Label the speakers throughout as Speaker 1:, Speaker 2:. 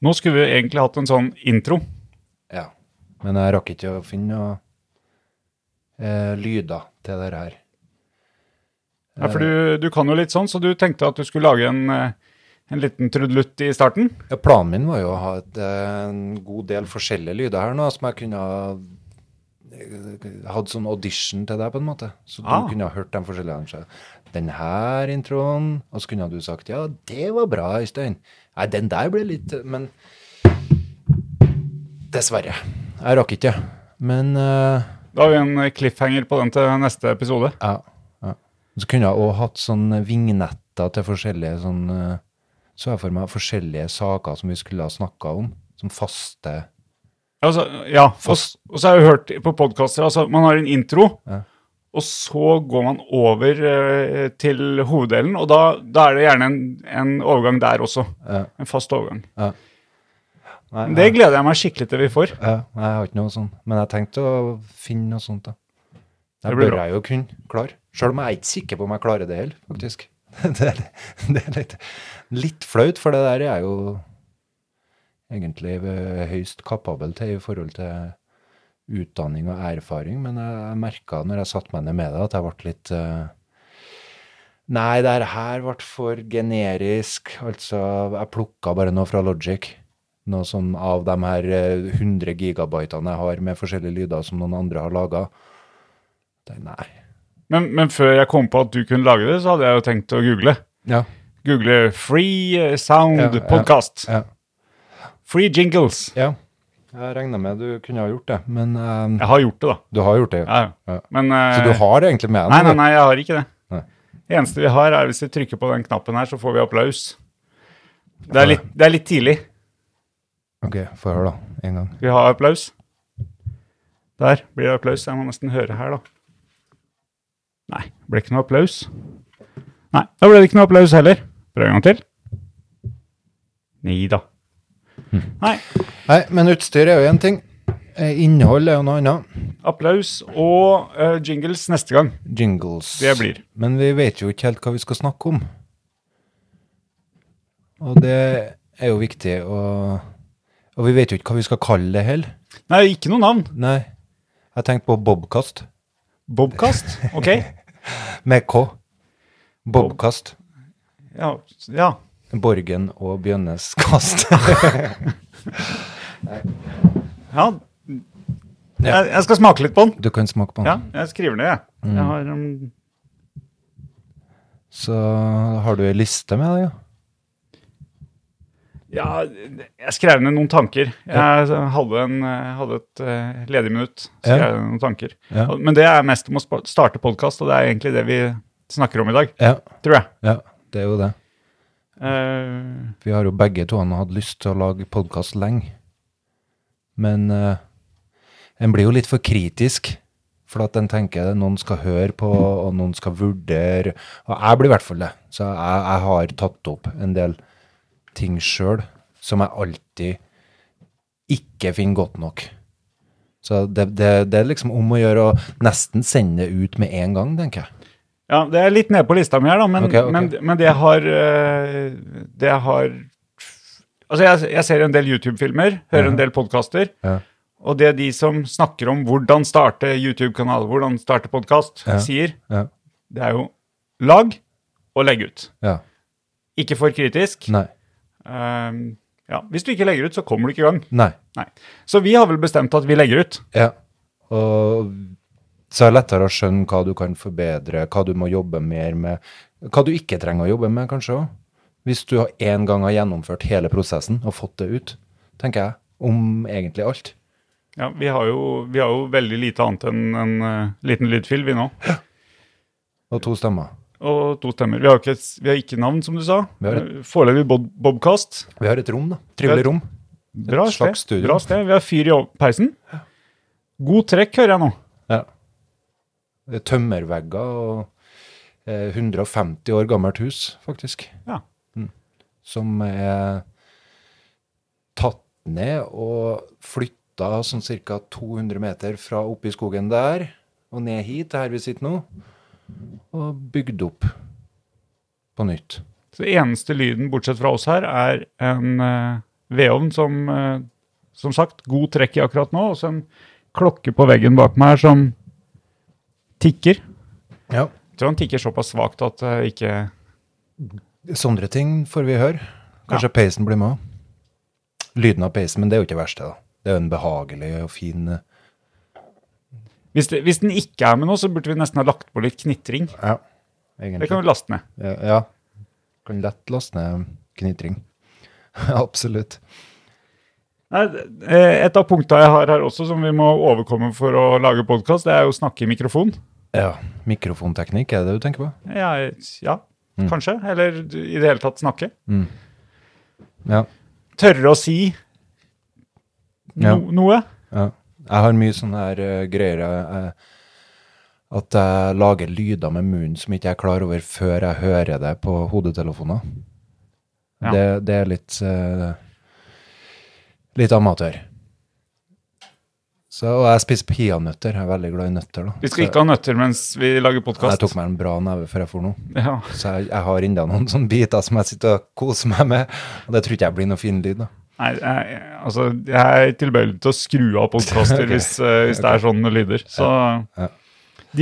Speaker 1: Nå skulle vi egentlig hatt en sånn intro.
Speaker 2: Ja. Men jeg rakk ikke å finne noe eh, lyder til dette her.
Speaker 1: Ja, for du, du kan jo litt sånn, så du tenkte at du skulle lage en, eh, en liten trudelutt i starten.
Speaker 2: Ja, planen min var jo å ha et, eh, en god del forskjellige lyder her nå, som jeg kunne ha hatt sånn audition til deg, på en måte. Så du
Speaker 1: Ah.
Speaker 2: kunne ha hørt de forskjellige. kanskje. Den her introen, og så kunne du sagt ja, det var bra, Øystein. Nei, den der ble litt eh, Men dessverre. Jeg rakk ikke. Men eh,
Speaker 1: Da har vi en eh, cliffhanger på den til neste episode.
Speaker 2: ja, ja. Så kunne jeg òg hatt sånn vignetter til forskjellige sånn eh, Så jeg for meg forskjellige saker som vi skulle ha snakka om, som faste
Speaker 1: Altså, ja, og, s- og så har jeg hørt på podkaster altså, Man har en intro,
Speaker 2: Ja.
Speaker 1: og så går man over eh, til hoveddelen, og da, da er det gjerne en, en overgang der også.
Speaker 2: Ja.
Speaker 1: En fast overgang.
Speaker 2: Nei,
Speaker 1: Men det gleder jeg meg skikkelig til vi får.
Speaker 2: Ja, nei, jeg har ikke noe sånt. Men jeg tenkte å finne noe sånt, da. Det
Speaker 1: Det blir
Speaker 2: bør
Speaker 1: bra.
Speaker 2: jeg jo kunne klare. Sjøl om jeg er ikke sikker på om jeg klarer det heller, faktisk. Det er, det er litt, litt flaut, for det der er jeg jo egentlig eh, høyst kapabel til i forhold til utdanning og erfaring, men jeg merka når jeg satte meg ned med det, at jeg ble litt eh, Nei, det her ble for generisk. Altså, jeg plukka bare noe fra Logic. Noe sånn av de her eh, 100 gigabytene jeg har med forskjellige lyder som noen andre har laga. Nei.
Speaker 1: Men, men før jeg kom på at du kunne lage det, så hadde jeg jo tenkt å google.
Speaker 2: Ja.
Speaker 1: Google free eh, sound
Speaker 2: Ja, ja,
Speaker 1: podcast.
Speaker 2: ja.
Speaker 1: Free jingles.
Speaker 2: ja. Jeg regna med du kunne ha gjort det, men eh,
Speaker 1: Jeg har gjort det, da.
Speaker 2: du har gjort det.
Speaker 1: Ja, ja.
Speaker 2: Ja.
Speaker 1: Men
Speaker 2: Så
Speaker 1: eh,
Speaker 2: du har det egentlig med deg?
Speaker 1: Nei, nei, nei, jeg har ikke det.
Speaker 2: Nei.
Speaker 1: Det eneste vi har, er hvis vi trykker på den knappen her, så får vi applaus. Det er litt, det er litt tidlig.
Speaker 2: Ok, få høre, da. En gang.
Speaker 1: Vi har applaus. Der blir det applaus. Jeg må nesten høre her, da. Nei, det ble ikke noe applaus. Nei, da ble det ikke noe applaus heller. Prøv en gang til. Nei da.
Speaker 2: Hm.
Speaker 1: Nei.
Speaker 2: Nei, men utstyr er jo én ting. Eh, Innhold er jo noe annet.
Speaker 1: Applaus og eh, jingles neste gang.
Speaker 2: jingles.
Speaker 1: Det blir.
Speaker 2: Men vi vet jo ikke helt hva vi skal snakke om. Og det er jo viktig å Og vi vet jo ikke hva vi skal kalle det heller.
Speaker 1: Nei, ikke noe navn.
Speaker 2: Nei. Jeg tenkte på Bobkast.
Speaker 1: Bobkast. OK.
Speaker 2: Med K. Bobkast.
Speaker 1: Ja. ja.
Speaker 2: Borgen og Bjønnes kast.
Speaker 1: Ja.
Speaker 2: Ja.
Speaker 1: Jeg, jeg skal smake litt på den.
Speaker 2: Du kan smake på den.
Speaker 1: Ja, jeg skriver ned, jeg.
Speaker 2: Mm.
Speaker 1: Jeg har um,
Speaker 2: Så har du ei liste med deg, ja?
Speaker 1: Ja, jeg skrev ned noen tanker. Jeg hadde, en, eh, hadde et eh, ledig minutt.
Speaker 2: Ja.
Speaker 1: Skrev ned noen tanker.
Speaker 2: Ja.
Speaker 1: Og- Men det er mest om å spa- starte podkast, og det er egentlig det vi snakker om i dag,
Speaker 2: ja.
Speaker 1: tror jeg.
Speaker 2: Ja, det er jo det.
Speaker 1: Eh,
Speaker 2: Vi har jo begge to han hatt lyst til å lage podkast lenge. Men eh, en blir jo litt for kritisk. For at en tenker noen skal høre på, og noen skal vurdere. Og jeg blir i hvert fall det. Så jeg, jeg har tatt opp en del ting sjøl som jeg alltid ikke finner godt nok. Så det, det, det er liksom om å gjøre å nesten sende det ut med en gang, tenker jeg.
Speaker 1: ja, det er litt nede på lista mi her, da, men,
Speaker 2: Ok, ok.
Speaker 1: men, men det jeg har eh, Det jeg har Altså, jeg, jeg ser en del YouTube-filmer, hører en del podkaster.
Speaker 2: Ja.
Speaker 1: Og det de som snakker om hvordan starte YouTube-kanal, hvordan starte podkast,
Speaker 2: Ja.
Speaker 1: sier,
Speaker 2: Ja.
Speaker 1: det er jo lag og legg ut.
Speaker 2: ja.
Speaker 1: Ikke for kritisk.
Speaker 2: Nei.
Speaker 1: Ehm, ja. Hvis du ikke legger ut, så kommer du ikke i gang.
Speaker 2: Nei.
Speaker 1: Nei. Så vi har vel bestemt at vi legger ut.
Speaker 2: Ja. Og så er det lettere å skjønne hva du kan forbedre, hva du må jobbe mer med, hva du ikke trenger å jobbe med, kanskje òg. Hvis du har en gang har gjennomført hele prosessen og fått det ut, tenker jeg, om egentlig alt.
Speaker 1: Ja, vi har jo, vi har jo veldig lite annet enn en eh, liten lydfil, vi nå.
Speaker 2: Og to stemmer.
Speaker 1: Og to stemmer. Vi har ikke, vi har ikke navn, som du sa.
Speaker 2: Vi har
Speaker 1: Eh, Foreløpig Bob Bobcast.
Speaker 2: Vi har et rom, da. Trivelig rom.
Speaker 1: Bra
Speaker 2: Et slags
Speaker 1: sted.
Speaker 2: studio.
Speaker 1: Bra sted. Vi har fyr i ov- peisen. God trekk, hører jeg nå.
Speaker 2: Ja. Det er Tømmervegger og eh, 150 år gammelt hus, faktisk.
Speaker 1: Ja.
Speaker 2: Mm. Som er tatt ned og flytta sånn ca. 200 meter fra oppe i skogen der og ned hit, her vi sitter nå, og bygd opp på nytt.
Speaker 1: Så eneste lyden, bortsett fra oss her, er en eh, vedovn som eh, som sagt god trekk i akkurat nå, og så en klokke på veggen bak meg her som tikker.
Speaker 2: Ja.
Speaker 1: Jeg tror han tikker såpass svakt at eh, ikke
Speaker 2: Sånne ting får vi høre. Kanskje peisen blir med òg. Lyden av peisen, men det er jo ikke det verste. da. Det er jo en behagelig og fin eh,
Speaker 1: hvis, det, hvis den ikke er med nå, så burde vi nesten ha lagt på litt knitring.
Speaker 2: Ja,
Speaker 1: Det
Speaker 2: egentlig.
Speaker 1: kan vi laste ned.
Speaker 2: Ja, ja. Kan lett laste ned knitring. Absolutt.
Speaker 1: Nei, eh, et av punktene jeg har her også, som vi må overkomme for å lage podkast, det er jo å snakke i mikrofon.
Speaker 2: Ja, Mikrofonteknikk, er det det du tenker på?
Speaker 1: Ja, ja
Speaker 2: Mm.
Speaker 1: kanskje. Eller du- i det hele tatt snakke.
Speaker 2: Ja.
Speaker 1: Tørre å si no
Speaker 2: Ja.
Speaker 1: noe.
Speaker 2: ja. Jeg har mye sånne her eh, greier eh, at jeg lager lyder med munnen som ikke jeg er klar over før jeg hører det på hodetelefoner.
Speaker 1: Ja.
Speaker 2: Det, det er litt eh, litt amatør. Så, og jeg spiser peanøtter. Jeg er veldig glad i nøtter. da.
Speaker 1: Vi skal ikke ha nøtter mens vi lager podkast.
Speaker 2: Jeg tok meg en bra neve før jeg for noe.
Speaker 1: Ja.
Speaker 2: Så jeg, jeg har enda noen sånne biter som jeg sitter og koser meg med. Og det tror ikke jeg blir noe fin lyd, da.
Speaker 1: Nei, jeg, altså, jeg er tilbøyelig til å skru av podkaster hvis, eh, hvis det er sånne lyder. Så
Speaker 2: Ja.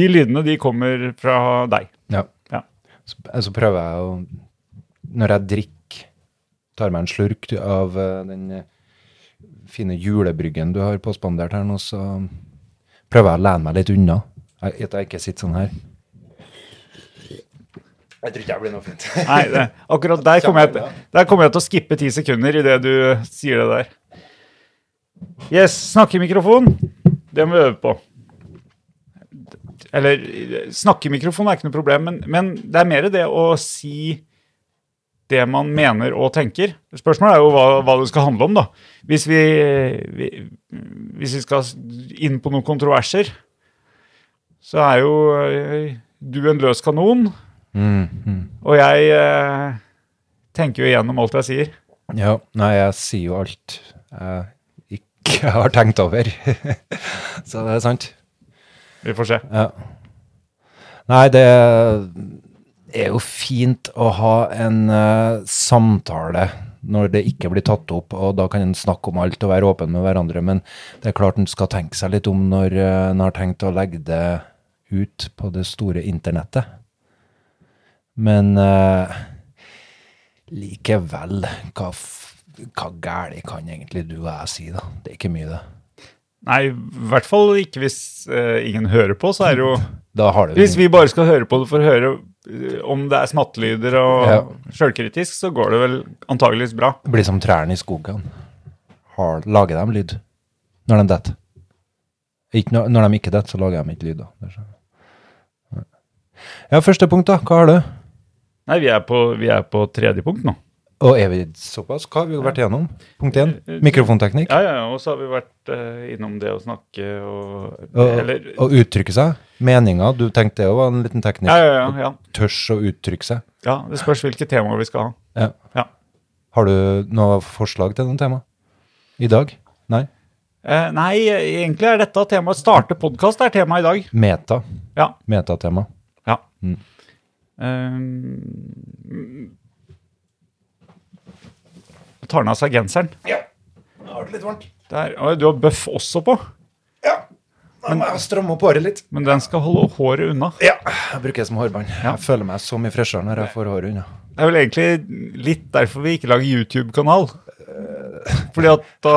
Speaker 1: de lydene, de kommer fra deg.
Speaker 2: Ja.
Speaker 1: Ja.
Speaker 2: Så, så prøver jeg å Når jeg drikker, tar meg en slurk av eh, den eh, fine julebryggen du har påspandert her nå, så prøver jeg å lene meg litt unna. Jeg- At jeg ikke sitter sånn her. Jeg tror ikke jeg blir noe fint.
Speaker 1: Nei, det, akkurat der kommer jeg, til- der kommer jeg til å skippe ti sekunder idet du sier det der. Yes, snakkemikrofon. Det må vi øve på. Eller eh, snakkemikrofon er ikke noe problem, men, men det er mer det å si det man mener og tenker. Spørsmålet er jo hva, hva det skal handle om, da. Hvis vi, vi, hvis vi skal inn på noen kontroverser, så er jo eh, du en løs kanon.
Speaker 2: Mm,
Speaker 1: Og jeg eh, tenker jo igjennom alt jeg sier.
Speaker 2: Ja, nei, jeg sier jo alt jeg ikke har tenkt over. så det er sant.
Speaker 1: Vi får se.
Speaker 2: Ja. Nei, det er jo fint å ha en eh, samtale når det ikke blir tatt opp, og da kan en snakke om alt og være åpen med hverandre, men det er klart en skal tenke seg litt om når eh, en har tenkt å legge det ut på det store internettet. Men eh, likevel, hva, f- hva gærlig kan egentlig du og jeg si, da? Det er ikke mye, det.
Speaker 1: Nei, i hvert fall ikke hvis eh, ingen hører på, så er det jo
Speaker 2: Da har du
Speaker 1: Hvis vi bare skal høre på det for å høre eh, om det er smattelyder og
Speaker 2: Ja.
Speaker 1: sjølkritisk, så går det vel antageligvis bra.
Speaker 2: Det blir som trærne i skogen. Har, lager de lyd når de detter? Ikke når, når de ikke detter, så lager de ikke lyd. da. Det skjønner jeg. Ja, første punkt, da. Hva har du?
Speaker 1: Nei, vi er på, vi er på tredje punkt nå.
Speaker 2: Og er vi såpass? Hva har vi vært igjennom? Punkt én, mikrofonteknikk.
Speaker 1: Eh, Ja, ja, og så har vi vært eh, innom det å snakke og
Speaker 2: Og,
Speaker 1: Eller
Speaker 2: og uttrykke seg. Meninger. Du tenkte det òg var en liten teknikk.
Speaker 1: ja, ja, ja, ja.
Speaker 2: Tørs å uttrykke seg.
Speaker 1: ja. Det spørs hvilke temaer vi skal ha.
Speaker 2: Ja.
Speaker 1: Ja.
Speaker 2: Har du noe forslag til noe tema? I dag? Nei?
Speaker 1: Eh, nei, egentlig er dette temaet Starte podkast er temaet i dag.
Speaker 2: Meta.
Speaker 1: Ja.
Speaker 2: Metatema.
Speaker 1: Ja.
Speaker 2: Mm.
Speaker 1: Ehm, tar den av seg genseren.
Speaker 2: Ja. Nå har det litt varmt.
Speaker 1: Der, Oi, du har bøff også på,
Speaker 2: Ja. Da må jeg stramme opp håret litt.
Speaker 1: men den skal holde håret unna.
Speaker 2: Ja, jeg bruker det som hårbånd. Jeg føler meg så mye freshere når jeg får håret unna.
Speaker 1: Det er vel egentlig litt derfor vi ikke lager YouTube-kanal. Eh, Fordi at da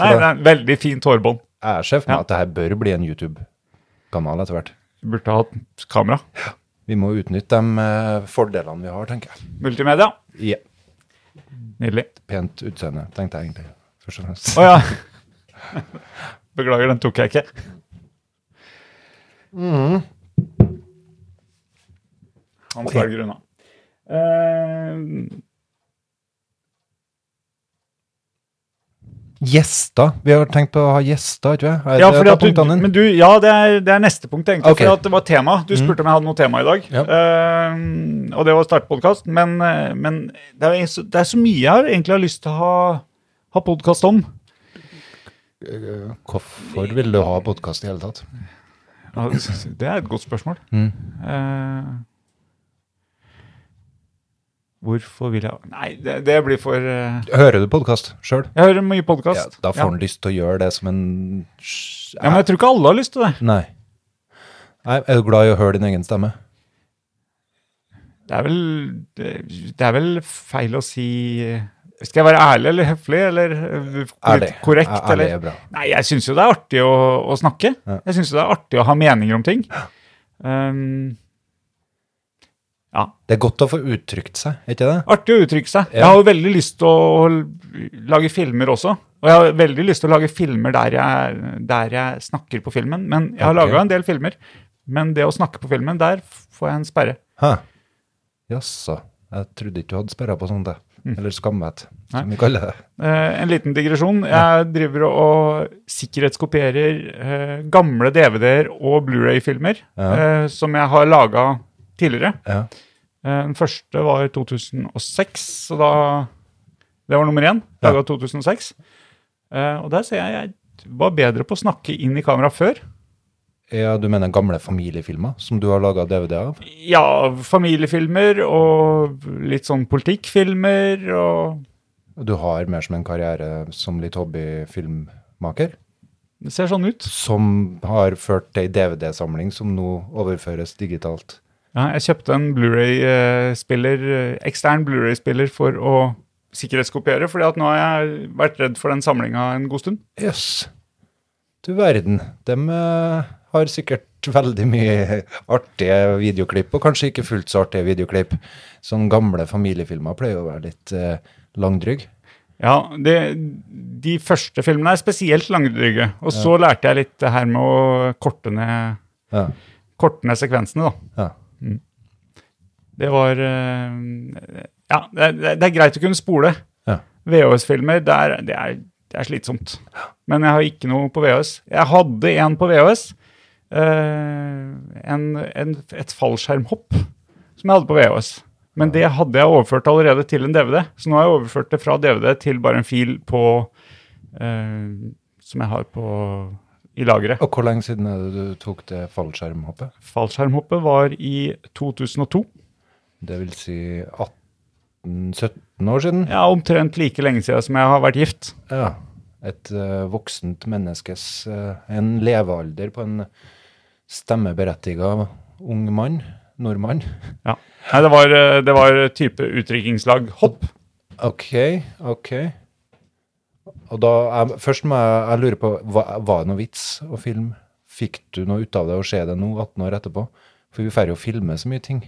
Speaker 1: Nei, det er en veldig fint hårbånd.
Speaker 2: Jeg ser for meg
Speaker 1: Ja.
Speaker 2: at det her bør bli en YouTube-kanal etter hvert.
Speaker 1: Burde ha hatt kamera.
Speaker 2: Vi må utnytte de eh, fordelene vi har, tenker jeg.
Speaker 1: Multimedia.
Speaker 2: Ja.
Speaker 1: Nydelig.
Speaker 2: Pent utseende, tenkte jeg egentlig. Først og fremst.
Speaker 1: Å ja. Beklager, den tok jeg ikke.
Speaker 2: Mm.
Speaker 1: Han svelger unna. Eh,
Speaker 2: Gjester. Vi har tenkt på å ha gjester, ikke sant?
Speaker 1: ja, fordi at du, men du, ja, det er, det er neste punkt, egentlig.
Speaker 2: Ok. Mm.
Speaker 1: For at det var tema. Du spurte om jeg hadde noe tema i dag.
Speaker 2: Ja.
Speaker 1: Eh, og det var startpodkast. Men, eh, men det, er, jo så- det er så mye jeg har- egentlig har lyst til å ha, ha podkast om.
Speaker 2: Hvorfor vil du ha podkast i hele tatt?
Speaker 1: Ja,
Speaker 2: Mm.
Speaker 1: Det er et godt spørsmål. Eh, Hvorfor vil jeg Nei, det, det blir for eh,
Speaker 2: Hører du podkast sjøl?
Speaker 1: Jeg hører mye
Speaker 2: Ja,
Speaker 1: podkast.
Speaker 2: da får
Speaker 1: ja.
Speaker 2: han lyst til å gjøre det som en
Speaker 1: ja, Men jeg tror ikke alle har lyst til det.
Speaker 2: Nei. Nei. Er du glad i å høre din egen stemme?
Speaker 1: Det er vel, det, det er vel feil å si eh, Skal jeg være ærlig eller høflig eller eh,
Speaker 2: Ærlig.
Speaker 1: korrekt?
Speaker 2: Ær- Ærlig
Speaker 1: eller?
Speaker 2: er bra.
Speaker 1: Nei, jeg syns jo det er artig å, å snakke.
Speaker 2: Ja.
Speaker 1: Jeg syns jo det er artig å ha meninger om ting. Um,
Speaker 2: Det er godt å få uttrykt seg, er ikke det?
Speaker 1: artig å uttrykke seg. Jeg
Speaker 2: Ja.
Speaker 1: har jo veldig lyst til å l- lage filmer også. Og jeg har veldig lyst til å lage filmer der jeg, der jeg snakker på filmen. Men jeg har
Speaker 2: Ok.
Speaker 1: laga en del filmer. Men det å snakke på filmen, der får jeg en sperre.
Speaker 2: Hæ? Jaså. Jeg trodde ikke du hadde sperra på sånt, jeg.
Speaker 1: Mm.
Speaker 2: Eller skamvett, som vi kaller det.
Speaker 1: Eh, en liten digresjon. Jeg driver og sikkerhetskopierer eh, gamle DVD-er og Blu-ray-filmer
Speaker 2: Ja.
Speaker 1: eh, som jeg har laga tidligere.
Speaker 2: Ja.
Speaker 1: Eh, Den første var i 2006, så da Det var nummer én. Laga 2006. Eh, og der ser jeg jeg var bedre på å snakke inn i kamera før.
Speaker 2: ja, du mener gamle familiefilmer som du har laga DVD av?
Speaker 1: Ja, familiefilmer og litt sånn politikkfilmer og
Speaker 2: Du har mer som en karriere som litt hobbyfilmmaker?
Speaker 1: Det ser sånn ut.
Speaker 2: Som har ført til ei DVD-samling som nå overføres digitalt?
Speaker 1: Ja, jeg kjøpte en Blu-ray-spiller, eh, ekstern Blu-ray-spiller for å sikkerhetskopiere, fordi at nå har jeg vært redd for den samlinga en god stund.
Speaker 2: Jøss. Du verden. De har sikkert veldig mye artige videoklipp, og kanskje ikke fullt så artige videoklipp. Sånne gamle familiefilmer pleier å være litt eh, langdrygg.
Speaker 1: Ja, det, de første filmene er spesielt langdryge. Og så lærte jeg litt det her med å korte ned,
Speaker 2: Ja.
Speaker 1: korte ned sekvensene, da.
Speaker 2: ja.
Speaker 1: Det var eh, Ja, det, er- det er greit å kunne spole.
Speaker 2: Ja.
Speaker 1: VHS-filmer, det, er- det, er- det er slitsomt. Men jeg har ikke noe på VHS. Jeg hadde en på VHS. eh, en, en, et fallskjermhopp som jeg hadde på VHS. Men det hadde jeg overført allerede til en DVD, så nå har jeg overført det fra DVD til bare en fil på eh, Som jeg har på i lageret.
Speaker 2: Og hvor lenge siden er det du tok det fallskjermhoppet?
Speaker 1: Fallskjermhoppet var i 2002.
Speaker 2: Det vil si 18-17 år siden?
Speaker 1: Ja, omtrent like lenge siden som jeg har vært gift.
Speaker 2: Ja. Et eh, voksent menneskes eh, En levealder på en stemmeberettiga ung mann. Nordmann.
Speaker 1: Ja. Nei, det var, eh, det var type utdrikningslag hopp.
Speaker 2: Ok, ok. Og da, jeg, først må jeg, jeg lure på, hva, var det noe vits å filme? Fikk du noe ut av det å se det nå, 18 år etterpå? For vi færre å filme så mye ting.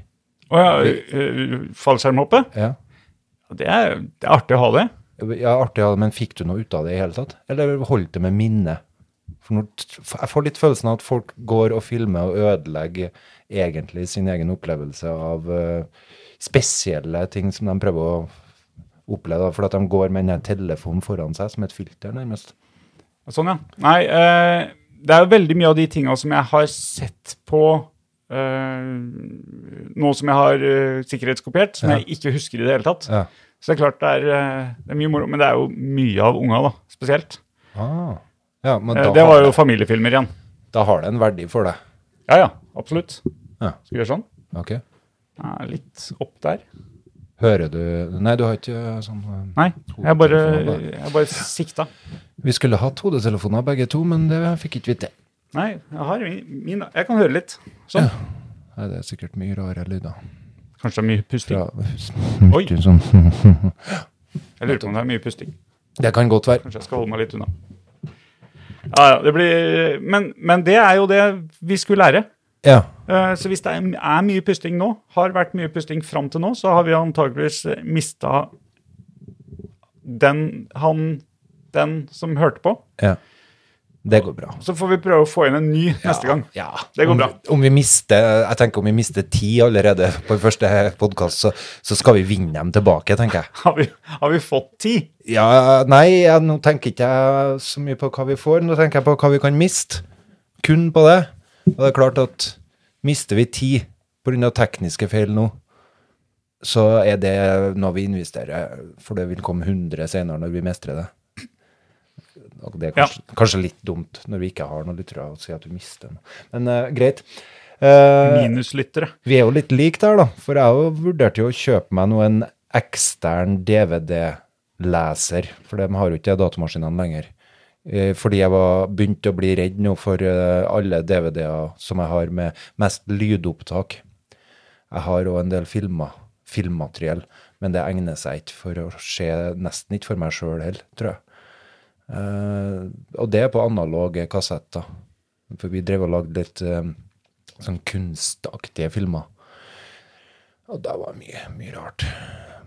Speaker 1: Å ja, eh, fallskjermhoppet?
Speaker 2: Ja,
Speaker 1: Det er, det er artig å ha det.
Speaker 2: ja artig, ja, men fikk du noe ut av det i hele tatt? Eller holdt det med minne? For når, jeg får litt følelsen av at folk går og filmer og ødelegger egentlig sin egen opplevelse av eh, spesielle ting som de prøver å oppleve, da, for at de går med denne telefonen foran seg som et filter nærmest.
Speaker 1: Sånn, ja. Nei, eh, det er jo veldig mye av de tinga som jeg har sett på eh, nå som jeg har eh, sikkerhetskopiert, som
Speaker 2: Ja.
Speaker 1: jeg ikke husker i det hele tatt.
Speaker 2: Ja.
Speaker 1: Så det er klart det er, eh, det er mye moro, men det er jo mye av unga, da, spesielt.
Speaker 2: Ah. Ja, men
Speaker 1: Eh,
Speaker 2: da,
Speaker 1: det
Speaker 2: har
Speaker 1: var jo
Speaker 2: det,
Speaker 1: familiefilmer igjen.
Speaker 2: da har det en verdi for deg.
Speaker 1: Ja ja, absolutt.
Speaker 2: Ja.
Speaker 1: Skal vi gjøre sånn?
Speaker 2: Ok.
Speaker 1: Ja, litt opp der.
Speaker 2: Hører du Nei, du har ikke eh, sånn eh,
Speaker 1: Nei, jeg bare,
Speaker 2: hodetelefoner,
Speaker 1: jeg bare sikta.
Speaker 2: da. Vi skulle hatt hodetelefoner begge to, men det fikk ikke vite.
Speaker 1: Nei, jeg har min, min da. Jeg kan høre litt. Sånn.
Speaker 2: Nei, det er sikkert mye rare lyder.
Speaker 1: Kanskje det er mye pusting.
Speaker 2: Fra
Speaker 1: Oi.
Speaker 2: Ikke sånn.
Speaker 1: Jeg lurer på om det er mye pusting.
Speaker 2: Det kan godt være.
Speaker 1: Kanskje jeg skal holde meg litt unna. Ja, ja, det blir, men, men det er jo det vi skulle lære.
Speaker 2: Ja.
Speaker 1: Eh, Så hvis det er er mye pusting nå, har vært mye pusting fram til nå, så har vi antakeligvis mista den han den som hørte på.
Speaker 2: ja. Det går bra.
Speaker 1: Så får vi prøve å få inn en ny neste gang.
Speaker 2: Ja.
Speaker 1: Det går
Speaker 2: om,
Speaker 1: bra.
Speaker 2: Om vi mister, jeg tenker om vi mister ti allerede på første podkast, så, så skal vi vinne dem tilbake, tenker jeg.
Speaker 1: Har vi, har vi fått ti?
Speaker 2: Ja, nei, jeg, nå tenker ikke jeg så mye på hva vi får, nå tenker jeg på hva vi kan miste. Kun på det. Og det er klart at mister vi ti pga. tekniske feil nå, så er det noe vi investerer, for det vil komme 100 senere når vi mestrer det. Og det er kanskje, kanskje litt dumt når vi ikke har noen lyttere å si at vi mister noe. Men eh, greit. Eh,
Speaker 1: Minuslyttere.
Speaker 2: vi er jo litt like der, da. For jeg jo vurderte jo å kjøpe meg nå en ekstern DVD-leser, for de har jo ikke datamaskinene lenger. Eh, Fordi jeg var begynt å bli redd nå for eh, alle DVD-er som jeg har med mest lydopptak. Jeg har òg en del filmer, filmmateriell, men det egner seg ikke for å se nesten ikke for meg sjøl heller, tror jeg. Eh, og det er på analoge kassetter. For vi drev og lagde litt eh, sånn kunstaktige filmer. Og det var mye, mye rart.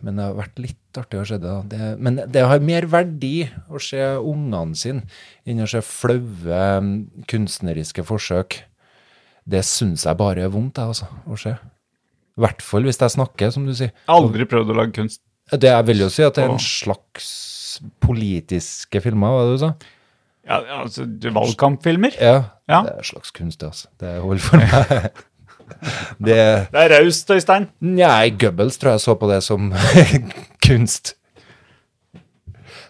Speaker 2: Men det har vært litt artig å se det. da. det men det har mer verdi å se ungene sine enn å se flaue mm, kunstneriske forsøk. Det syns jeg bare er vondt, jeg, altså, å se. I hvert fall hvis jeg snakker, som du sier.
Speaker 1: Aldri prøvd å lage kunst.
Speaker 2: Det jeg vil jo si at det er
Speaker 1: Åh.
Speaker 2: en slags politiske filmer, hva var det du sa?
Speaker 1: Ja, ja, altså, du- valgkampfilmer.
Speaker 2: Ja,
Speaker 1: Ja.
Speaker 2: det er en slags kunst, det, altså. Det holder for meg. Det,
Speaker 1: Det er raust, Øystein.
Speaker 2: nei, Goebbels tror jeg så på det som kunst.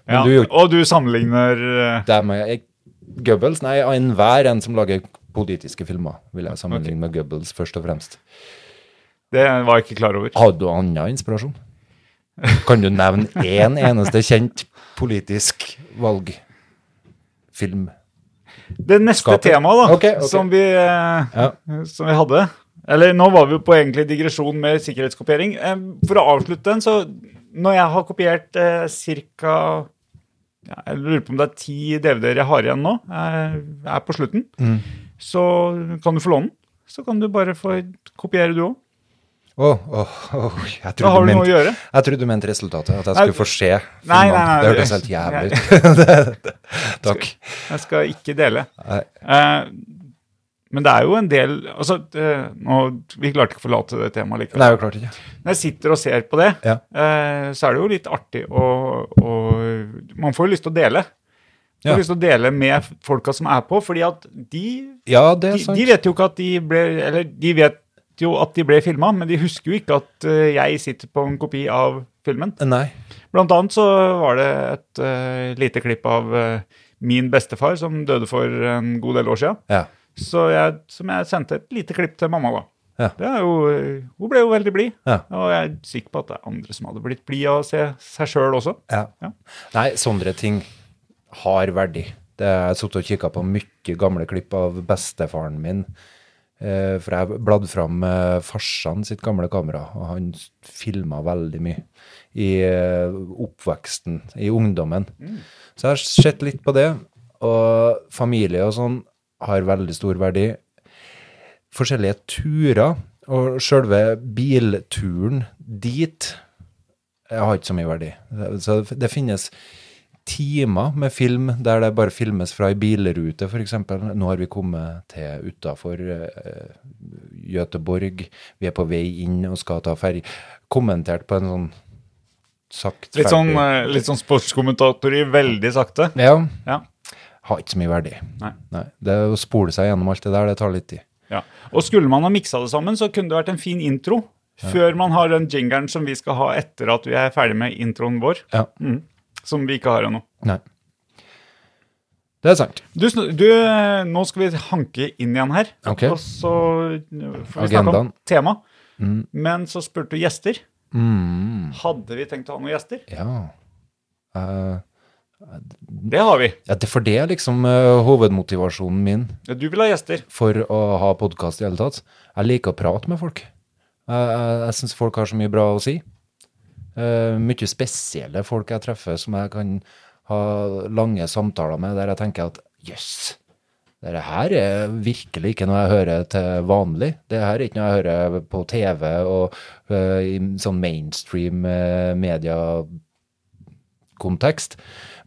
Speaker 2: Men
Speaker 1: Ja.
Speaker 2: du gjorde-
Speaker 1: Og du sammenligner eh,
Speaker 2: Det med jeg, Goebbels, nei, av enhver en som lager politiske filmer, vil jeg sammenligne med Goebbels først og fremst.
Speaker 1: Det var jeg ikke klar over.
Speaker 2: Har du annen inspirasjon? Kan du nevne én eneste kjent politisk valgfilm?
Speaker 1: Det neste
Speaker 2: Skaper.
Speaker 1: temaet da,
Speaker 2: Ok, ok.
Speaker 1: Som, vi, eh,
Speaker 2: Ja.
Speaker 1: som vi hadde Eller nå var vi jo på egentlig digresjon med sikkerhetskopiering. Eh, For å avslutte den, så når jeg har kopiert eh, ca. Ja, jeg lurer på om det er ti DVD-er jeg har igjen nå, eh, er på slutten,
Speaker 2: Mm.
Speaker 1: så kan du få låne den. Så kan du bare få kopiere, du òg.
Speaker 2: Å, å, å, jeg
Speaker 1: Da
Speaker 2: trodde
Speaker 1: har
Speaker 2: du
Speaker 1: du noe å
Speaker 2: mente
Speaker 1: gjøre.
Speaker 2: Jeg trodde du mente resultatet, at jeg
Speaker 1: Nei,
Speaker 2: skulle få se filmene.
Speaker 1: nei, nei, nei.
Speaker 2: det hørtes helt jævlig ut. Det- det- Takk.
Speaker 1: Jeg skal ikke dele.
Speaker 2: Nei.
Speaker 1: Eh, men det er jo en del altså, eh, nå, Vi klarte ikke å forlate det temaet likevel.
Speaker 2: Nei, jo klart ikke.
Speaker 1: Når jeg sitter og ser på det,
Speaker 2: Ja.
Speaker 1: eh, så er det jo litt artig å, å Man får jo lyst til å dele. Man får
Speaker 2: Ja.
Speaker 1: lyst til å dele med folka som er på, fordi at de,
Speaker 2: Ja, det er
Speaker 1: de,
Speaker 2: sant.
Speaker 1: de vet jo ikke at de ble Eller de vet jo at de ble filma, men de husker jo ikke at eh, jeg sitter på en kopi av filmen.
Speaker 2: Nei.
Speaker 1: Blant annet så var det et eh, lite klipp av eh, min bestefar som døde for en god del år sia,
Speaker 2: Ja.
Speaker 1: som jeg sendte et lite klipp til mamma, da.
Speaker 2: Ja.
Speaker 1: Det er jo, eh, hun ble jo veldig blid.
Speaker 2: Ja.
Speaker 1: Og jeg er sikker på at det er andre som hadde blitt blid av å se seg sjøl også.
Speaker 2: Ja.
Speaker 1: Ja.
Speaker 2: Nei, sånne ting har verdi. Det, jeg satt og kikka på mye gamle klipp av bestefaren min. eh, For jeg bladde fram eh, farsan sitt gamle kamera, og han filma veldig mye i eh, oppveksten, i ungdommen. Så jeg har sett litt på det, og familie og sånn har veldig stor verdi. Forskjellige turer, og sjølve bilturen dit jeg har ikke så mye verdi. Så det- det finnes timer med film der det bare filmes fra ei bilrute, f.eks. Nå har vi kommet til utafor uh, Göteborg. Vi er på vei inn og skal ta ferje. Kommentert på en sånn sakte
Speaker 1: Litt sånn, eh, litt sånn sportskommentator i veldig sakte.
Speaker 2: Ja.
Speaker 1: Ja.
Speaker 2: Har ikke så mye verdi.
Speaker 1: Nei.
Speaker 2: Det å spole seg gjennom alt det der, det tar litt tid.
Speaker 1: Ja. Og skulle man ha miksa det sammen, så kunne det vært en fin intro. Før man har den jingeren som vi skal ha etter at vi er ferdig med introen vår.
Speaker 2: Ja.
Speaker 1: Mm. Som vi ikke har ennå.
Speaker 2: Nei. Det er sant.
Speaker 1: Du, sn- du, eh, nå skal vi hanke inn igjen her.
Speaker 2: Ok.
Speaker 1: Og så eh, får vi snakke om
Speaker 2: Agendaen.
Speaker 1: tema.
Speaker 2: Mm.
Speaker 1: Men så spurte du gjester.
Speaker 2: Mm.
Speaker 1: Hadde vi tenkt å ha noen gjester?
Speaker 2: Ja. Eh,
Speaker 1: Det har vi.
Speaker 2: ja. det- For det er liksom eh, hovedmotivasjonen min
Speaker 1: Du vil ha gjester.
Speaker 2: for å ha podkast i hele tatt. Jeg liker å prate med folk. Jeg- jeg jeg syns folk har så mye bra å si. Eh, mye spesielle folk jeg treffer som jeg kan ha lange samtaler med, der jeg tenker at jøss, dette her er virkelig ikke noe jeg hører til vanlig. Det her er ikke noe jeg hører på TV og eh, i sånn mainstream uh, mediekontekst.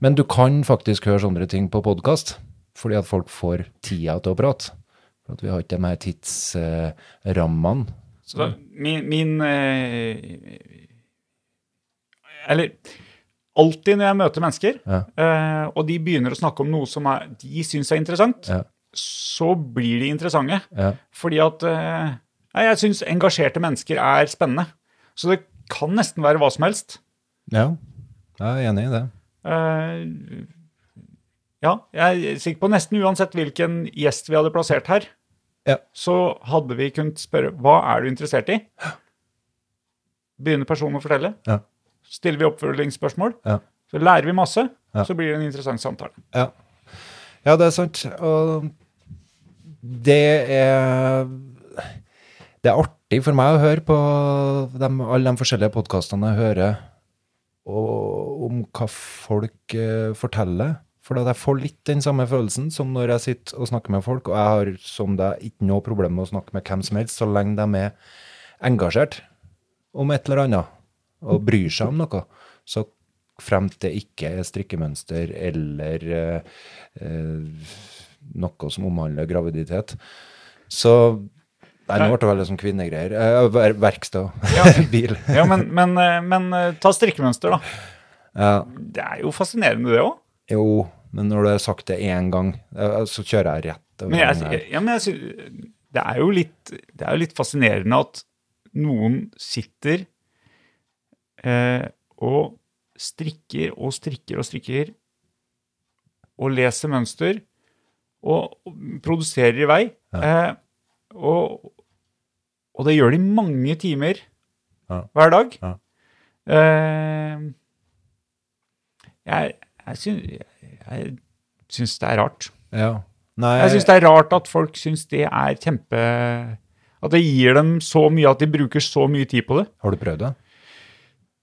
Speaker 2: Men du kan faktisk høre sånne ting på podkast, fordi at folk får tida til å prate. For at vi har ikke de her tidsrammene.
Speaker 1: Så min, min eh, Eller alltid når jeg møter mennesker,
Speaker 2: Ja.
Speaker 1: eh, og de begynner å snakke om noe som er, de syns er interessant,
Speaker 2: Ja.
Speaker 1: så blir de interessante.
Speaker 2: ja.
Speaker 1: Fordi at eh, nei, Jeg syns engasjerte mennesker er spennende. Så det kan nesten være hva som helst.
Speaker 2: ja, jeg er enig i det.
Speaker 1: Eh, ja, jeg er sikker på nesten uansett hvilken gjest vi hadde plassert her,
Speaker 2: Ja.
Speaker 1: så hadde vi kunnet spørre hva er du interessert i? Begynner personen å fortelle?
Speaker 2: Ja.
Speaker 1: stiller vi oppfølgingsspørsmål.
Speaker 2: Ja.
Speaker 1: Så lærer vi masse,
Speaker 2: Ja.
Speaker 1: så blir det en interessant samtale.
Speaker 2: Ja. ja, det er sant. Og det er Det er artig for meg å høre på dem, alle de forskjellige podkastene jeg hører, og om hva folk eh, forteller. For at jeg får litt den samme følelsen som når jeg sitter og snakker med folk, og jeg har som deg ikke noe problem med å snakke med hvem som helst, så lenge de er engasjert om et eller annet og bryr seg om noe, så fremt det ikke er strikkemønster eller eh, eh, noe som omhandler graviditet. Så Nei, nå ble det veldig sånn kvinnegreier. Eh, ver- verksted og bil.
Speaker 1: Ja, men, men, eh, men eh, ta strikkemønster, da.
Speaker 2: Ja,
Speaker 1: Det er jo fascinerende, det òg.
Speaker 2: jo, men når du har sagt det én gang, eh, så kjører jeg rett. over
Speaker 1: Men jeg,
Speaker 2: den her.
Speaker 1: ja, men jeg sy- det er jo litt, det er jo litt fascinerende at noen sitter eh, og strikker og strikker og strikker og leser mønster og, og produserer i vei. Eh, og, og det gjør de mange timer
Speaker 2: Ja.
Speaker 1: hver dag.
Speaker 2: Ja.
Speaker 1: Eh, jeg jeg, syns, jeg, jeg syns det er rart.
Speaker 2: Ja. Nei,
Speaker 1: Jeg syns det er rart at folk syns det er kjempe At det gir dem så mye at de bruker så mye tid på det.
Speaker 2: Har du prøvd det?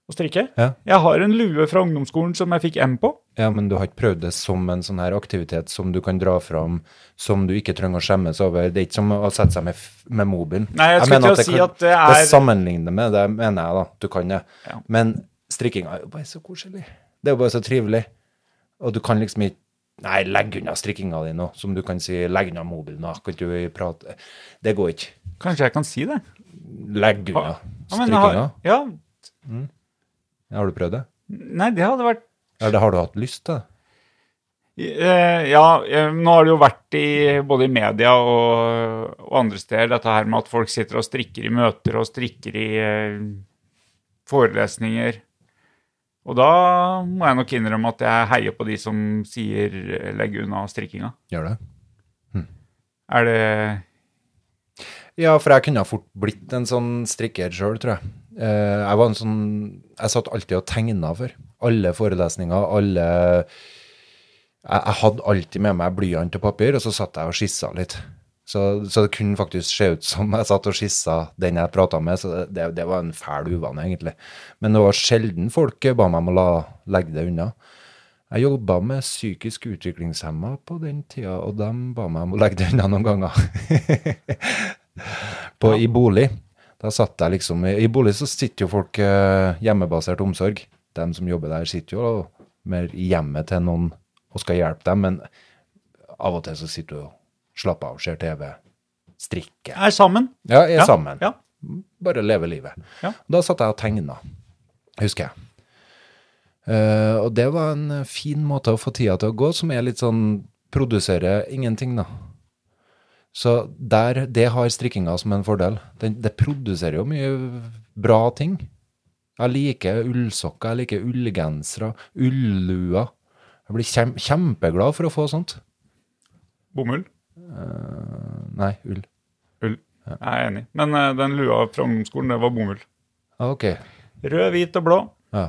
Speaker 1: Å strikke.
Speaker 2: Ja.
Speaker 1: Jeg har en lue fra ungdomsskolen som jeg fikk M på.
Speaker 2: Ja, men du har ikke prøvd det som en sånn her aktivitet som du kan dra fram, som du ikke trenger å skjemmes over. Det er ikke som å sette seg med, f- med mobilen.
Speaker 1: Nei, jeg skulle til
Speaker 2: mener
Speaker 1: å si
Speaker 2: kan-
Speaker 1: at det
Speaker 2: Det
Speaker 1: er-
Speaker 2: sammenligner med det, mener jeg da. Du kan det.
Speaker 1: Ja.
Speaker 2: Men strikkinga er jo bare så koselig. Det er jo bare så trivelig. Og du kan liksom ikke Nei, legg unna strikkinga di nå, som du kan si. Legg unna mobilen, da. Kan ikke du prate Det går ikke.
Speaker 1: Kanskje jeg kan si det?
Speaker 2: Legg unna
Speaker 1: Ja, men jeg
Speaker 2: strikkinga.
Speaker 1: har- ja,
Speaker 2: Har du prøvd det?
Speaker 1: nei, det hadde vært
Speaker 2: Eller har du hatt lyst til det?
Speaker 1: Eh, Ja, eh, nå har det jo vært i både i media og, og andre steder dette her med at folk sitter og strikker i møter og strikker i eh, forelesninger. Og da må jeg nok innrømme at jeg heier på de som sier eh, 'legg unna strikkinga'.
Speaker 2: Gjør det?
Speaker 1: Er det
Speaker 2: Ja, for jeg kunne ha fort blitt en sånn strikker sjøl, tror jeg. Eh, Jeg var en sånn Jeg satt alltid og tegna for alle forelesninger, alle jeg, jeg hadde alltid med meg blyant og papir, og så satt jeg og skissa litt. Så, så det kunne faktisk se ut som jeg satt og skissa den jeg prata med, så det, det var en fæl uvane, egentlig. Men det var sjelden folk ba meg om å la, legge det unna. Jeg jobba med psykisk utviklingshemma på den tida, og de ba meg om å legge det unna noen ganger. på, i bolig. Da satt jeg liksom, I bolig så sitter jo folk eh, hjemmebasert omsorg. De som jobber der, sitter jo mer i hjemmet til noen og skal hjelpe dem, men av og til så sitter du og slapper av, ser TV, strikker.
Speaker 1: Er sammen.
Speaker 2: Ja, er sammen.
Speaker 1: Ja.
Speaker 2: Bare leve livet.
Speaker 1: Ja.
Speaker 2: Da satt jeg og tegna, husker jeg. Eh, og det var en eh, fin måte å få tida til å gå, som er litt sånn produsere ingenting, da. Så der, det har strikkinga som en fordel. Den, det produserer jo mye bra ting. Jeg liker ullsokker, jeg liker ullgensere, ulluer. Jeg blir kjem, kjempeglad for å få sånt.
Speaker 1: Bomull.
Speaker 2: Nei, ull.
Speaker 1: Ull. Jeg er enig. Men eh, den lua fra ungdomsskolen, det var bomull.
Speaker 2: Ah, ok.
Speaker 1: Rød, hvit og blå.
Speaker 2: Ja.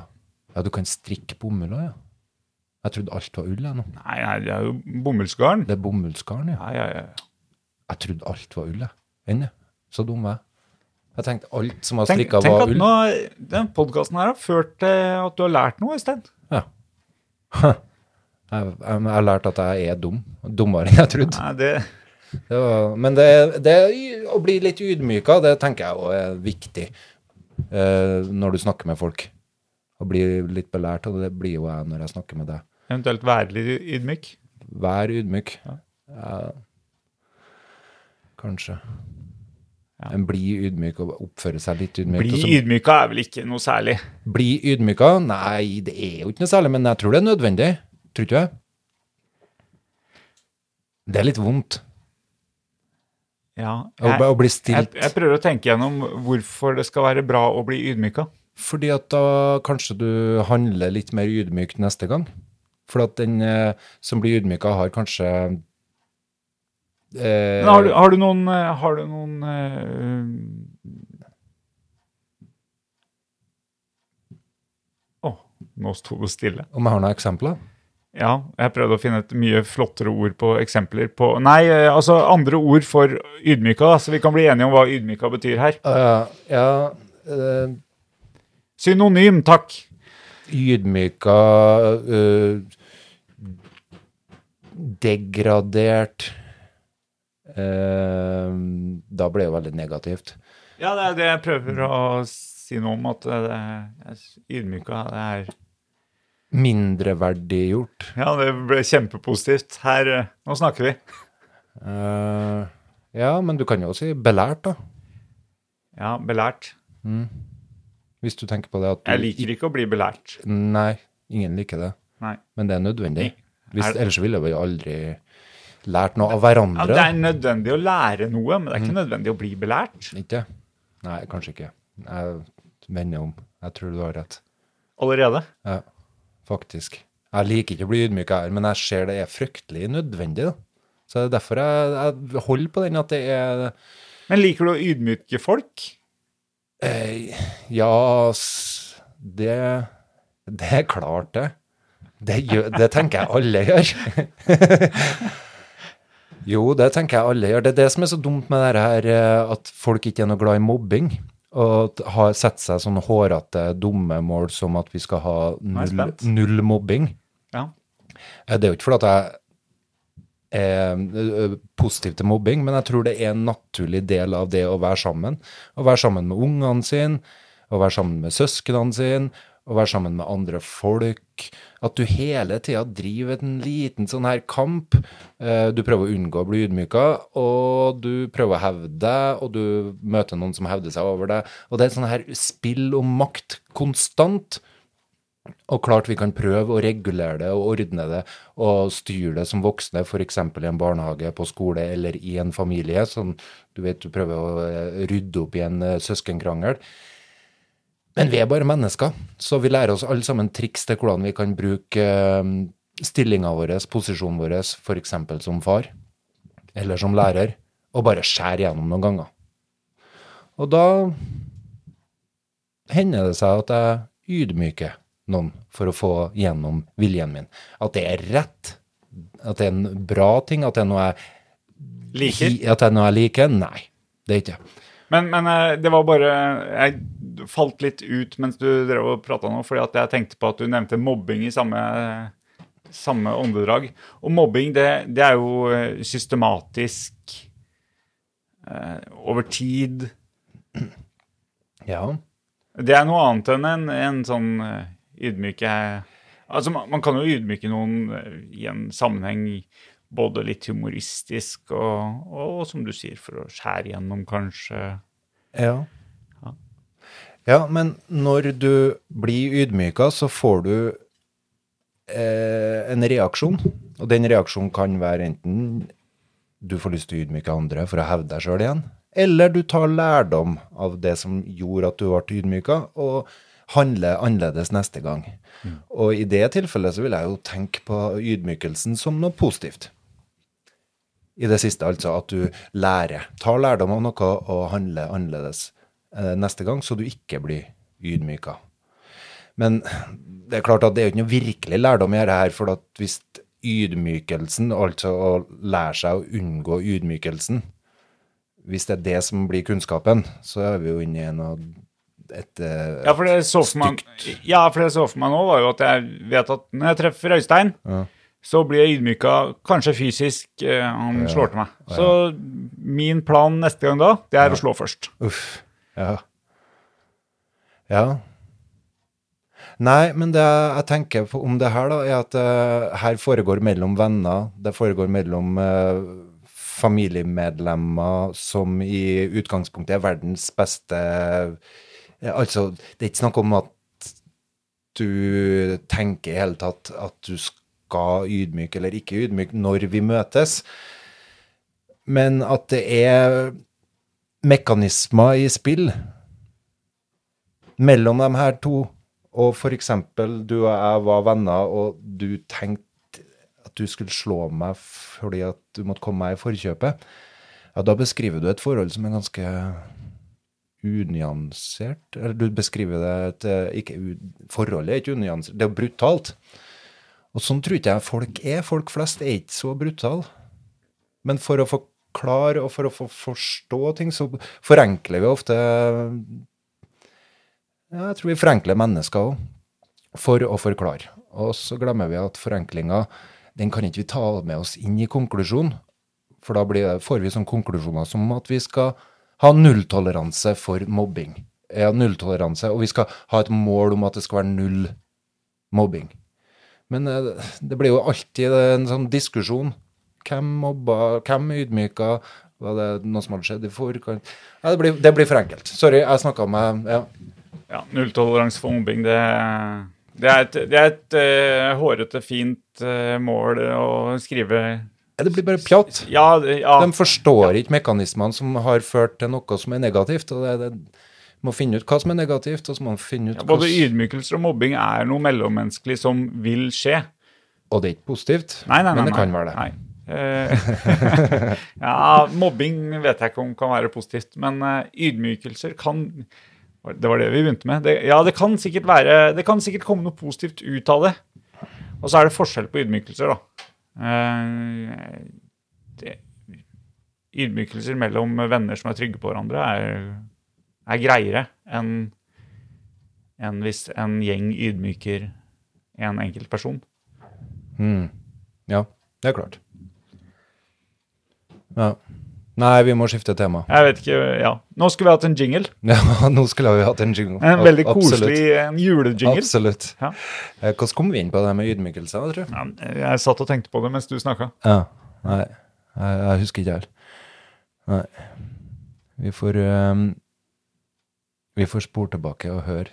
Speaker 2: ja, du kan strikke bomull òg, ja. Jeg trodde alt var ull, jeg nå.
Speaker 1: Nei, nei, det er jo bomullsgarn.
Speaker 2: Det er bomullsgarn, ja.
Speaker 1: Ja, ja, ja.
Speaker 2: Jeg trodde alt var ull, jeg. Enn jeg. Så dum var jeg. Jeg tenkte alt som var
Speaker 1: Tenk,
Speaker 2: strikka,
Speaker 1: tenk
Speaker 2: var
Speaker 1: at
Speaker 2: ull.
Speaker 1: nå, den podkasten her har ført til at du har lært noe isteden.
Speaker 2: Ja. Jeg, jeg, jeg har lært at jeg er dum. Dummere enn jeg trodde.
Speaker 1: Nei, det,
Speaker 2: Det var, men det, det å bli litt ydmyka, det tenker jeg òg er viktig eh, når du snakker med folk. Å bli litt belært, og det blir jo jeg når jeg snakker med deg.
Speaker 1: eventuelt være litt ydmyk.
Speaker 2: Vær ydmyk. Ja. Kanskje.
Speaker 1: Ja.
Speaker 2: En bli ydmyk og oppføre seg litt ydmykt.
Speaker 1: Bli
Speaker 2: og så-
Speaker 1: ydmyka er vel ikke noe særlig.
Speaker 2: bli ydmyka? Nei, det er jo ikke noe særlig, men jeg tror det er nødvendig. Tror ikke du det? Det er litt vondt
Speaker 1: Ja,
Speaker 2: å,
Speaker 1: jeg,
Speaker 2: å bli
Speaker 1: jeg,
Speaker 2: stilt.
Speaker 1: jeg prøver å tenke gjennom hvorfor det skal være bra å bli ydmyka.
Speaker 2: Fordi at da kanskje du handler litt mer ydmykt neste gang. For at den eh, som blir ydmyka, har kanskje eh,
Speaker 1: Men har, du, har du noen, eh, har du noen eh, Nå sto det stille.
Speaker 2: Om jeg har noen eksempler?
Speaker 1: Ja, jeg prøvde å finne et mye flottere ord på eksempler på Nei, eh, altså andre ord for ydmyka, da, så vi kan bli enige om hva ydmyka betyr her.
Speaker 2: Eh, ja eh,
Speaker 1: Synonym, takk.
Speaker 2: Ydmyka eh, Degradert eh, Da ble det jo veldig negativt.
Speaker 1: Ja, det er det jeg prøver å si noe om, at eh, ydmyka det er
Speaker 2: Mindreverdiggjort.
Speaker 1: Ja, det ble kjempepositivt. Her eh, Nå snakker vi.
Speaker 2: Eh, ja, men du kan jo også si belært, da.
Speaker 1: Ja, belært.
Speaker 2: Hvis du tenker på det at du
Speaker 1: Jeg liker ikke å bli belært.
Speaker 2: Nei, ingen liker det.
Speaker 1: Nei.
Speaker 2: Men det er nødvendig.
Speaker 1: Er
Speaker 2: Hvis,
Speaker 1: det-
Speaker 2: ellers ville vi aldri lært noe
Speaker 1: Ja,
Speaker 2: av
Speaker 1: det
Speaker 2: hverandre.
Speaker 1: er nødvendig å lære noe, men det er ikke nødvendig å bli belært.
Speaker 2: Ikke? Nei, kanskje ikke. Jeg vender om. Jeg tror du har rett.
Speaker 1: Allerede.
Speaker 2: Ja, faktisk. Jeg liker ikke å bli ydmyk her, men jeg ser det er fryktelig nødvendig. da. Så det er derfor jeg, jeg holder på den at det er
Speaker 1: Men liker du å ydmyke folk?
Speaker 2: eh, Ja, s- det, det er klart, det. Det, gjør, det tenker jeg alle gjør. jo, det tenker jeg alle gjør. Det er det som er så dumt med det her, eh, at folk ikke er noe glad i mobbing. Og at har setter seg sånne hårete, dumme mål som at vi skal ha
Speaker 1: er jeg
Speaker 2: null,
Speaker 1: spent.
Speaker 2: null mobbing.
Speaker 1: Ja.
Speaker 2: Eh, Det er jo ikke fordi at jeg er ø, ø, positiv til mobbing, men jeg tror det er en naturlig del av det å være sammen. Å være sammen med ungene sine, å være sammen med søsknene sine, å være sammen med andre folk. At du hele tida driver en liten sånn her kamp. Eh, Du prøver å unngå å bli ydmyka, og du prøver å hevde deg, og du møter noen som hevder seg over deg. Og det er et sånn her spill om makt konstant. Og klart vi kan prøve å regulere det og ordne det og styre det som voksne, f.eks. i en barnehage, på skole eller i en familie. Sånn, du vet du prøver å eh, rydde opp i en eh, søskenkrangel. Men vi er bare mennesker, så vi lærer oss alle sammen triks til hvordan vi kan bruke eh, stillinga vår, posisjonen vår, f.eks. som far eller som lærer, og bare skjære gjennom noen ganger. Og da hender det seg at jeg ydmyker noen for å få gjennom viljen min. At det er rett, at det er en bra ting, at det er noe jeg,
Speaker 1: Liker.
Speaker 2: at det er noe jeg liker. Nei, det er ikke jeg.
Speaker 1: Men, men eh, det var bare Jeg falt litt ut mens du drev og prata nå, fordi at jeg tenkte på at du nevnte mobbing i samme, samme åndedrag. Og mobbing, det, det er jo eh, systematisk eh, over tid.
Speaker 2: Ja.
Speaker 1: Det er noe annet enn en, en sånn eh, ydmyke Altså, man, man kan jo ydmyke noen eh, i en sammenheng både litt humoristisk og, og som du sier, for å skjære gjennom, kanskje.
Speaker 2: Ja. Ja, men når du blir ydmyka, så får du eh, en reaksjon. Og den reaksjonen kan være enten du får lyst til å ydmyke andre for å hevde deg sjøl igjen, eller du tar lærdom av det som gjorde at du ble ydmyka, og handler annerledes neste gang. Og i det tilfellet så vil jeg jo tenke på ydmykelsen som noe positivt i det siste, altså at du lærer, tar lærdom av noe og handler annerledes eh, neste gang, så du ikke blir ydmyka. Men det er klart at det er jo ikke noe virkelig lærdom i dette her, for at hvis ydmykelsen, altså å lære seg å unngå ydmykelsen, hvis det er det som blir kunnskapen, så er vi jo inne i noe et eh,
Speaker 1: Ja, for det jeg så for meg, ja, for det jeg så for meg nå, var jo at jeg vet at når jeg treffer Øystein,
Speaker 2: Ja.
Speaker 1: så blir jeg ydmyka, kanskje fysisk. eh, Han slår til meg. Så min plan neste gang da, det er å slå først.
Speaker 2: Uff. Ja. Ja. Nei, men det jeg tenker på om det her, da, er at eh, her foregår mellom venner. Det foregår mellom eh, familiemedlemmer som i utgangspunktet er verdens beste ja, Altså, det er ikke snakk om at du tenker i hele tatt at du skal ydmyke eller ikke ydmyke når vi møtes, men at det er mekanismer i spill mellom de her to, og for eksempel du og jeg var venner, og du tenkte at du skulle slå meg fordi at du måtte komme meg i forkjøpet, ja, da beskriver du et forhold som er ganske unyansert Eller du beskriver det at eh, ikke, u- Forholdet er ikke unyansert, det er brutalt. Og sånn tror ikke jeg folk er. Folk flest er ikke så brutale. Men for å forklare og for å få forstå ting, så forenkler vi ofte ja, Jeg tror vi forenkler mennesker òg, for å forklare. Og så glemmer vi at forenklinga den kan ikke vi ta med oss inn i konklusjonen. For da blir det, får vi sånne konklusjoner som at vi skal ha nulltoleranse for mobbing. Ja, nulltoleranse, og vi skal ha et mål om at det skal være null mobbing. Men eh, det blir jo alltid en sånn diskusjon. Hvem mobba, hvem ydmyka? Var det noe som hadde skjedd i forkant? Ja, det, blir, det blir for enkelt. Sorry, jeg snakka med ja.
Speaker 1: Ja, nulltoleranse for mobbing, det, det er et, det er et eh, hårete, fint eh, mål å skrive
Speaker 2: Ja, Det blir bare pjatt.
Speaker 1: Ja, det- ja.
Speaker 2: De forstår ikke mekanismene som har ført til noe som er negativt. og det, det må finne ut hva som er negativt, og så må man finne ut
Speaker 1: Ja,
Speaker 2: hva
Speaker 1: både
Speaker 2: som-
Speaker 1: ydmykelser og mobbing er noe mellommenneskelig som vil skje.
Speaker 2: Og det er ikke positivt,
Speaker 1: Nei, nei, nei.
Speaker 2: men det
Speaker 1: nei.
Speaker 2: kan være det.
Speaker 1: Nei. Eh, ja, mobbing vet jeg ikke om kan være positivt, men eh, ydmykelser kan Det var det vi begynte med. Det, ja, det kan, sikkert være, det kan sikkert komme noe positivt ut av det. Og så er det forskjell på ydmykelser, da. Eh, det, ydmykelser mellom venner som er trygge på hverandre, er, er greiere enn enn hvis en gjeng ydmyker en enkelt person.
Speaker 2: Mm. Ja, det er klart. Ja. Nei, vi må skifte tema.
Speaker 1: Jeg vet ikke, ja. Nå skulle vi hatt en jingle.
Speaker 2: Ja, nå skulle vi hatt en jingle.
Speaker 1: En
Speaker 2: Ab-
Speaker 1: veldig
Speaker 2: absolutt.
Speaker 1: koselig en julejingle.
Speaker 2: Absolutt.
Speaker 1: Ja.
Speaker 2: Eh, Hvordan kom vi inn på det med ydmykelse, da, tror jeg?
Speaker 1: Ja, jeg satt og tenkte på det mens du snakka.
Speaker 2: Ja, nei, jeg, jeg husker ikke helt. Nei. Vi får, eh, vi får spore tilbake og høre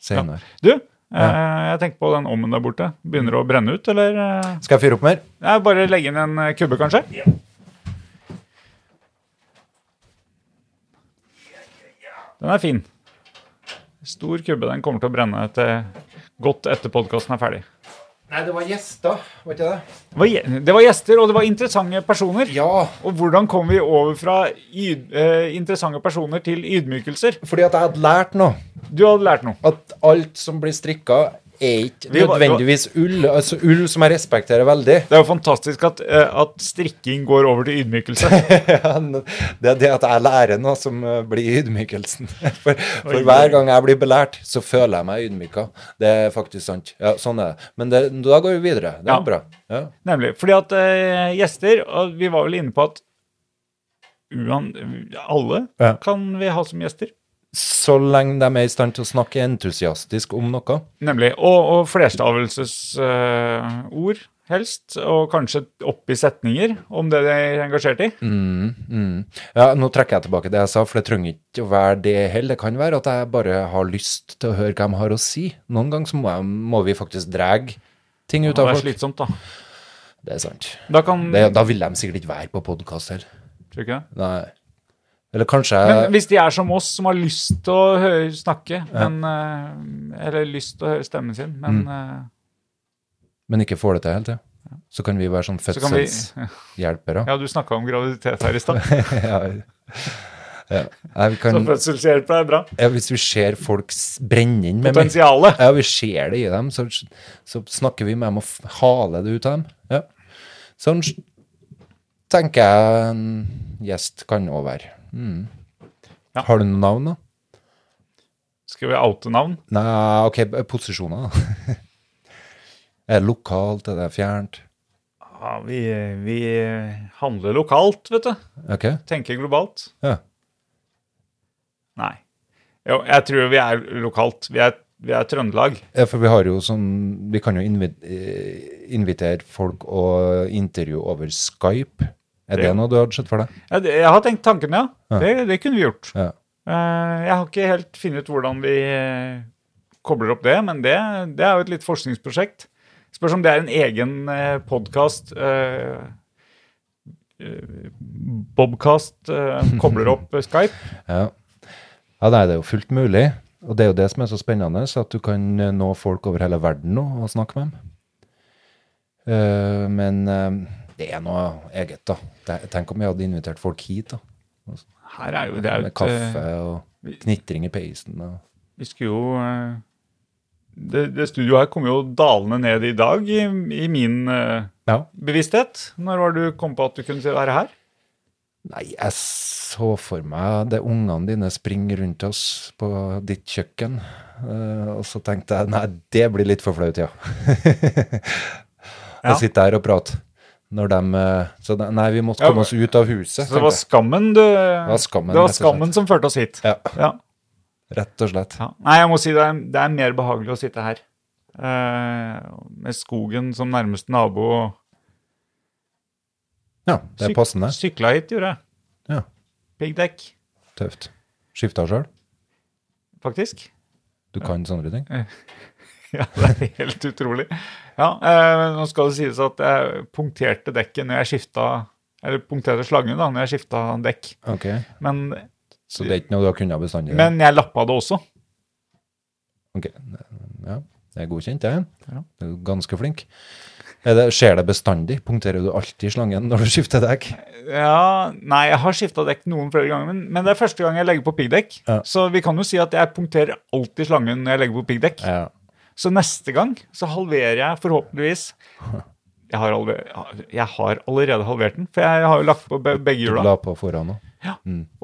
Speaker 2: senere.
Speaker 1: Du, eh, jeg tenkte på den ommen der borte. Begynner
Speaker 2: Mm.
Speaker 1: det å brenne ut, eller? eh?
Speaker 2: Skal jeg fyre opp mer?
Speaker 1: Jeg bare legge inn en eh, kubbe, kanskje? Den er fin. Stor kubbe. Den kommer til å brenne etter, godt etter podkasten er ferdig.
Speaker 2: Nei, det var gjester, var ikke det?
Speaker 1: Det var, gje- det var gjester, og det var interessante personer.
Speaker 2: Ja,
Speaker 1: Og hvordan kom vi over fra yd, eh, interessante personer til ydmykelser?
Speaker 2: fordi at jeg hadde lært noe.
Speaker 1: Du hadde lært noe.
Speaker 2: at alt som blir strikka, er ikke
Speaker 1: Vi var-
Speaker 2: nødvendigvis ull. Altså ull som jeg respekterer veldig.
Speaker 1: Det er jo fantastisk at, eh, at strikking går over til ydmykelse.
Speaker 2: Det er det at jeg lærer noe som eh, blir ydmykelsen. For, for hver gang jeg blir belært, så føler jeg meg ydmyka. Det er faktisk sant. Ja, sånn er det. Men det, da går vi videre. Det
Speaker 1: Ja.
Speaker 2: er bra. Ja.
Speaker 1: Nemlig. Fordi at eh, gjester og Vi var vel inne på at uan, alle
Speaker 2: Ja.
Speaker 1: kan vi ha som gjester.
Speaker 2: Så lenge de er i stand til å snakke entusiastisk om noe.
Speaker 1: Nemlig. Og, og flerstavelsesord, helst. Og kanskje opp i setninger om det de er engasjert i.
Speaker 2: Mm, mm. Ja, nå trekker jeg tilbake det jeg sa, for det trenger ikke å være det heller. Det kan være at jeg bare har lyst til å høre hva de har å si. Noen ganger så må, jeg, må vi faktisk dra ting ut
Speaker 1: Det
Speaker 2: av
Speaker 1: er
Speaker 2: folk.
Speaker 1: slitsomt, da.
Speaker 2: Det er sant.
Speaker 1: Da kan
Speaker 2: Det, da vil de sikkert ikke være på podkast heller.
Speaker 1: Tror du ikke det?
Speaker 2: Nei. Eller kanskje
Speaker 1: Men hvis de er som oss, som har lyst til å høre, snakke, men, eh, eller lyst til å høre stemmen sin, men eh,
Speaker 2: Men ikke får det til helt, ja. Så kan vi være sånn
Speaker 1: så kan vi
Speaker 2: fødselshjelpere.
Speaker 1: Ja, du snakka om graviditet her i stad.
Speaker 2: Ja. Ja. Nei, vi
Speaker 1: Så
Speaker 2: kan,
Speaker 1: fødselshjelp er bra.
Speaker 2: ja, hvis vi ser folk s- brenne inn med meg
Speaker 1: Potensialet.
Speaker 2: Ja, vi ser det i dem, så, så snakker vi med dem og f- haler det ut av dem. Ja. Sånn s- tenker jeg en gjest kan òg være. Mm.
Speaker 1: Ja.
Speaker 2: Har du noen navn, da?
Speaker 1: Skal vi oute navn?
Speaker 2: Nei, OK, b- posisjoner, da. er det lokalt, er det fjernt?
Speaker 1: Ja, vi, vi handler lokalt, vet du.
Speaker 2: OK?
Speaker 1: Tenker globalt.
Speaker 2: Ja.
Speaker 1: Nei. Jo, jeg tror vi er lokalt. Vi er, vi er Trøndelag.
Speaker 2: ja, for vi har jo sånn Vi kan jo invi eh, invitere folk og intervjue over Skype. Er det
Speaker 1: Ja.
Speaker 2: noe du hadde sett for deg?
Speaker 1: Jeg, jeg har tenkt tanken, ja. Det, det kunne vi gjort.
Speaker 2: Ja.
Speaker 1: Eh, Jeg har ikke helt funnet ut hvordan vi eh, kobler opp det, men det, det er jo et litt forskningsprosjekt. Spørs om det er en egen eh, podkast eh, Bobcast eh, kobler opp eh, Skype.
Speaker 2: Ja. ja, nei, det er jo fullt mulig. Og det er jo det som er så spennende, så at du kan eh, nå folk over hele verden nå og snakke med dem. Eh, men eh, det er noe eget, da. Te- Tenk om vi hadde invitert folk hit, da. og sånn.
Speaker 1: Her er jo det er jo
Speaker 2: Med
Speaker 1: et, eh,
Speaker 2: kaffe og knitring i peisen. Og
Speaker 1: Vi skulle jo eh, det, det studioet her kom jo dalende ned i dag i, i min eh,
Speaker 2: Ja.
Speaker 1: bevissthet. Når var det du kom på at du kunne være her?
Speaker 2: Nei, jeg så for meg det ungene dine springer rundt oss på ditt kjøkken. Eh, og så tenkte jeg nei, det blir litt for flaut, ja.
Speaker 1: Ja.
Speaker 2: Jeg sitter her og prater. Når de eh, Så de- nei, vi måtte
Speaker 1: Ja,
Speaker 2: komme oss ut av huset.
Speaker 1: Så det var
Speaker 2: tenkte jeg.
Speaker 1: skammen du
Speaker 2: det var
Speaker 1: Det
Speaker 2: skammen,
Speaker 1: var
Speaker 2: rett og slett.
Speaker 1: skammen som førte oss hit.
Speaker 2: Ja,
Speaker 1: Ja.
Speaker 2: rett og slett.
Speaker 1: Ja. Nei, jeg må si det er, det er mer behagelig å sitte her. Eh, med skogen som nærmeste nabo. og
Speaker 2: Ja, det er
Speaker 1: syk-
Speaker 2: passende.
Speaker 1: Sykla hit, gjorde jeg.
Speaker 2: Ja.
Speaker 1: Piggdekk,
Speaker 2: Tøft. Skifta sjøl?
Speaker 1: faktisk.
Speaker 2: Du kan sånne ting?
Speaker 1: Ja, det er helt utrolig. Ja, eh, nå skal det sies at jeg punkterte dekket når jeg skifta Eller punkterte slagene da, når jeg skifta dekk.
Speaker 2: Ok,
Speaker 1: Men,
Speaker 2: Så det er ikke noe du har kunnet bestandig?
Speaker 1: men jeg lappa det også.
Speaker 2: Ok, ja, det er godkjent, jeg.
Speaker 1: Ja.
Speaker 2: Du er ganske flink. Er det, skjer det bestandig? Punkterer du alltid slangen når du skifter dekk?
Speaker 1: Ja, Nei, jeg har skifta dekk noen flere ganger, men, men det er første gang jeg legger på piggdekk.
Speaker 2: Ja.
Speaker 1: Så vi kan jo si at jeg punkterer alltid slangen når jeg legger på piggdekk.
Speaker 2: Ja.
Speaker 1: Så neste gang så halverer jeg forhåpentligvis jeg har, allerede, jeg har allerede halvert den, for jeg har jo lagt på be- begge
Speaker 2: Du
Speaker 1: hjula.
Speaker 2: la på foran òg,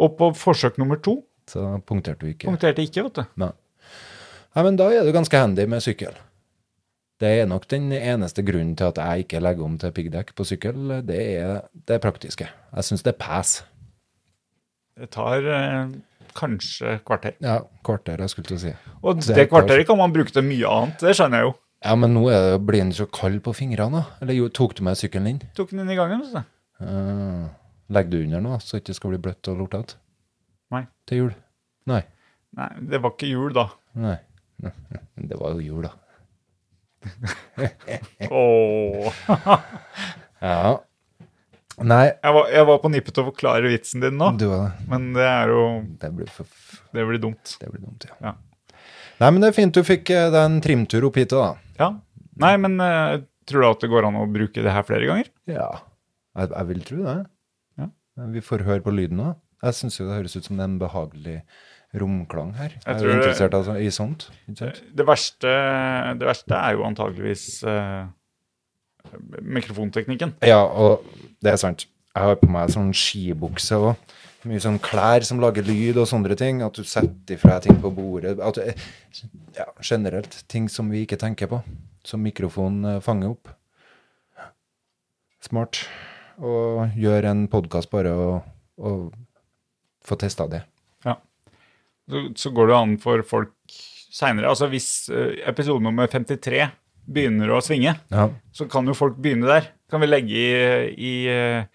Speaker 1: Og på forsøk nummer to
Speaker 2: så punkterte du ikke.
Speaker 1: punkterte jeg ikke, vet du.
Speaker 2: Nei. Nei, men da er du ganske handy med sykkel. Det er nok den eneste grunnen til at jeg ikke legger om til piggdekk på sykkel. Det er det praktiske. Jeg syns det er pes.
Speaker 1: Det tar eh, kanskje kvarter.
Speaker 2: Ja, kvarter, jeg skulle til å si.
Speaker 1: Og det,
Speaker 2: Det tar-
Speaker 1: kvarteret kan man bruke til mye annet, det skjønner jeg jo.
Speaker 2: Ja, men nå er det, blir den så kald på fingrene, da. Eller jo, tok du med sykkelen din?
Speaker 1: Tok den inn i gangen, vet du.
Speaker 2: Ah, legger du under nå, så det ikke skal bli bløtt og lortete?
Speaker 1: Nei.
Speaker 2: Til jul? Nei.
Speaker 1: Nei, det var ikke jul da.
Speaker 2: Nei. Men Det var jo jul, da.
Speaker 1: Åh.
Speaker 2: Ja. Nei,
Speaker 1: Jeg var, jeg var på nippet til å forklare vitsen din nå,
Speaker 2: du var
Speaker 1: men det er jo
Speaker 2: Det blir for f-
Speaker 1: Det blir dumt.
Speaker 2: Det blir dumt, ja.
Speaker 1: Ja.
Speaker 2: Nei, men det er fint du fikk eh, deg en trimtur opp hit, da.
Speaker 1: Ja. Nei, men eh, tror du at det går an å bruke det her flere ganger?
Speaker 2: Ja. Jeg, jeg vil tro det.
Speaker 1: Ja.
Speaker 2: Vi får høre på lyden nå. Jeg syns jo det høres ut som det er en behagelig romklang her. Jeg, er
Speaker 1: tror
Speaker 2: jo
Speaker 1: det-
Speaker 2: interessert altså, i sånt. ikke sant?
Speaker 1: Det verste, det verste er jo antageligvis eh, mikrofonteknikken.
Speaker 2: Ja, og det er sant. Jeg har på meg sånn skibukse og mye sånn klær som lager lyd og sånne ting. At du setter ifra ting på bordet. At, du- ja, generelt ting som vi ikke tenker på. Som mikrofonen eh, fanger opp. Smart. Og gjør en podkast bare og, og få testa det.
Speaker 1: Så, så går det an for folk seinere. Altså hvis eh, episode nummer 53 begynner å svinge,
Speaker 2: Ja.
Speaker 1: så kan jo folk begynne der. Kan vi legge i, i eh,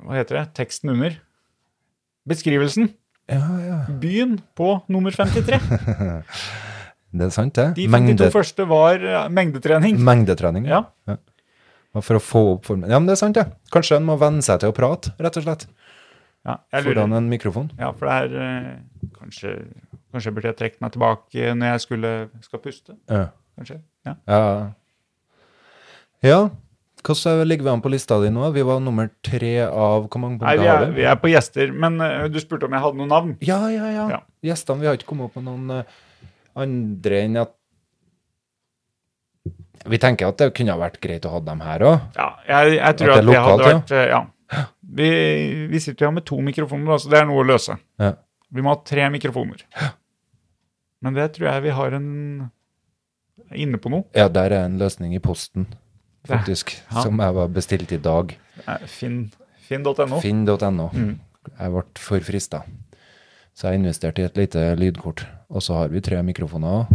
Speaker 1: Hva heter det? Teksten under. Beskrivelsen.
Speaker 2: ja, ja.
Speaker 1: Begynn på nummer 53.
Speaker 2: Det er sant, det.
Speaker 1: De 52 første var eh, mengdetrening.
Speaker 2: mengdetrening.
Speaker 1: Ja.
Speaker 2: Og For å få opp formen. Ja, men det er sant, det. Kanskje en må venne seg til å prate, rett og slett.
Speaker 1: ja jeg lurer.
Speaker 2: Foran en mikrofon.
Speaker 1: Ja, for det er eh, kanskje, kanskje burde jeg trukket meg tilbake når jeg skulle, skal puste.
Speaker 2: Ja.
Speaker 1: Kanskje. Ja.
Speaker 2: Ja. ja. Hvordan ligger vi an på lista di nå? Vi var nummer tre av Hvor mange
Speaker 1: Nei,
Speaker 2: punkter
Speaker 1: vi er,
Speaker 2: har du?
Speaker 1: vi er på gjester, men eh, du spurte om jeg hadde noen navn.
Speaker 2: Ja, ja, ja.
Speaker 1: Ja.
Speaker 2: Gjestene. Vi har ikke kommet opp med noen eh, andre enn at Vi tenker at det kunne ha vært greit å ha dem her òg.
Speaker 1: Ja, jeg, jeg tror
Speaker 2: At
Speaker 1: at
Speaker 2: det
Speaker 1: det
Speaker 2: er
Speaker 1: hadde
Speaker 2: lokalt,
Speaker 1: vært eh, Ja. Vi, vi sitter jo her med to mikrofoner, da, så det er noe å løse.
Speaker 2: Ja.
Speaker 1: Vi må ha tre mikrofoner. Men det tror jeg vi har en Inne på noe.
Speaker 2: Ja, der er en løsning i posten,
Speaker 1: Det-
Speaker 2: faktisk,
Speaker 1: ja.
Speaker 2: som jeg var bestilt i dag.
Speaker 1: Eh, Finn Finn.no.
Speaker 2: Finn.no.
Speaker 1: Mm.
Speaker 2: Jeg ble for frista. Så jeg investerte i et lite lydkort. Og så har vi tre mikrofoner òg.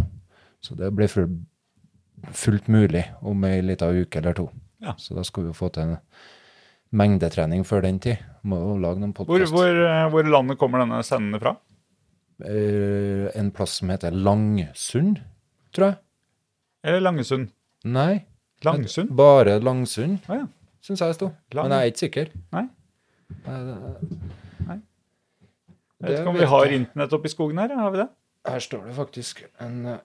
Speaker 2: Så det blir full, fullt mulig om ei lita uke eller to.
Speaker 1: Ja.
Speaker 2: Så da skal vi jo få til en mengdetrening før den tid. Må jo lage noen
Speaker 1: Hvor,
Speaker 2: podkast.
Speaker 1: hvor, eh, hvor i landet kommer denne sendende fra?
Speaker 2: Eh, en plass som heter Langsund, tror jeg.
Speaker 1: Eller Eh, Langesund?
Speaker 2: Nei,
Speaker 1: Langsund?
Speaker 2: bare Langsund,
Speaker 1: Å ja.
Speaker 2: syns jeg det sto.
Speaker 1: Lang-
Speaker 2: Men jeg er ikke sikker.
Speaker 1: Nei.
Speaker 2: Nei, det-
Speaker 1: Jeg vet
Speaker 2: Det
Speaker 1: ikke om vi
Speaker 2: vet
Speaker 1: har
Speaker 2: jeg.
Speaker 1: internett oppe i skogen her. Har vi det?
Speaker 2: Her står det faktisk en eh,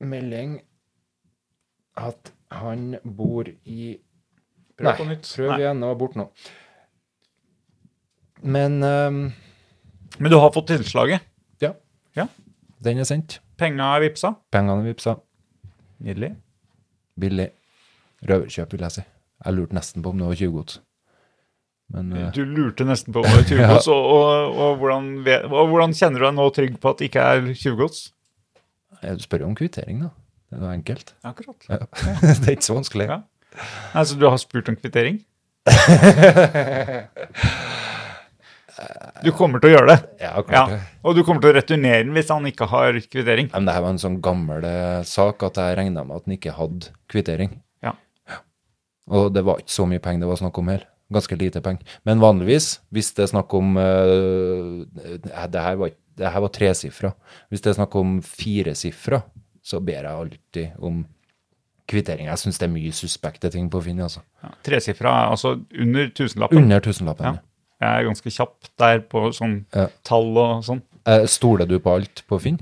Speaker 2: melding at han bor i
Speaker 1: Prøv på nytt.
Speaker 2: prøv
Speaker 1: Nei.
Speaker 2: igjen, det var borte nå. Men ehm,
Speaker 1: Men du har fått tilslaget.
Speaker 2: ja.
Speaker 1: Ja.
Speaker 2: Den er sendt.
Speaker 1: Penga er vippsa.
Speaker 2: Pengene er vippsa.
Speaker 1: Nydelig.
Speaker 2: Billig. Røverkjøp, vil jeg si. Jeg lurte nesten på om det var tjuvgods. Men eh,
Speaker 1: Du lurte nesten på om det var tjuvgods, og, og, og, hvordan ve- og hvordan kjenner du deg nå trygg på at det ikke er tjuvgods?
Speaker 2: jeg spør jo om kvittering, da. Det er jo enkelt.
Speaker 1: Akkurat.
Speaker 2: Ja. det er ikke så vanskelig.
Speaker 1: Ja. Altså, du har spurt om kvittering? Du kommer til å gjøre det.
Speaker 2: Ja, klart
Speaker 1: Ja.
Speaker 2: det.
Speaker 1: Og du kommer til å returnere den hvis han ikke har kvittering.
Speaker 2: Men det her var en sånn gammel eh, sak at jeg regna med at den ikke hadde kvittering.
Speaker 1: Ja.
Speaker 2: Og det var ikke så mye penger det var snakk om her. Ganske lite penger. Men vanligvis, hvis det er snakk om eh, Det her var, ikke- det her var tresifra. Hvis det er snakk om firesifra, så ber jeg alltid om kvittering. Jeg syns det er mye suspekte ting på Finn, altså.
Speaker 1: Ja, Tresifra er altså under tusenlappen.
Speaker 2: Under tusenlappen.
Speaker 1: Ja. Jeg er ganske kjapp der på sånn
Speaker 2: Ja.
Speaker 1: tall og sånn.
Speaker 2: Eh, Stoler du på alt på Finn?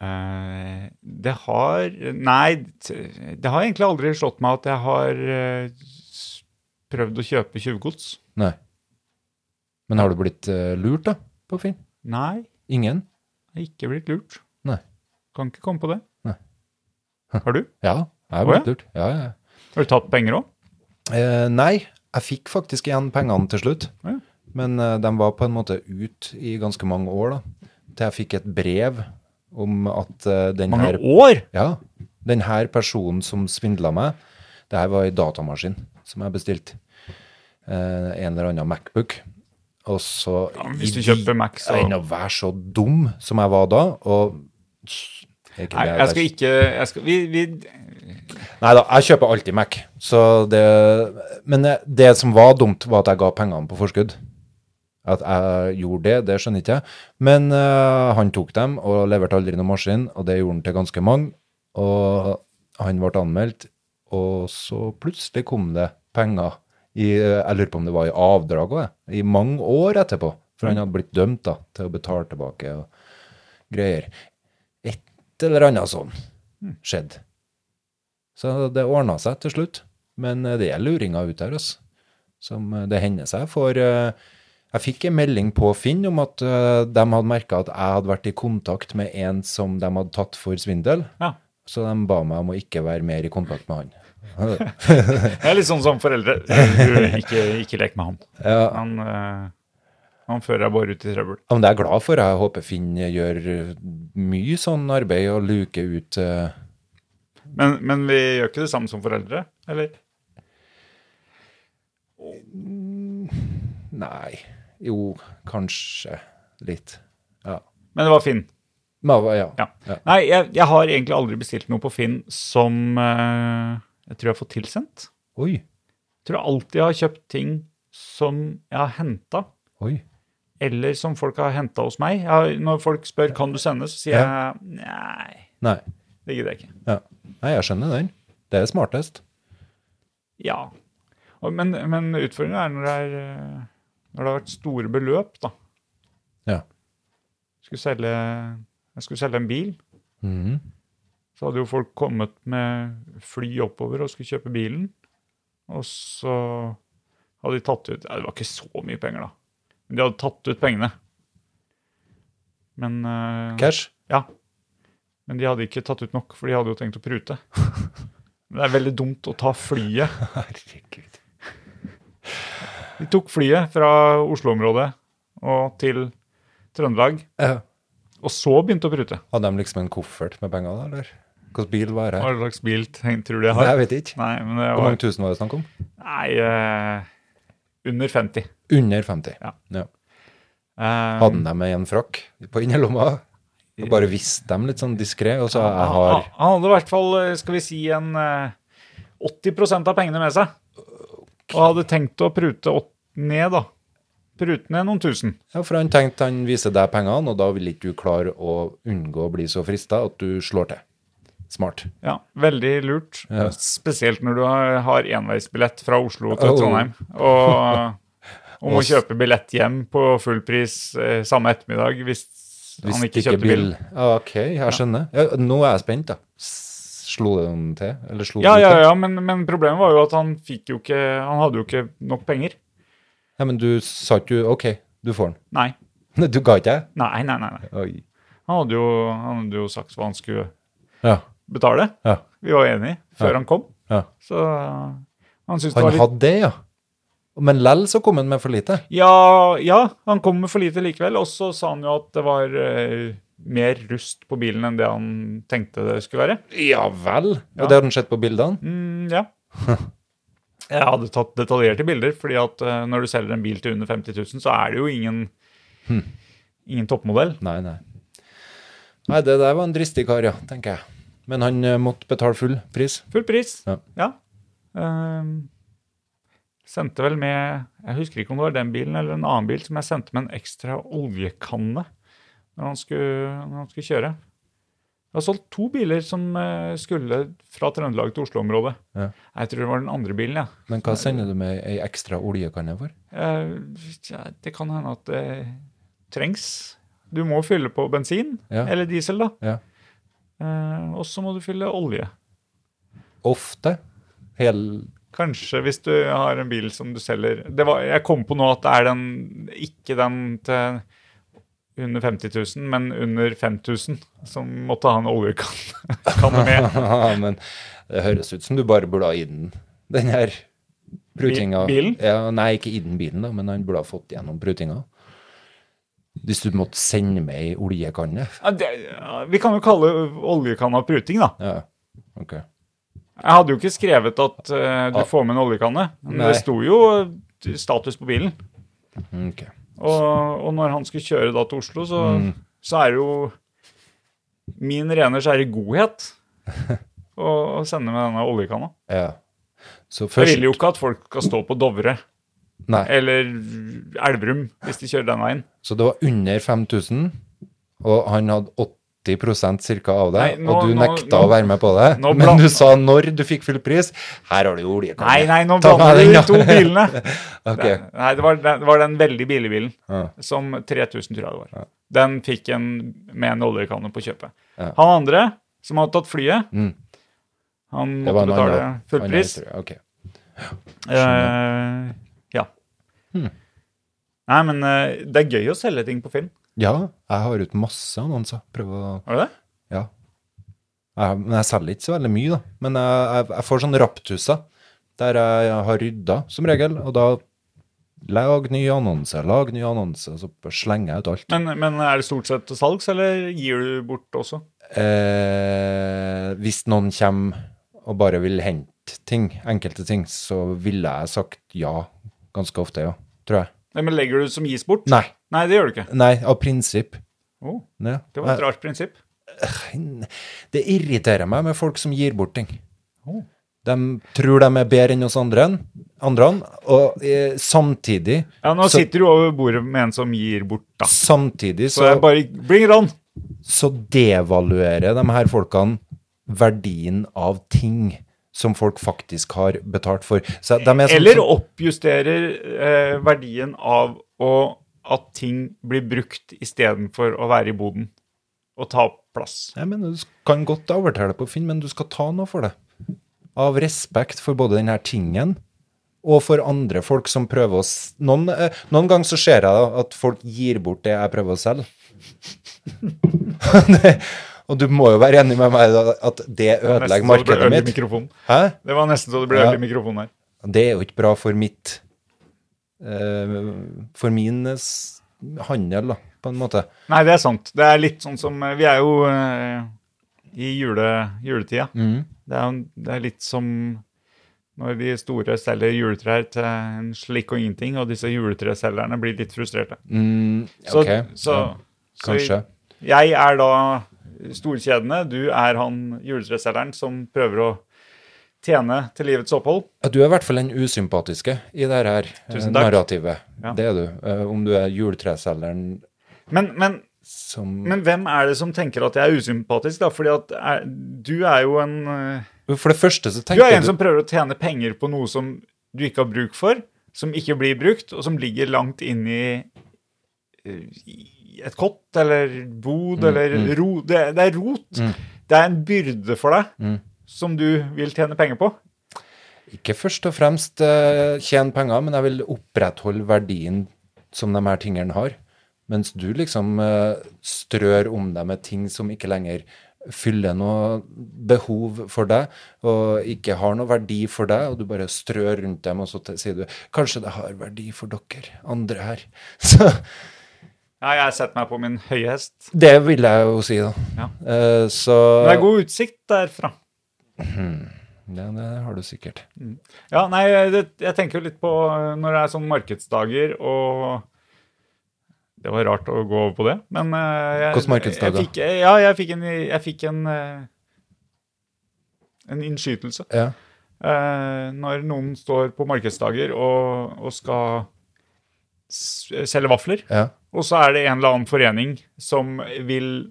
Speaker 1: Eh, det har Nei, t- det har egentlig aldri slått meg at jeg har eh, s- prøvd å kjøpe tjuvgods.
Speaker 2: Nei. Men har du blitt eh, lurt, da, på Finn?
Speaker 1: Nei,
Speaker 2: Ingen?
Speaker 1: jeg har ikke blitt lurt.
Speaker 2: Nei.
Speaker 1: Kan ikke komme på det.
Speaker 2: Nei.
Speaker 1: Har du?
Speaker 2: Ja, jeg
Speaker 1: Å,
Speaker 2: ble
Speaker 1: ja?
Speaker 2: lurt. Ja, ja.
Speaker 1: Har du tatt penger òg?
Speaker 2: Eh, nei, jeg fikk faktisk igjen pengene til slutt.
Speaker 1: Ja.
Speaker 2: Men eh, de var på en måte ut i ganske mange år, da. Til jeg fikk et brev om at eh, den
Speaker 1: Mange
Speaker 2: her
Speaker 1: år!
Speaker 2: Ja, den her personen som svindla meg, det her var ei datamaskin som jeg bestilte. Eh, en eller annen Macbook. Og så
Speaker 1: Ja, men hvis du kjøper Mac, så-
Speaker 2: Enn å være så dum som jeg var da, og Ikke
Speaker 1: Nei,
Speaker 2: det,
Speaker 1: jeg skal
Speaker 2: det-
Speaker 1: ikke jeg skal, vi, vi,
Speaker 2: Nei da, jeg kjøper alltid Mac. Så det, men det- det som var dumt, var at jeg ga pengene på forskudd. At jeg gjorde det, det skjønner ikke jeg. Men eh, han tok dem og leverte aldri noen maskin, og det gjorde han til ganske mange. Og han ble anmeldt, og så plutselig kom det penger. I, jeg lurer på om det var i avdrag òg, i mange år etterpå. For han hadde blitt dømt da, til å betale tilbake og greier. Et eller annet sånn skjedde. Så det ordna seg til slutt. Men eh, det er luringer ute her, altså. Som eh, det hender seg. For eh, jeg fikk en melding på Finn om at eh, de hadde merka at jeg hadde vært i kontakt med en som de hadde tatt for svindel.
Speaker 1: ja.
Speaker 2: Så de ba meg om å ikke være mer i kontakt med han.
Speaker 1: Jeg er litt sånn som foreldre. Du, Ikke, ikke lek med han.
Speaker 2: Ja.
Speaker 1: Han, eh, han fører deg bare ut i trøbbel.
Speaker 2: Ja, men det er jeg glad for. Jeg håper Finn gjør eh, mye sånn arbeid og luker ut eh,
Speaker 1: Men, men vi gjør ikke det samme som foreldre, eller?
Speaker 2: Nei, jo, kanskje litt. Ja.
Speaker 1: Men det var Finn.
Speaker 2: Men, ja.
Speaker 1: Ja.
Speaker 2: Ja.
Speaker 1: Nei, jeg, jeg har egentlig aldri bestilt noe på Finn som eh, jeg tror jeg har fått tilsendt.
Speaker 2: Oi,
Speaker 1: Jeg tror jeg alltid har kjøpt ting som jeg har henta,
Speaker 2: oi.
Speaker 1: eller som folk har henta hos meg. Jeg har, når folk spør kan du sende, så sier
Speaker 2: Ja.
Speaker 1: jeg nei,
Speaker 2: Nei.
Speaker 1: det gidder jeg ikke.
Speaker 2: Ja. Nei, jeg skjønner den. Det er smartest.
Speaker 1: Ja. Og, men, men utfordringen er når det, er eh, når det har vært store beløp, da.
Speaker 2: Ja.
Speaker 1: Skulle selge, jeg skulle selge en bil.
Speaker 2: Mhm.
Speaker 1: Så hadde jo folk kommet med fly oppover og skulle kjøpe bilen. Og så hadde de tatt ut ja, Det var ikke så mye penger, da. Men de hadde tatt ut pengene. Men, eh,
Speaker 2: Cash?
Speaker 1: ja. Men de hadde ikke tatt ut nok, for de hadde jo tenkt å prute. Men det er veldig dumt å ta flyet.
Speaker 2: Herregud.
Speaker 1: De tok flyet fra Oslo-området og til Trøndelag,
Speaker 2: Ja.
Speaker 1: og så begynte å prute.
Speaker 2: Hadde de liksom en koffert med penger, da, eller? Hvilken bil var det?
Speaker 1: Hva
Speaker 2: her?
Speaker 1: slags bil tenk- tror du jeg
Speaker 2: Nei,
Speaker 1: har?
Speaker 2: jeg vet ikke.
Speaker 1: Nei, men det
Speaker 2: Hvor
Speaker 1: var
Speaker 2: mange tusen var det snakk om?
Speaker 1: Nei, eh, under 50.
Speaker 2: Under 50.
Speaker 1: Ja.
Speaker 2: Ja.
Speaker 1: Eh,
Speaker 2: Hadde de med en frakk på innerlomma? Og bare visste dem litt sånn diskré, og så jeg har
Speaker 1: Han- Han hadde i hvert fall, eh, skal vi si, en eh, 80 av pengene med seg. Og hadde tenkt å prute opp, ned, da. Prute ned noen tusen.
Speaker 2: Ja, for han tenkte han viser deg pengene, og da vil ikke du klare å unngå å bli så frista at du slår til. Smart.
Speaker 1: Ja, Veldig lurt.
Speaker 2: Ja.
Speaker 1: Spesielt når du har, har enveisbillett fra Oslo til
Speaker 2: Oh.
Speaker 1: Trondheim. Og om å
Speaker 2: Og s-
Speaker 1: kjøpe billett hjem på full pris eh, samme ettermiddag hvis,
Speaker 2: Hvis
Speaker 1: han ikke
Speaker 2: ikke
Speaker 1: kjøpte bil.
Speaker 2: Ja, OK, jeg skjønner. Ja, nå er jeg spent, da. S- Slo det noen til? Eller slo
Speaker 1: Ja,
Speaker 2: det
Speaker 1: ja,
Speaker 2: til?
Speaker 1: ja, men, men problemet var jo at han fikk jo ikke Han hadde jo ikke nok penger.
Speaker 2: Nei, men du sa ikke du OK, du får den.
Speaker 1: Nei.
Speaker 2: Nei, Du ga ikke jeg?
Speaker 1: Nei, nei, nei. nei.
Speaker 2: Oi.
Speaker 1: Han hadde jo, han hadde jo sagt hva han skulle
Speaker 2: Ja.
Speaker 1: betale.
Speaker 2: ja.
Speaker 1: Vi var enige før
Speaker 2: Ja.
Speaker 1: han kom.
Speaker 2: Ja.
Speaker 1: Så han syntes det var
Speaker 2: Han
Speaker 1: litt
Speaker 2: hadde det, ja. Men lell så kom han med for lite.
Speaker 1: Ja, ja, han kom med for lite likevel. Og så sa han jo at det var eh, mer rust på bilen enn det han tenkte det skulle være.
Speaker 2: Ja vel.
Speaker 1: Ja.
Speaker 2: Og det har han sett på bildene?
Speaker 1: Mm, ja. Jeg hadde tatt detaljerte bilder, fordi at eh, når du selger en bil til under 50 000, så er det jo ingen,
Speaker 2: Hm.
Speaker 1: ingen toppmodell.
Speaker 2: Nei, nei. Nei, det der var en dristig kar, ja, tenker jeg. Men han eh, måtte betale full pris.
Speaker 1: Full pris.
Speaker 2: Ja.
Speaker 1: Ehm, sendte vel med Jeg husker ikke om det var den bilen eller en annen bil som jeg sendte med en ekstra oljekanne når han skulle, når han skulle kjøre. Jeg har solgt to biler som eh, skulle fra Trøndelag til Oslo-området.
Speaker 2: Ja.
Speaker 1: Jeg tror det var den andre bilen, ja.
Speaker 2: Men hva sender du med ei ekstra oljekanne for?
Speaker 1: Eh, tja, det kan hende at det trengs. Du må fylle på bensin
Speaker 2: Ja.
Speaker 1: eller diesel, da.
Speaker 2: Ja.
Speaker 1: Eh, og så må du fylle olje.
Speaker 2: Ofte. Hel...
Speaker 1: Kanskje hvis du har en bil som du selger det var, Jeg kom på nå at det er den, ikke den til under 50 000, men under 5000 som måtte ha en oljekanne med.
Speaker 2: Men det høres ut som du bare burde ha i den, den her prutinga.
Speaker 1: Bi- bilen?
Speaker 2: Ja, nei, ikke i den bilen, da, men han burde ha fått gjennom prutinga. Hvis du måtte sende med ei oljekanne.
Speaker 1: Ja, det, ja, vi kan jo kalle oljekanna pruting, da.
Speaker 2: Ja, ok.
Speaker 1: Jeg hadde jo ikke skrevet at eh, du
Speaker 2: Ah.
Speaker 1: får med en oljekanne, men
Speaker 2: Nei.
Speaker 1: det sto jo eh, status på bilen.
Speaker 2: Ok.
Speaker 1: Og, og når han skulle kjøre da til Oslo, så, så er det jo min rene skjære godhet å, å sende med denne oljekanna.
Speaker 2: Ja. Så
Speaker 1: Jeg
Speaker 2: først
Speaker 1: vil jo ikke at folk skal stå på Dovre
Speaker 2: Nei.
Speaker 1: eller Elverum hvis de kjører den veien.
Speaker 2: Så det var under 5000, og han hadde 80 cirka av det,
Speaker 1: Nei, nå-
Speaker 2: og du
Speaker 1: nå-
Speaker 2: nekta
Speaker 1: nå-
Speaker 2: å være med på det.
Speaker 1: nå
Speaker 2: Men
Speaker 1: bland-
Speaker 2: du sa når du fikk full pris. Her har du jo oljekanne.
Speaker 1: Nei, nei, nå
Speaker 2: Ta med
Speaker 1: blander du
Speaker 2: den,
Speaker 1: de
Speaker 2: ja.
Speaker 1: to bilene.
Speaker 2: Ok.
Speaker 1: Nei, det var, den- det var den veldig billige bilen
Speaker 2: Ja.
Speaker 1: som 3000 tror jeg det var. Den fikk en med en oljekanne på kjøpet.
Speaker 2: Ja.
Speaker 1: Han andre, som hadde tatt flyet,
Speaker 2: Mm.
Speaker 1: han
Speaker 2: Det var
Speaker 1: måtte
Speaker 2: en
Speaker 1: betale
Speaker 2: annen-
Speaker 1: full
Speaker 2: annen
Speaker 1: pris.
Speaker 2: historie, ok.
Speaker 1: Eh, ja.
Speaker 2: Hmm.
Speaker 1: Nei, men eh, det er gøy å selge ting på Finn.
Speaker 2: Ja, jeg har ut masse annonser. Prøv å
Speaker 1: Var det det?
Speaker 2: Ja. Jeg, men jeg selger ikke så veldig mye, da. Men jeg, jeg, jeg får sånne raptusser der jeg har rydda, som regel. Og da lag ny annonse, lag ny annonse, så slenger jeg ut alt.
Speaker 1: Men, men er det stort sett til salgs, eller gir du bort også?
Speaker 2: Eh, hvis noen kommer og bare vil hente ting, enkelte ting, så ville jeg sagt ja ganske ofte, ja. Tror jeg.
Speaker 1: Nei, men legger du som gis bort?
Speaker 2: Nei,
Speaker 1: Nei, det gjør du ikke.
Speaker 2: nei av prinsipp.
Speaker 1: Oh,
Speaker 2: Ja.
Speaker 1: det var et rart prinsipp.
Speaker 2: Jeg- Det irriterer meg med folk som gir bort ting.
Speaker 1: Oh.
Speaker 2: De tror de er bedre enn oss andre, andre og eh, samtidig
Speaker 1: Ja, nå
Speaker 2: så,
Speaker 1: sitter du over bordet med en som gir bort, da. Så,
Speaker 2: Samtidig så,
Speaker 1: det er bare bring it on!
Speaker 2: så devaluerer de her folkene verdien av ting som folk faktisk har betalt for. Så de er sånn
Speaker 1: Eller
Speaker 2: som-
Speaker 1: oppjusterer eh, verdien av å, at ting blir brukt istedenfor å være i boden og ta opp plass.
Speaker 2: Jeg mener, du kan godt overtale på Finn, men du skal ta noe for det. Av respekt for både denne tingen og for andre folk som prøver å s- Noen, eh, noen ganger så ser jeg at folk gir bort det jeg prøver å selge. Det- og du må jo være enig med meg da, at det
Speaker 1: Nesten så
Speaker 2: ødelegger
Speaker 1: det ble
Speaker 2: markedet
Speaker 1: øl i
Speaker 2: mitt.
Speaker 1: mikrofonen.
Speaker 2: Hæ?
Speaker 1: Det var nesten så det ble
Speaker 2: Ja.
Speaker 1: øl i mikrofonen her.
Speaker 2: Det er jo ikke bra for mitt eh, For min eh, s- handel, da, på en måte.
Speaker 1: Nei, det er sant. Det er litt sånn som eh, Vi er jo eh, i jule, juletida.
Speaker 2: Mm.
Speaker 1: Det, er, jo- det er litt som når de store selger juletrær til en slikk og ingenting, og disse juletreselgerne blir litt frustrerte.
Speaker 2: Mm,
Speaker 1: Så,
Speaker 2: ok,
Speaker 1: så,
Speaker 2: ja,
Speaker 1: så
Speaker 2: kanskje.
Speaker 1: jeg er da storkjedene, du er han juletreselgeren som prøver å tjene til livets opphold.
Speaker 2: Ja, du er i hvert fall den usympatiske i det her eh,
Speaker 1: Tusen takk.
Speaker 2: narrativet.
Speaker 1: Ja.
Speaker 2: Det er du. Eh, Om du er juletreselgeren
Speaker 1: Men, men
Speaker 2: som
Speaker 1: Men hvem er det som tenker at jeg er usympatisk, da? Fordi at er, du er jo en eh,
Speaker 2: For det første så
Speaker 1: Du er
Speaker 2: tenker
Speaker 1: en
Speaker 2: du,
Speaker 1: som prøver å tjene penger på noe som du ikke har bruk for, som ikke blir brukt, og som ligger langt inni et kott eller bod
Speaker 2: Mm,
Speaker 1: eller ro. Det, det
Speaker 2: Mm.
Speaker 1: er rot. Det er en byrde for deg som du vil tjene penger på.
Speaker 2: Ikke først og fremst eh, tjene penger, men jeg vil opprettholde verdien som de her tingene har. Mens du liksom eh, strør om deg med ting som ikke lenger fyller noe behov for deg, og ikke har noe verdi for deg, og du bare strør rundt dem, og så te- sier du Kanskje det har verdi for dere andre her. Så
Speaker 1: Ja, jeg setter meg på min høye hest.
Speaker 2: det vil jeg jo si, da.
Speaker 1: Ja.
Speaker 2: Eh, så
Speaker 1: Det er god utsikt derfra.
Speaker 2: Ja, det har du sikkert.
Speaker 1: Ja, nei, det, jeg tenker jo litt på eh, når det er sånn markedsdager og Det var rart å gå over på det, men eh, jeg,
Speaker 2: Hvordan markedsdager?
Speaker 1: Jeg fikk, eh, ja, jeg fikk en, jeg fikk en, eh, en innskytelse.
Speaker 2: Ja.
Speaker 1: Eh, når noen står på markedsdager og, og skal s selge vafler,
Speaker 2: ja.
Speaker 1: og så er det en eller annen forening som vil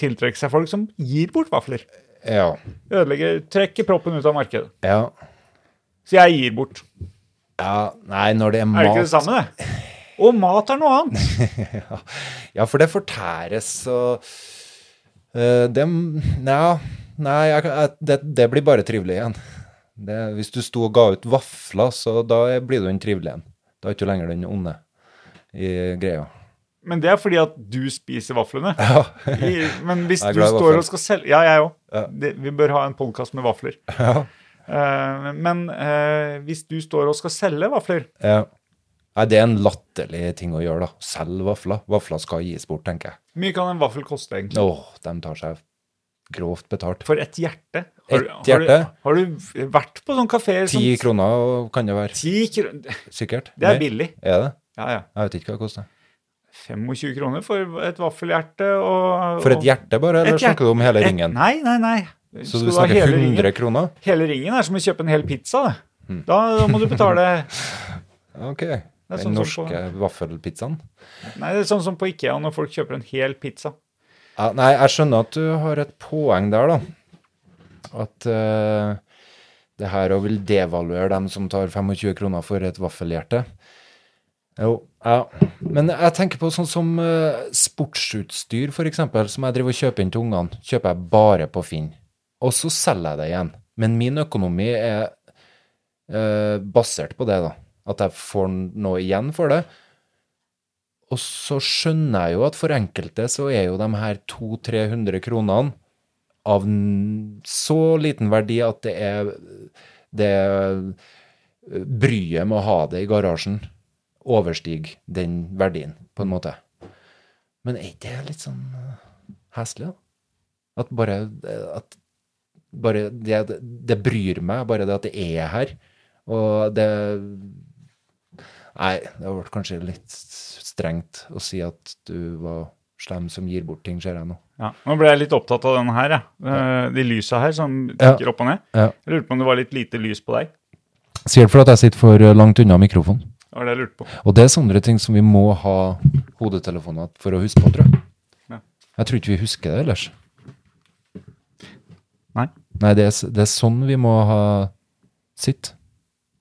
Speaker 1: tiltrekke seg folk som gir bort vafler.
Speaker 2: Ja.
Speaker 1: Ødelegger, trekker proppen ut av markedet.
Speaker 2: ja.
Speaker 1: Så jeg gir bort.
Speaker 2: ja. Nei, når det
Speaker 1: Er det
Speaker 2: er mat
Speaker 1: ikke det samme, det? Og mat er noe annet.
Speaker 2: ja. ja, for det fortæres og eh, det, ja, Nei, jeg, kan- jeg, det, det blir bare trivelig igjen. Det, hvis du sto og ga ut vafler, så da er- blir du den trivelige igjen. Da er du ikke lenger den onde i greia.
Speaker 1: Men det er fordi at du spiser vaflene.
Speaker 2: Ja.
Speaker 1: I- Men hvis
Speaker 2: Jeg er
Speaker 1: du
Speaker 2: glad i
Speaker 1: står
Speaker 2: vafler.
Speaker 1: og skal selge Ja, jeg
Speaker 2: Ja.
Speaker 1: òg. Vi bør ha en podkast med vafler.
Speaker 2: Ja.
Speaker 1: Eh, men eh, hvis du står og skal selge vafler
Speaker 2: ja. Nei, det er en latterlig ting å gjøre, da. Selg vafler. Vafler skal gis bort, tenker jeg.
Speaker 1: Hvor mye kan en vaffel koste, egentlig?
Speaker 2: Åh, de tar seg grovt betalt.
Speaker 1: For et hjerte?
Speaker 2: Et hjerte?
Speaker 1: Har, du, har du vært på sånne kafeer som
Speaker 2: Ti kroner kan det være,
Speaker 1: Ti kroner?
Speaker 2: sikkert.
Speaker 1: sånn- Det er
Speaker 2: Mer.
Speaker 1: billig.
Speaker 2: Er det?
Speaker 1: Ja, ja.
Speaker 2: Jeg vet ikke hva det koster.
Speaker 1: 25 kroner for et vaffelhjerte og
Speaker 2: For et hjerte bare, eller
Speaker 1: Et hjerte-
Speaker 2: snakker du om hele
Speaker 1: et-
Speaker 2: ringen?
Speaker 1: Nei, nei, nei.
Speaker 2: Så
Speaker 1: Skal
Speaker 2: du
Speaker 1: ha
Speaker 2: snakker
Speaker 1: hele
Speaker 2: 100
Speaker 1: ringen?
Speaker 2: kroner?
Speaker 1: Hele ringen er som å kjøpe en hel pizza. Da, da, da må du betale
Speaker 2: Ok. Den
Speaker 1: sånn som
Speaker 2: norske
Speaker 1: på-
Speaker 2: vaffelpizzaen?
Speaker 1: Nei, det er sånn som på Ikea når folk kjøper en hel pizza.
Speaker 2: Ja, nei, jeg skjønner at du har et poeng der, da. At eh, det her å vil devaluere dem som tar 25 kroner for et vaffelhjerte. Jo, ja. Men jeg tenker på sånn som eh, sportsutstyr, f.eks., som jeg driver og kjøper inn til ungene. Kjøper jeg bare på Finn. Og så selger jeg det igjen. Men min økonomi er eh, basert på det, da. At jeg får noe igjen for det. Og så skjønner jeg jo at for enkelte så er jo de her 200-300 kronene av n- så liten verdi at det er det bryet med å ha det i garasjen overstiger den verdien, på en måte. Men er ikke det litt sånn eh, heslig, da? At bare, at bare det, det bryr meg, bare det at det er her. Og det Nei, det ble kanskje litt strengt å si at du var slem som gir bort ting, ser jeg nå.
Speaker 1: Ja, nå ble jeg litt opptatt av denne her, jeg. Eh, de lysa her som tikker opp og ned.
Speaker 2: Ja.
Speaker 1: Jeg lurte på om det var litt lite lys på deg.
Speaker 2: Sier det fordi jeg sitter for eh, langt unna mikrofonen.
Speaker 1: Det var det jeg lurte på.
Speaker 2: Og det er sånne ting som vi må ha hodetelefoner for å huske på, tror jeg.
Speaker 1: Ja.
Speaker 2: Jeg tror ikke vi husker det ellers.
Speaker 1: Nei.
Speaker 2: Nei, det er, s- det er sånn vi må ha sitt.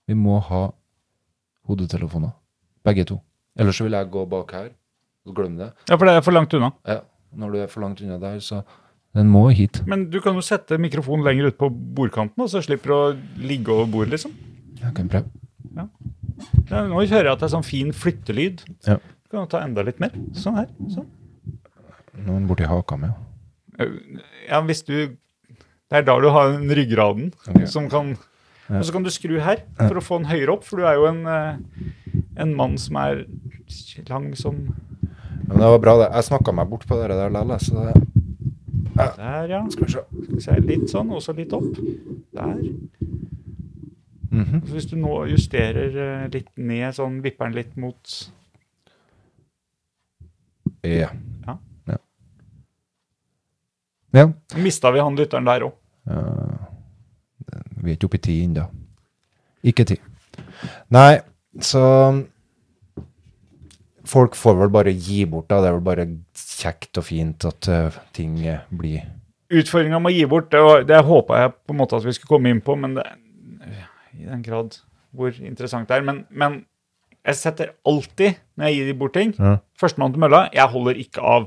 Speaker 2: Vi må ha hodetelefoner. Begge to. Ellers så vil jeg gå bak her og glemme det.
Speaker 1: Ja, for det er for langt unna.
Speaker 2: Ja, når du er for langt unna der, så den må hit.
Speaker 1: Men du kan jo sette mikrofonen lenger ut på bordkanten, og så slipper du å ligge over bordet, liksom.
Speaker 2: Jeg kan prøve.
Speaker 1: Ja, nå hører jeg at det er sånn fin flyttelyd.
Speaker 2: Ja.
Speaker 1: Du kan jo ta enda litt mer. Sånn her. Sånn.
Speaker 2: Noen borti haka mi. ja.
Speaker 1: Eh, Ja, hvis du Det er da du har den ryggraden
Speaker 2: Ok.
Speaker 1: som kan Og så kan du skru her for å få den høyere opp, for du er jo en, eh, en mann som er lang som
Speaker 2: Men det var bra, det. Jeg snakka meg bort på det der likevel, så det
Speaker 1: Der, ja.
Speaker 2: Skal vi se.
Speaker 1: Skal vi se, litt sånn, og så litt opp. Der.
Speaker 2: Mhm.
Speaker 1: Så hvis du nå justerer eh, litt ned, sånn vipper den litt mot
Speaker 2: Ja.
Speaker 1: Ja.
Speaker 2: Ja. ja.
Speaker 1: Nå mista vi han lytteren der òg.
Speaker 2: Eh, vi er ikke oppe i ti ennå. Ikke ti. Nei, så um, Folk får vel bare gi bort, da. Det er vel bare kjekt og fint at eh, ting eh, blir
Speaker 1: Utfordringa med å gi bort, det, var- det håpa jeg på en måte at vi skulle komme inn på, men det, i den grad hvor interessant det er. Men, men jeg setter alltid, når jeg gir bort ting,
Speaker 2: Ja.
Speaker 1: førstemann til mølla. Jeg holder ikke av.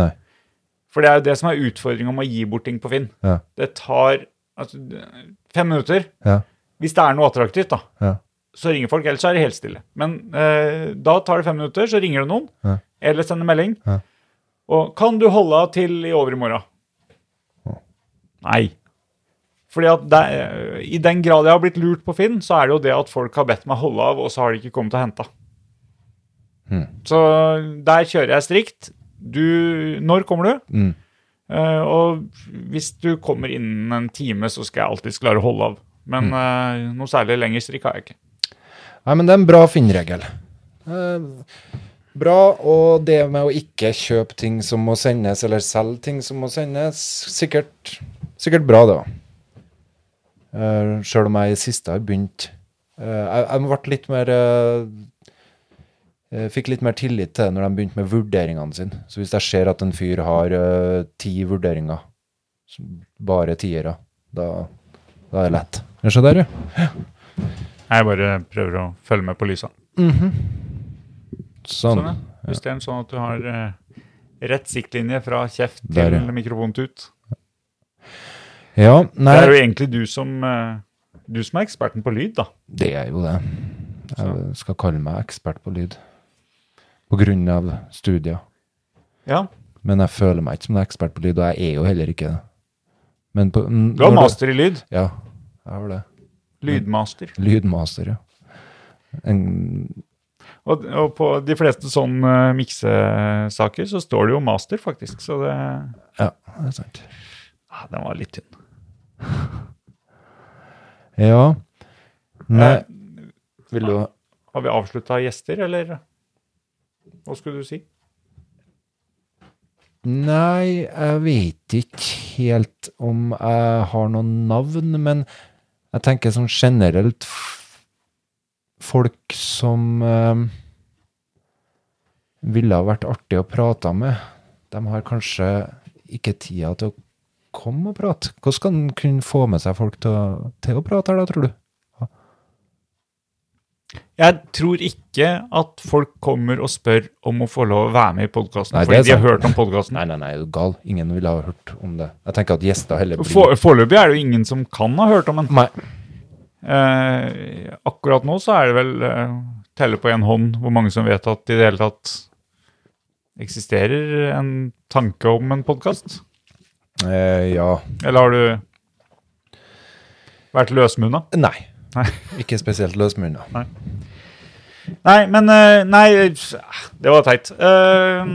Speaker 2: Nei.
Speaker 1: For det er jo det som er utfordringa med å gi bort ting på Finn.
Speaker 2: Ja.
Speaker 1: Det tar altså, fem minutter.
Speaker 2: Ja.
Speaker 1: Hvis det er noe attraktivt, da,
Speaker 2: Ja.
Speaker 1: så ringer folk. Ellers er det helt stille. Men eh, da tar det fem minutter, så ringer det noen.
Speaker 2: Ja.
Speaker 1: Eller sender melding.
Speaker 2: Ja.
Speaker 1: Og 'Kan du holde av til i overmorgen?' Nei. Fordi at det, er- I den grad jeg har blitt lurt på Finn, så er det jo det at folk har bedt meg holde av, og så har de ikke kommet og henta.
Speaker 2: Hmm.
Speaker 1: Så der kjører jeg strikt. Du, når kommer du?
Speaker 2: Mm.
Speaker 1: Eh, og hvis du kommer innen en time, så skal jeg alltids klare å holde av. Men
Speaker 2: Hmm.
Speaker 1: eh, noe særlig lenger strikk har jeg ikke.
Speaker 2: Nei, men det er en bra Finn-regel. Eh, Bra, og det med å ikke kjøpe ting som må sendes, eller selge ting som må sendes, sikkert, sikkert bra, det òg. Sjøl om jeg i siste har begynt eh, Jeg, jeg ble litt mer eh, eh, Fikk litt mer tillit til det når de begynte med vurderingene sine. Så hvis jeg ser at en fyr har eh, ti vurderinger, som bare tiere, da, da er det lett. Er det der, ja?
Speaker 1: Jeg bare prøver å følge med på lysa.
Speaker 2: Sånn.
Speaker 1: Mhm. Sånn, ja. Justeren sånn at du har eh, rett siktlinje fra kjeft til
Speaker 2: Der, ja.
Speaker 1: mikrofontut.
Speaker 2: Ja, nei.
Speaker 1: Det er jo egentlig du som, eh, du som er eksperten på lyd, da.
Speaker 2: Det er jo det.
Speaker 1: Sånn.
Speaker 2: Jeg skal kalle meg ekspert på lyd. På grunn av studier.
Speaker 1: Ja.
Speaker 2: Men jeg føler meg ikke som en ekspert på lyd, og jeg er jo heller ikke det. Men på, mm,
Speaker 1: Du har
Speaker 2: når
Speaker 1: master i lyd.
Speaker 2: Ja, jeg har det.
Speaker 1: Lydmaster.
Speaker 2: Lydmaster, ja. En,
Speaker 1: Og, og på de fleste sånne eh, miksesaker så står det jo master, faktisk. Så det
Speaker 2: ja, det er sant.
Speaker 1: ah, Den var litt tynn.
Speaker 2: Ja. Nei,
Speaker 1: Eh,
Speaker 2: vil du
Speaker 1: Har vi avslutta gjester, eller hva skulle du si?
Speaker 2: Nei, jeg vet ikke helt om jeg har noen navn, men jeg tenker sånn generelt f- folk som eh, ville ha vært artig å prate med, de har kanskje ikke tida til å komme og prate. Hvordan skal en kunne få med seg folk til å, til å prate her da, tror du?
Speaker 1: Jeg tror ikke at folk kommer og spør om å få lov å være med i podkasten
Speaker 2: Nei, det
Speaker 1: fordi
Speaker 2: er
Speaker 1: de har
Speaker 2: sant.
Speaker 1: hørt om podkasten.
Speaker 2: Nei, nei, nei, er du gal? Ingen ville ha hørt om det. Jeg tenker at gjester heller blir
Speaker 1: Foreløpig er det jo ingen som kan ha hørt om den.
Speaker 2: Nei.
Speaker 1: Eh, akkurat nå så er det vel eh, telle på én hånd hvor mange som vet at det i det hele tatt eksisterer en tanke om en podkast.
Speaker 2: Eh, ja.
Speaker 1: Eller har du vært løsmunna?
Speaker 2: Nei.
Speaker 1: Nei.
Speaker 2: Ikke spesielt løsmunna.
Speaker 1: Nei, men eh, Nei, det var teit. Eh,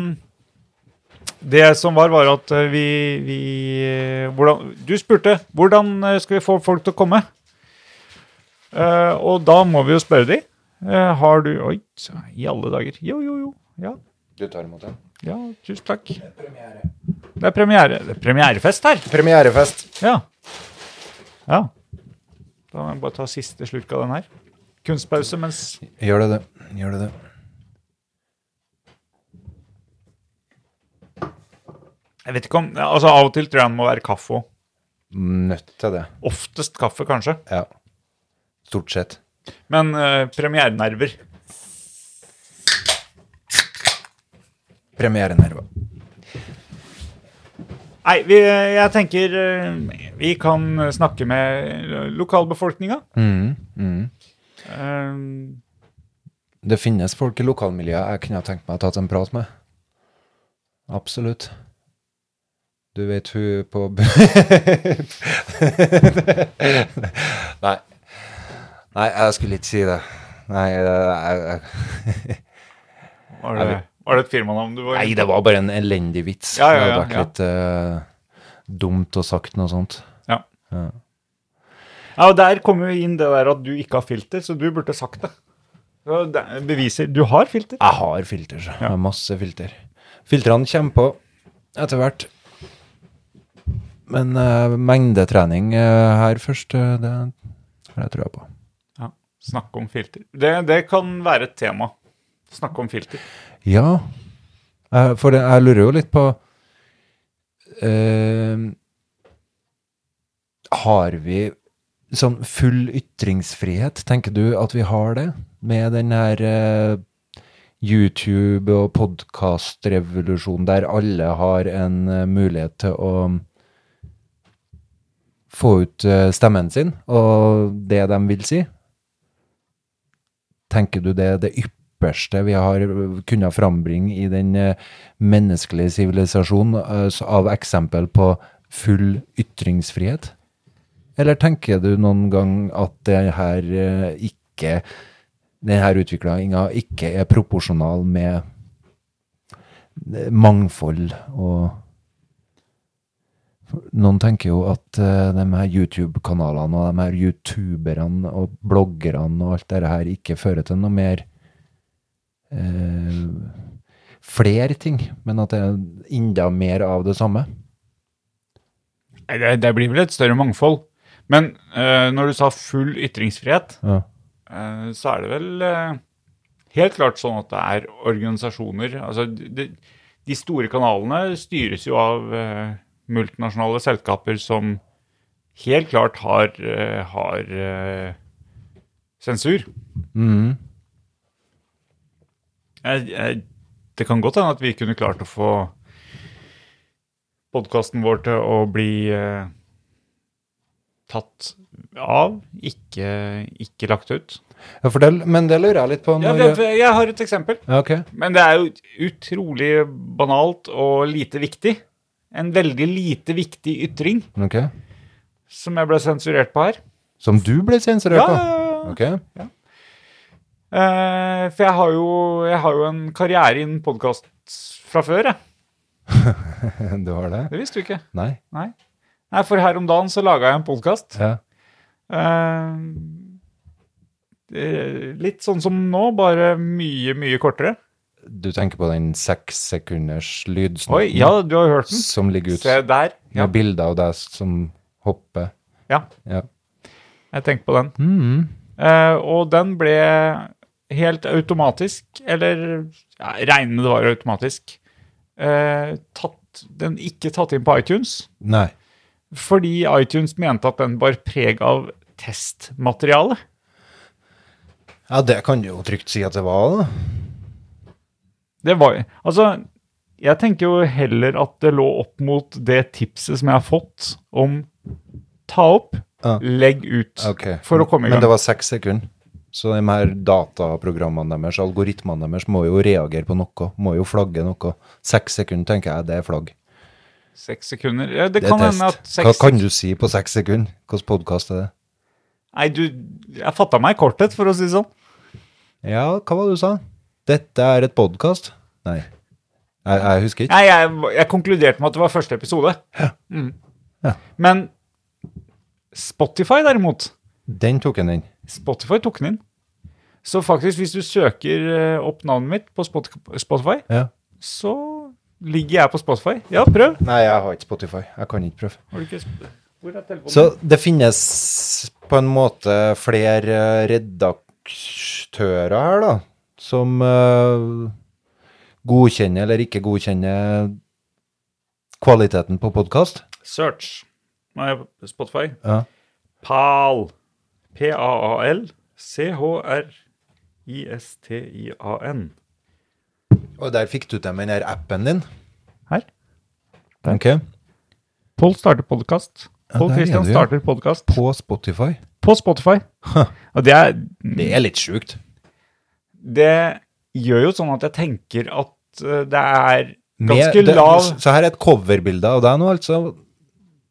Speaker 1: Det som var, var at eh, vi, vi eh, hvordan, Du spurte hvordan eh, skal vi få folk til å komme. Eh, og da må vi jo spørre de. Eh, har du Oi, i alle dager. Jo, jo, jo. Ja,
Speaker 2: Du tar imot den?
Speaker 1: ja tusen takk. Det er premiere. Det er premierefest her.
Speaker 2: Premierefest.
Speaker 1: Ja. ja. Da må jeg bare ta siste slurk av den her. Kunstpause mens
Speaker 2: Gjør det det. Gjør det det.
Speaker 1: Jeg vet ikke om, altså Av og til tror jeg den må være kaffe òg.
Speaker 2: Nødt til det.
Speaker 1: Oftest kaffe, kanskje.
Speaker 2: Ja. Stort sett.
Speaker 1: Men eh, premierenerver.
Speaker 2: Premierenerver.
Speaker 1: Nei, vi, jeg tenker eh, vi kan snakke med lokalbefolkninga.
Speaker 2: Mm, mm.
Speaker 1: Eh,
Speaker 2: Det finnes folk i lokalmiljøet jeg kunne ha tenkt meg å tatt en prat med. Absolutt. Du vet hun på bu- Nei. Nei, jeg skulle ikke si det. Nei, jeg, jeg,
Speaker 1: var, det, var det et firmanavn du var
Speaker 2: Nei, det var bare en elendig vits.
Speaker 1: Ja, ja, ja,
Speaker 2: det hadde vært
Speaker 1: ja.
Speaker 2: litt eh, dumt å sagt noe sånt.
Speaker 1: Ja.
Speaker 2: Ja.
Speaker 1: Ja, og Der kommer jo inn det der at du ikke har filter, så du burde sagt det. Så det beviser Du har filter.
Speaker 2: Jeg har filter, så. Jeg har masse filter. Filtrene kommer på etter hvert. Men eh, mengdetrening eh, her først, eh, det har jeg trua på.
Speaker 1: Ja, Snakke om filter. Det, det kan være et tema. Snakke om filter.
Speaker 2: Ja, Eh, for det, jeg lurer jo litt på eh, Har vi sånn full ytringsfrihet? Tenker du at vi har det? Med den her eh, YouTube- og podkastrevolusjonen der alle har en eh, mulighet til å mm, få ut eh, stemmen sin og det de vil si. Tenker du det er det ypperste vi har kunnet frambringe i den eh, menneskelige sivilisasjonen eh, s- av eksempel på full ytringsfrihet? Eller tenker du noen gang at det her eh, ikke denne utviklinga ikke er proporsjonal med eh, mangfold og noen tenker jo at eh, de her YouTube-kanalene og de her youtuberne og bloggerne og alt dette her ikke fører til noe mer eh, Flere ting, men at det er enda mer av det samme.
Speaker 1: Nei, Det, det blir vel et større mangfold. Men eh, når du sa full ytringsfrihet,
Speaker 2: Ja.
Speaker 1: eh, så er det vel eh, helt klart sånn at det er organisasjoner Altså, de, de store kanalene styres jo av eh, multinasjonale selskaper som helt klart har, eh, har eh, sensur.
Speaker 2: Mhm.
Speaker 1: Jeg, jeg, det kan godt hende at vi kunne klart å få podkasten vår til å bli eh, tatt av, ikke, ikke lagt ut.
Speaker 2: ja, for det, men det lurer jeg litt på.
Speaker 1: Ja,
Speaker 2: Når,
Speaker 1: det, jeg har et eksempel.
Speaker 2: Ja, ok.
Speaker 1: Men det er jo utrolig banalt og lite viktig. En veldig lite viktig ytring
Speaker 2: Ok.
Speaker 1: som jeg ble sensurert på her.
Speaker 2: Som du ble sensurert
Speaker 1: Ja,
Speaker 2: på?
Speaker 1: ja, ja.
Speaker 2: Ok.
Speaker 1: Eh, for jeg har, jo, jeg har jo en karriere innen podkast fra før, jeg.
Speaker 2: Du har det?
Speaker 1: Det visste du ikke.
Speaker 2: Nei.
Speaker 1: Nei. Nei, for her om dagen så laga jeg en podkast.
Speaker 2: Ja.
Speaker 1: litt sånn som nå, bare mye, mye kortere.
Speaker 2: Du tenker på den seks sekunders lydsnutten
Speaker 1: Oi, ja, du har jo hørt den.
Speaker 2: som ligger ut
Speaker 1: Se der. Ja,
Speaker 2: med bilder av deg som hopper?
Speaker 1: ja
Speaker 2: Ja.
Speaker 1: jeg tenker på den.
Speaker 2: Mhm.
Speaker 1: Eh, og den ble helt automatisk, eller ja, regner med det var automatisk, eh, tatt, den ikke tatt inn på iTunes,
Speaker 2: Nei.
Speaker 1: fordi iTunes mente at den bar preg av testmateriale.
Speaker 2: Ja, det kan du jo trygt si at det var, da.
Speaker 1: Det var Altså, jeg tenker jo heller at det lå opp mot det tipset som jeg har fått om ta opp,
Speaker 2: Ja.
Speaker 1: legg ut,
Speaker 2: Ok.
Speaker 1: for å komme i
Speaker 2: Men
Speaker 1: gang.
Speaker 2: det var seks sekunder. Så de her dataprogrammene deres, algoritmene deres, må jo reagere på noe. Må jo flagge noe. Seks sekunder, tenker jeg, det er flagg.
Speaker 1: Seks sekunder. Ja, det,
Speaker 2: Det er
Speaker 1: kan hende
Speaker 2: test.
Speaker 1: at
Speaker 2: Hva
Speaker 1: seks
Speaker 2: kan du si på seks sekunder? Hvilken podkast er det?
Speaker 1: Nei, du Jeg fatta meg i korthet, for å si det sånn.
Speaker 2: Ja, hva var det du sa? Dette er et podkast? Nei. Jeg, jeg husker ikke.
Speaker 1: Nei, jeg, jeg konkluderte med at det var første episode. Mm.
Speaker 2: Ja.
Speaker 1: Men Spotify, derimot
Speaker 2: Den tok en inn.
Speaker 1: Spotify tok den inn. Så faktisk, hvis du søker eh, opp navnet mitt på Spot- Spotify,
Speaker 2: Ja.
Speaker 1: så ligger jeg på Spotify. Ja, prøv.
Speaker 2: Nei, jeg har ikke Spotify. Jeg kan ikke prøve.
Speaker 1: Har du ikke sp- Hvor er telefonen?
Speaker 2: Så det finnes på en måte flere eh, redaktører her, da, som eh, godkjenner eller ikke godkjenner kvaliteten på podkast?
Speaker 1: Search. Nei, Spotify.
Speaker 2: Ja.
Speaker 1: PAL. P-A-A-L. C-H-R-I-S-T-I-A-N.
Speaker 2: Og der fikk du til med den her appen din?
Speaker 1: Her.
Speaker 2: Ok.
Speaker 1: Pål starter podkast.
Speaker 2: Ja,
Speaker 1: Pål
Speaker 2: der er
Speaker 1: Christian
Speaker 2: du, ja.
Speaker 1: starter podkast.
Speaker 2: På Spotify?
Speaker 1: På Spotify. Og det, er,
Speaker 2: Det er litt sjukt.
Speaker 1: det gjør jo sånn at jeg tenker at eh, det er
Speaker 2: Med-
Speaker 1: ganske
Speaker 2: det-
Speaker 1: lav
Speaker 2: Så her er et coverbilde av deg nå, altså.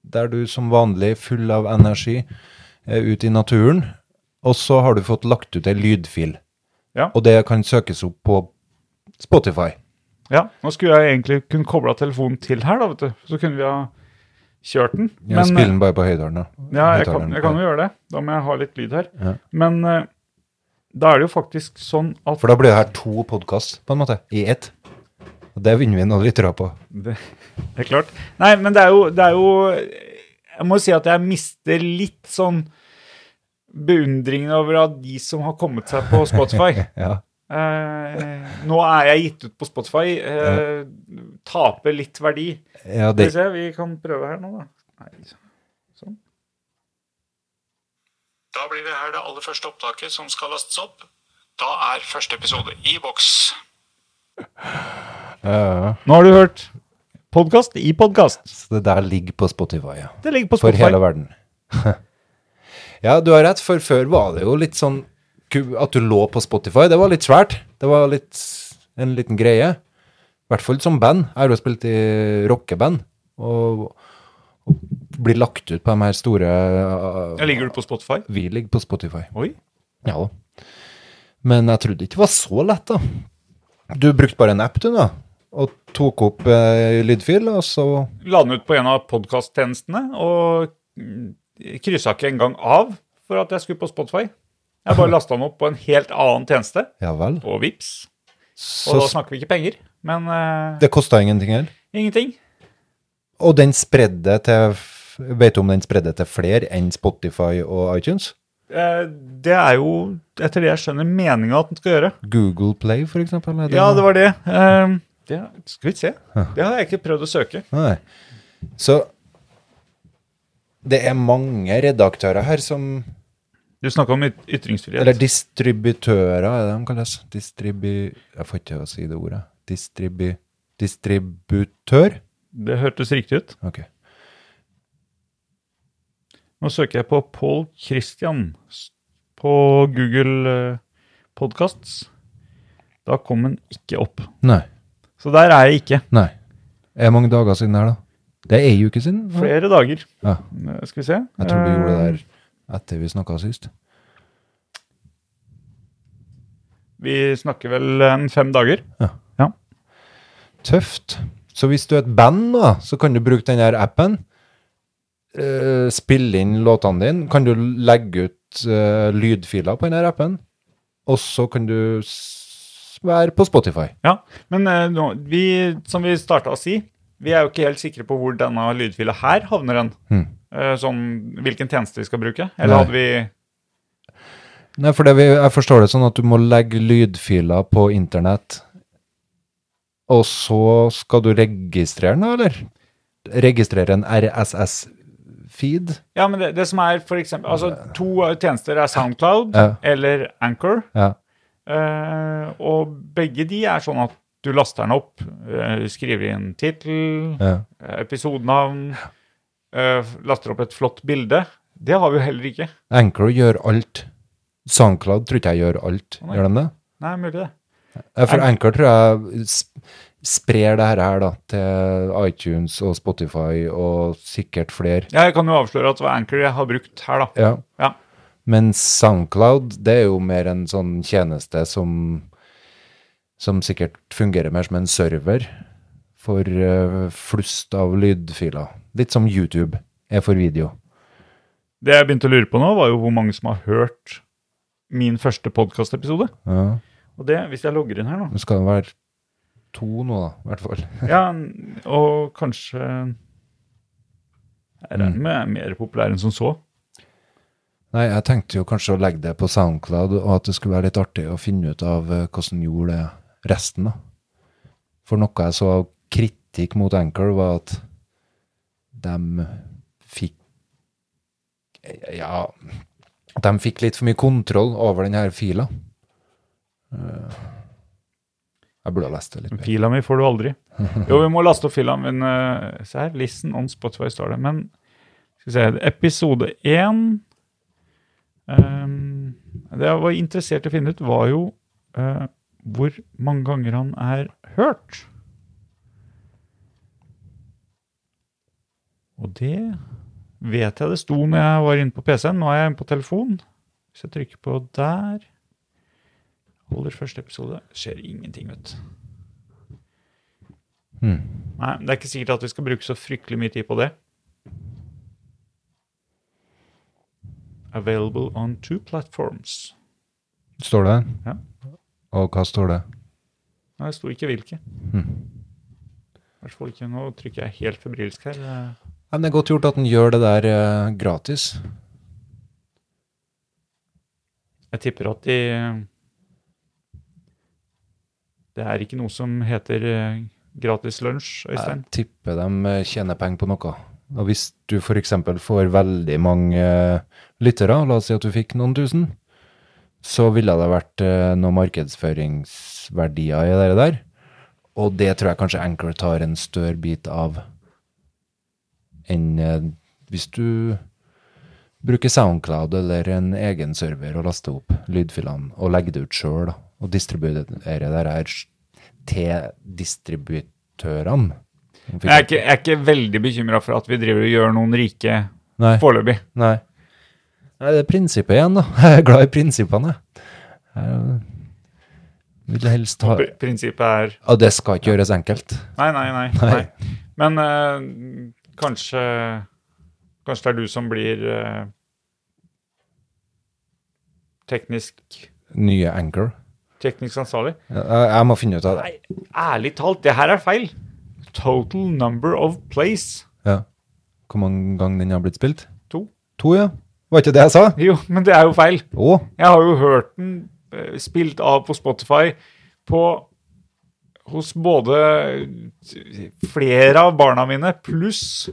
Speaker 2: Der du som vanlig, full av energi, er ute i naturen. Og så har du fått lagt ut ei lydfil.
Speaker 1: Ja.
Speaker 2: Og det kan søkes opp på Spotify.
Speaker 1: Ja, nå skulle jeg egentlig kunne kobla telefonen til her, da, vet du. Så kunne vi ha kjørt den. eh,
Speaker 2: Ja, Spill den bare på høydalen, da.
Speaker 1: Ja, jeg
Speaker 2: Høyttaleren.
Speaker 1: kan, jeg kan jo gjøre det. Da må jeg ha litt lyd her.
Speaker 2: Ja.
Speaker 1: Men eh, da er det jo faktisk sånn at
Speaker 2: For da blir det her to podkast, på en måte, i ett. Og det vinner vi noen lyttere på.
Speaker 1: det, det er klart. Nei, men det er jo, det er jo Jeg må jo si at jeg mister litt sånn beundringen over at de som har kommet seg på Spotify.
Speaker 2: Ja.
Speaker 1: Eh, nå er jeg gitt ut på Spotify. Eh, Taper litt verdi.
Speaker 2: ja
Speaker 1: Skal vi
Speaker 2: det,
Speaker 1: se, vi kan prøve her nå, da. Nei. sånn.
Speaker 3: Da blir det her det aller første opptaket som skal lastes opp. Da er første episode i boks.
Speaker 2: ja, ja.
Speaker 1: Nå har du hørt podkast i podkast.
Speaker 2: Så det der ligger på Spotify, ja.
Speaker 1: Det ligger på
Speaker 2: For
Speaker 1: Spotify.
Speaker 2: hele verden. Ja, du har rett, for før var det jo litt sånn ku- at du lå på Spotify. Det var litt svært. Det var litt, en liten greie. I hvert fall som band. Jeg har jo spilt i rockeband. Og, og blir lagt ut på de her store eh,
Speaker 1: Ja, ligger du på Spotify?
Speaker 2: Vi ligger på Spotify.
Speaker 1: Oi.
Speaker 2: Ja da. Men jeg trodde ikke det var så lett, da. Du brukte bare en app, du, da. Og tok opp eh, lydfil, og så
Speaker 1: La den ut på en av podkasttjenestene og mm, kryssa ikke engang av for at jeg skulle på Spotify. Jeg bare lasta den opp på en helt annen tjeneste,
Speaker 2: Ja vel.
Speaker 1: og vips. Og
Speaker 2: Så
Speaker 1: da snakker vi ikke penger, men eh,
Speaker 2: det kosta ingenting heller.
Speaker 1: ingenting.
Speaker 2: Og den spredde til Vet du om den spredde til flere enn Spotify og iTunes?
Speaker 1: Eh, det er jo, etter det jeg skjønner, meninga at den skal gjøre.
Speaker 2: Google Play, for eksempel? er
Speaker 1: Ja, det var det. Ehm, det skal vi se. Det har jeg ikke prøvd å søke.
Speaker 2: Nei. Så det er mange redaktører her som
Speaker 1: Du snakka om yt- ytringsfrihet.
Speaker 2: Eller distributører, er det de kalles? Distribu... Jeg får ikke til å si det ordet. Distribu... Distributør?
Speaker 1: det hørtes riktig ut.
Speaker 2: Ok.
Speaker 1: Nå søker jeg på Paul Christian s- på Google eh, Podcasts. Da kom den ikke opp.
Speaker 2: Nei.
Speaker 1: Så der er jeg ikke.
Speaker 2: Nei. Er det mange dager siden her, da? Det er ei uke siden? hva?
Speaker 1: Flere dager.
Speaker 2: Ja.
Speaker 1: Eh, Skal vi se.
Speaker 2: Jeg tror du gjorde det
Speaker 1: Eh,
Speaker 2: der etter vi snakka sist.
Speaker 1: Vi snakker vel eh, en fem dager.
Speaker 2: Tøft. Så hvis du er et band, da, så kan du bruke den her appen. eh, spille inn låtene dine. Kan du legge ut eh, lydfiler på den her appen? Og så kan du s være på Spotify.
Speaker 1: Ja, men eh, nå, vi, som vi starta å si, vi er jo ikke helt sikre på hvor denne lydfila her havner hen.
Speaker 2: Hmm.
Speaker 1: Eh, Sånn, hvilken tjeneste vi skal bruke. Eller
Speaker 2: Nei.
Speaker 1: hadde vi
Speaker 2: Nei, for det vi, jeg forstår det sånn at du må legge lydfiler på internett, og så skal du registrere den, da, eller? Registrere en RSS-feed?
Speaker 1: Ja, men det, det som er for eksempel Altså, to eh, tjenester er SoundCloud
Speaker 2: Ja.
Speaker 1: eller Anchor.
Speaker 2: Ja.
Speaker 1: eh, og begge de er sånn at du laster den opp, eh, skriver inn tittel,
Speaker 2: ja.
Speaker 1: eh, episodenavn, eh, laster opp et flott bilde. Det har vi jo heller ikke.
Speaker 2: Anchor gjør alt. SoundCloud tror ikke jeg gjør alt.
Speaker 1: Å, nei.
Speaker 2: gjør de det?
Speaker 1: Nei, mulig det.
Speaker 2: Ja, For
Speaker 1: Anch-
Speaker 2: Anchor tror jeg sp- sprer det her her da, til iTunes og Spotify og sikkert flere.
Speaker 1: Ja, jeg kan jo avsløre at det var Anchor jeg har brukt her, da.
Speaker 2: Ja.
Speaker 1: Ja.
Speaker 2: Men SoundCloud, det er jo mer en sånn tjeneste som, som sikkert fungerer mer som en server for eh, flust av lydfiler. Litt som YouTube er for video.
Speaker 1: Det jeg begynte å lure på nå, var jo hvor mange som har hørt min første podkastepisode.
Speaker 2: Ja.
Speaker 1: Og det, hvis jeg logger inn her nå
Speaker 2: Nå skal det være to nå, da, i hvert fall.
Speaker 1: Ja, n- og kanskje Jeg regner med jeg er mer populær enn som så.
Speaker 2: Nei, jeg tenkte jo kanskje å legge det på SoundCloud, og at det skulle være litt artig å finne ut av eh, hvordan gjorde det resten, da. For noe jeg så av kritikk mot Anchor, var at de fikk Ja at De fikk litt for mye kontroll over den her fila. Eh, Jeg burde ha lest det litt
Speaker 1: Men
Speaker 2: mer.
Speaker 1: Fila mi får du aldri. Jo, vi må laste opp fila, men eh, se her. Listen on Spotify står det. Men skal vi se Episode én ehm, Det jeg var interessert i å finne ut, var jo eh, hvor mange ganger han er hørt. Og det vet jeg det sto når jeg var inne på PC-en. Nå er jeg inne på telefon. Hvis jeg trykker på der Holder første episode. Skjer ingenting, vet du.
Speaker 2: Hmm.
Speaker 1: Nei, det er ikke sikkert at vi skal bruke så fryktelig mye tid på det. Available on two platforms.
Speaker 2: Står det?
Speaker 1: Ja.
Speaker 2: Og hva står det?
Speaker 1: Nei, det sto ikke hvilke.
Speaker 2: Hmm.
Speaker 1: I hvert fall ikke nå trykker jeg helt febrilsk her. Eh,
Speaker 2: Ja, men det er godt gjort at den gjør det der eh, gratis.
Speaker 1: Jeg tipper at de Det er ikke noe som heter eh, gratis lunsj, Øystein.
Speaker 2: Jeg tipper de eh, tjener penger på noe. Og hvis du f.eks. får veldig mange eh, lyttere, la oss si at du fikk noen tusen, så ville det vært eh, noen markedsføringsverdier i det der. Og det tror jeg kanskje Anchor tar en større bit av enn eh, hvis du Bruke SoundCloud eller en egen server og laste opp lydfilene og legge det ut sjøl. Og distribuere det her til distributørene.
Speaker 1: Jeg er ikke, jeg er ikke veldig bekymra for at vi driver og gjør noen rike
Speaker 2: Nei.
Speaker 1: foreløpig.
Speaker 2: Nei. Nei, det er prinsippet igjen, da. Jeg er glad i prinsippene. Jeg vil helst ha
Speaker 1: Pr- Prinsippet er
Speaker 2: Ja, det skal ikke gjøres enkelt.
Speaker 1: Nei, nei, nei. nei. Men eh, kanskje Kanskje det er du som blir eh, teknisk,
Speaker 2: Nye anchor.
Speaker 1: teknisk ansvarlig?
Speaker 2: Jeg, jeg må finne ut av det.
Speaker 1: Nei, ærlig talt, det her er feil. Total number of plays.
Speaker 2: Ja. Hvor mange ganger den har blitt spilt?
Speaker 1: To.
Speaker 2: To, ja. Var ikke det jeg sa?
Speaker 1: Jo, men det er jo feil.
Speaker 2: Å,
Speaker 1: Jeg har jo hørt den eh, spilt av på Spotify på hos både flere av barna mine pluss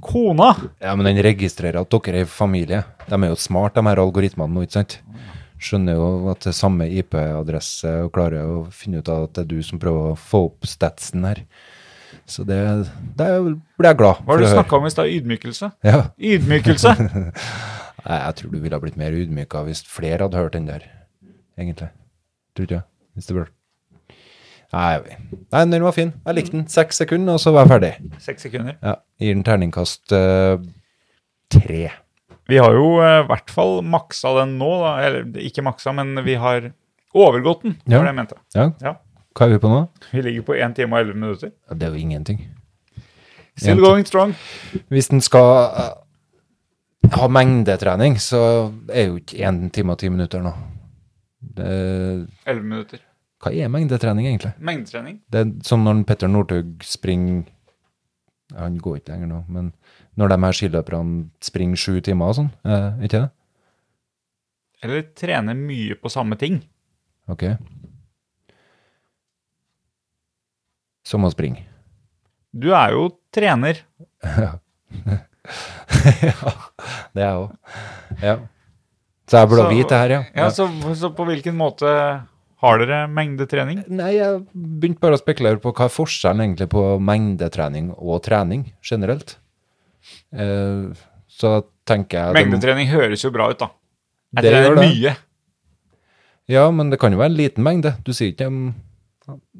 Speaker 1: kona.
Speaker 2: Ja, men den registrerer at dere er i familie. De er jo smart, de her algoritmene nå, ikke sant? Skjønner jo at det er samme IP-adresse og klarer å finne ut av at det er du som prøver å få opp statsen her. Så det, det er jo- blir jeg glad
Speaker 1: Hva
Speaker 2: for
Speaker 1: har du
Speaker 2: å høre.
Speaker 1: snakka om i stad? Ydmykelse?
Speaker 2: Ja.
Speaker 1: Ydmykelse!
Speaker 2: Nei, jeg tror du ville ha blitt mer ydmyka hvis flere hadde hørt den der, egentlig. Tror ikke jeg. Hvis det ble. Nei, jeg vet. Nei, den var fin. Jeg likte den. Seks sekunder, og så var jeg ferdig.
Speaker 1: Seks sekunder.
Speaker 2: Ja, Gir den terningkast eh, tre.
Speaker 1: Vi har jo eh, i hvert fall maksa den nå, da. Eller ikke maksa, men vi har overgått den,
Speaker 2: Ja.
Speaker 1: var det jeg mente.
Speaker 2: Ja,
Speaker 1: Ja.
Speaker 2: hva er vi på nå?
Speaker 1: Vi ligger på 1 time og 11 minutter.
Speaker 2: Ja, Det er jo ingenting.
Speaker 1: Still
Speaker 2: En-
Speaker 1: going strong.
Speaker 2: Hvis den skal eh, ha mengdetrening, så er jo ikke én time og ti minutter nå. Det,
Speaker 1: 11 minutter.
Speaker 2: hva er mengdetrening, egentlig?
Speaker 1: Mengdetrening.
Speaker 2: Det er som når Petter Northug springer ja, Han går ikke lenger nå, men når de her skiløperne springer sju timer og sånn, eh, ikke det?
Speaker 1: Eller trene mye på samme ting.
Speaker 2: Ok. Som å springe.
Speaker 1: Du er jo trener.
Speaker 2: ja, det er jeg òg. Ja. Så jeg burde
Speaker 1: Så-
Speaker 2: vite det her, ja.
Speaker 1: Ja, så, så på hvilken måte har dere mengdetrening?
Speaker 2: Nei, jeg begynte bare å spekulere på hva er forskjellen egentlig på mengdetrening og trening generelt. Eh, så tenker jeg det må-
Speaker 1: Mengdetrening høres jo bra ut, da. Jeg
Speaker 2: Det
Speaker 1: trener
Speaker 2: gjør det.
Speaker 1: mye.
Speaker 2: Ja, men det kan jo være en liten mengde. Du sier ikke um,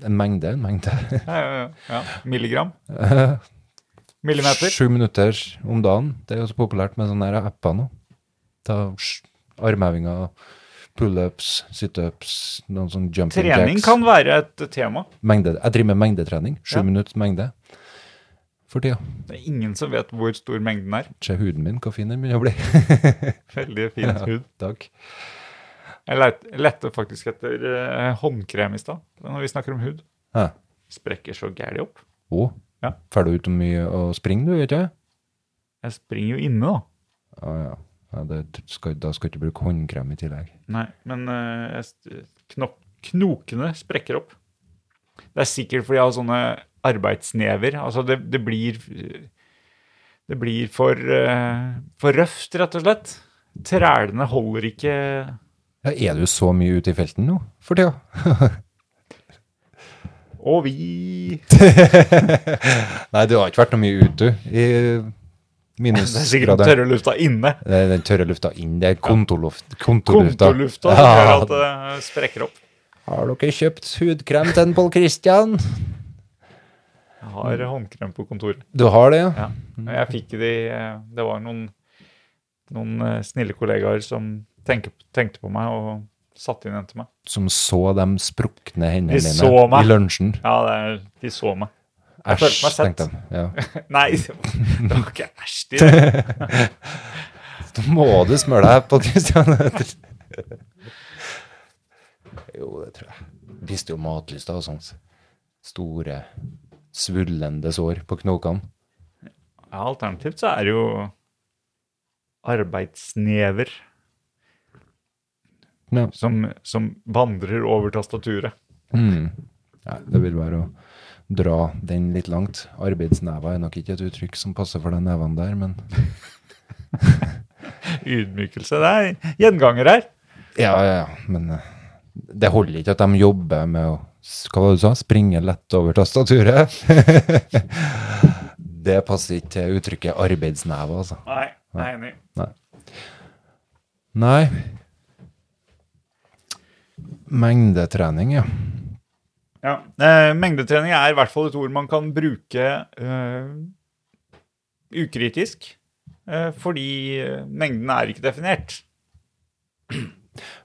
Speaker 2: en mengde, en mengde.
Speaker 1: Ja, ja, ja. ja. Milligram? Millimeter?
Speaker 2: Sju minutter om dagen. Det er jo så populært med sånne her apper nå. Ta sj- armhevinger, pullups, situps, noen sånn jumping
Speaker 1: Trening
Speaker 2: jacks.
Speaker 1: kan være et tema.
Speaker 2: Mengde, jeg driver med mengdetrening. Sju
Speaker 1: Ja.
Speaker 2: minutts mengde. For tida.
Speaker 1: Det er ingen som vet hvor stor mengden er.
Speaker 2: Se huden min, hvor fin den begynner å bli.
Speaker 1: Veldig fin hud.
Speaker 2: Takk.
Speaker 1: Jeg leit- lette faktisk etter eh, håndkrem i stad, når vi snakker om hud.
Speaker 2: Ja.
Speaker 1: Sprekker så gæli opp.
Speaker 2: Å,
Speaker 1: Ja.
Speaker 2: får du ut mye å springe, du, vet du?
Speaker 1: Jeg springer jo inne, da.
Speaker 2: Ja, ja. ja det skal, da skal du ikke bruke håndkrem i tillegg.
Speaker 1: Nei, men eh, jeg, st- knok, knokene sprekker opp. Det er sikkert fordi jeg har sånne arbeidsnever. Altså, det, det blir Det blir for, eh, for røft, rett og slett. Trælene holder ikke
Speaker 2: Ja, er du så mye ute i felten nå for tida?
Speaker 1: Og vi
Speaker 2: Nei, du har ikke vært noe mye ute, du. I
Speaker 1: Det er sikkert den
Speaker 2: minusgrader.
Speaker 1: tørre lufta inne.
Speaker 2: Det er den tørre lufta inn. Det er kontorluft, kontorlufta.
Speaker 1: Kontorlufta som gjør at det sprekker opp.
Speaker 2: Har dere kjøpt hudkrem til en Pål Christian?
Speaker 1: Jeg har håndkrem på kontoret.
Speaker 2: Du har det, ja?
Speaker 1: Ja. Jeg fikk de eh, Det var noen, noen eh, snille kollegaer som tenke, tenkte på meg og satte inn en til meg.
Speaker 2: Som så de sprukne hendene
Speaker 1: De
Speaker 2: dine
Speaker 1: så meg.
Speaker 2: i lunsjen.
Speaker 1: Ja, det er, de så meg.
Speaker 2: Æsj,
Speaker 1: følte meg sett.
Speaker 2: tenkte de. Ja.
Speaker 1: Nei, det var det var ikke æsj. de-
Speaker 2: Da må du smøre deg, Pål Christian. jo, det tror jeg. Visste jo matlyst og sånt. Store, svullende sår på knokene.
Speaker 1: Ja, alternativt så er det jo arbeidsnever
Speaker 2: Ja.
Speaker 1: som, som vandrer over tastaturet.
Speaker 2: Mm. Nei, det vil være å dra den litt langt. Arbeidsneva er nok ikke et uttrykk som passer for de nevene der, men
Speaker 1: Ydmykelse. Det er gjenganger her.
Speaker 2: Ja, ja, ja. Men eh, det holder ikke at de jobber med å s- Hva var det du sa? Springe lett over tastaturet? det passer ikke til uttrykket arbeidsneve, altså.
Speaker 1: Nei, jeg er enig.
Speaker 2: Nei. Nei. Mengdetrening, ja.
Speaker 1: Ja. Eh, mengdetrening er i hvert fall et ord man kan bruke eh, ukritisk, eh, fordi eh, mengden er ikke definert.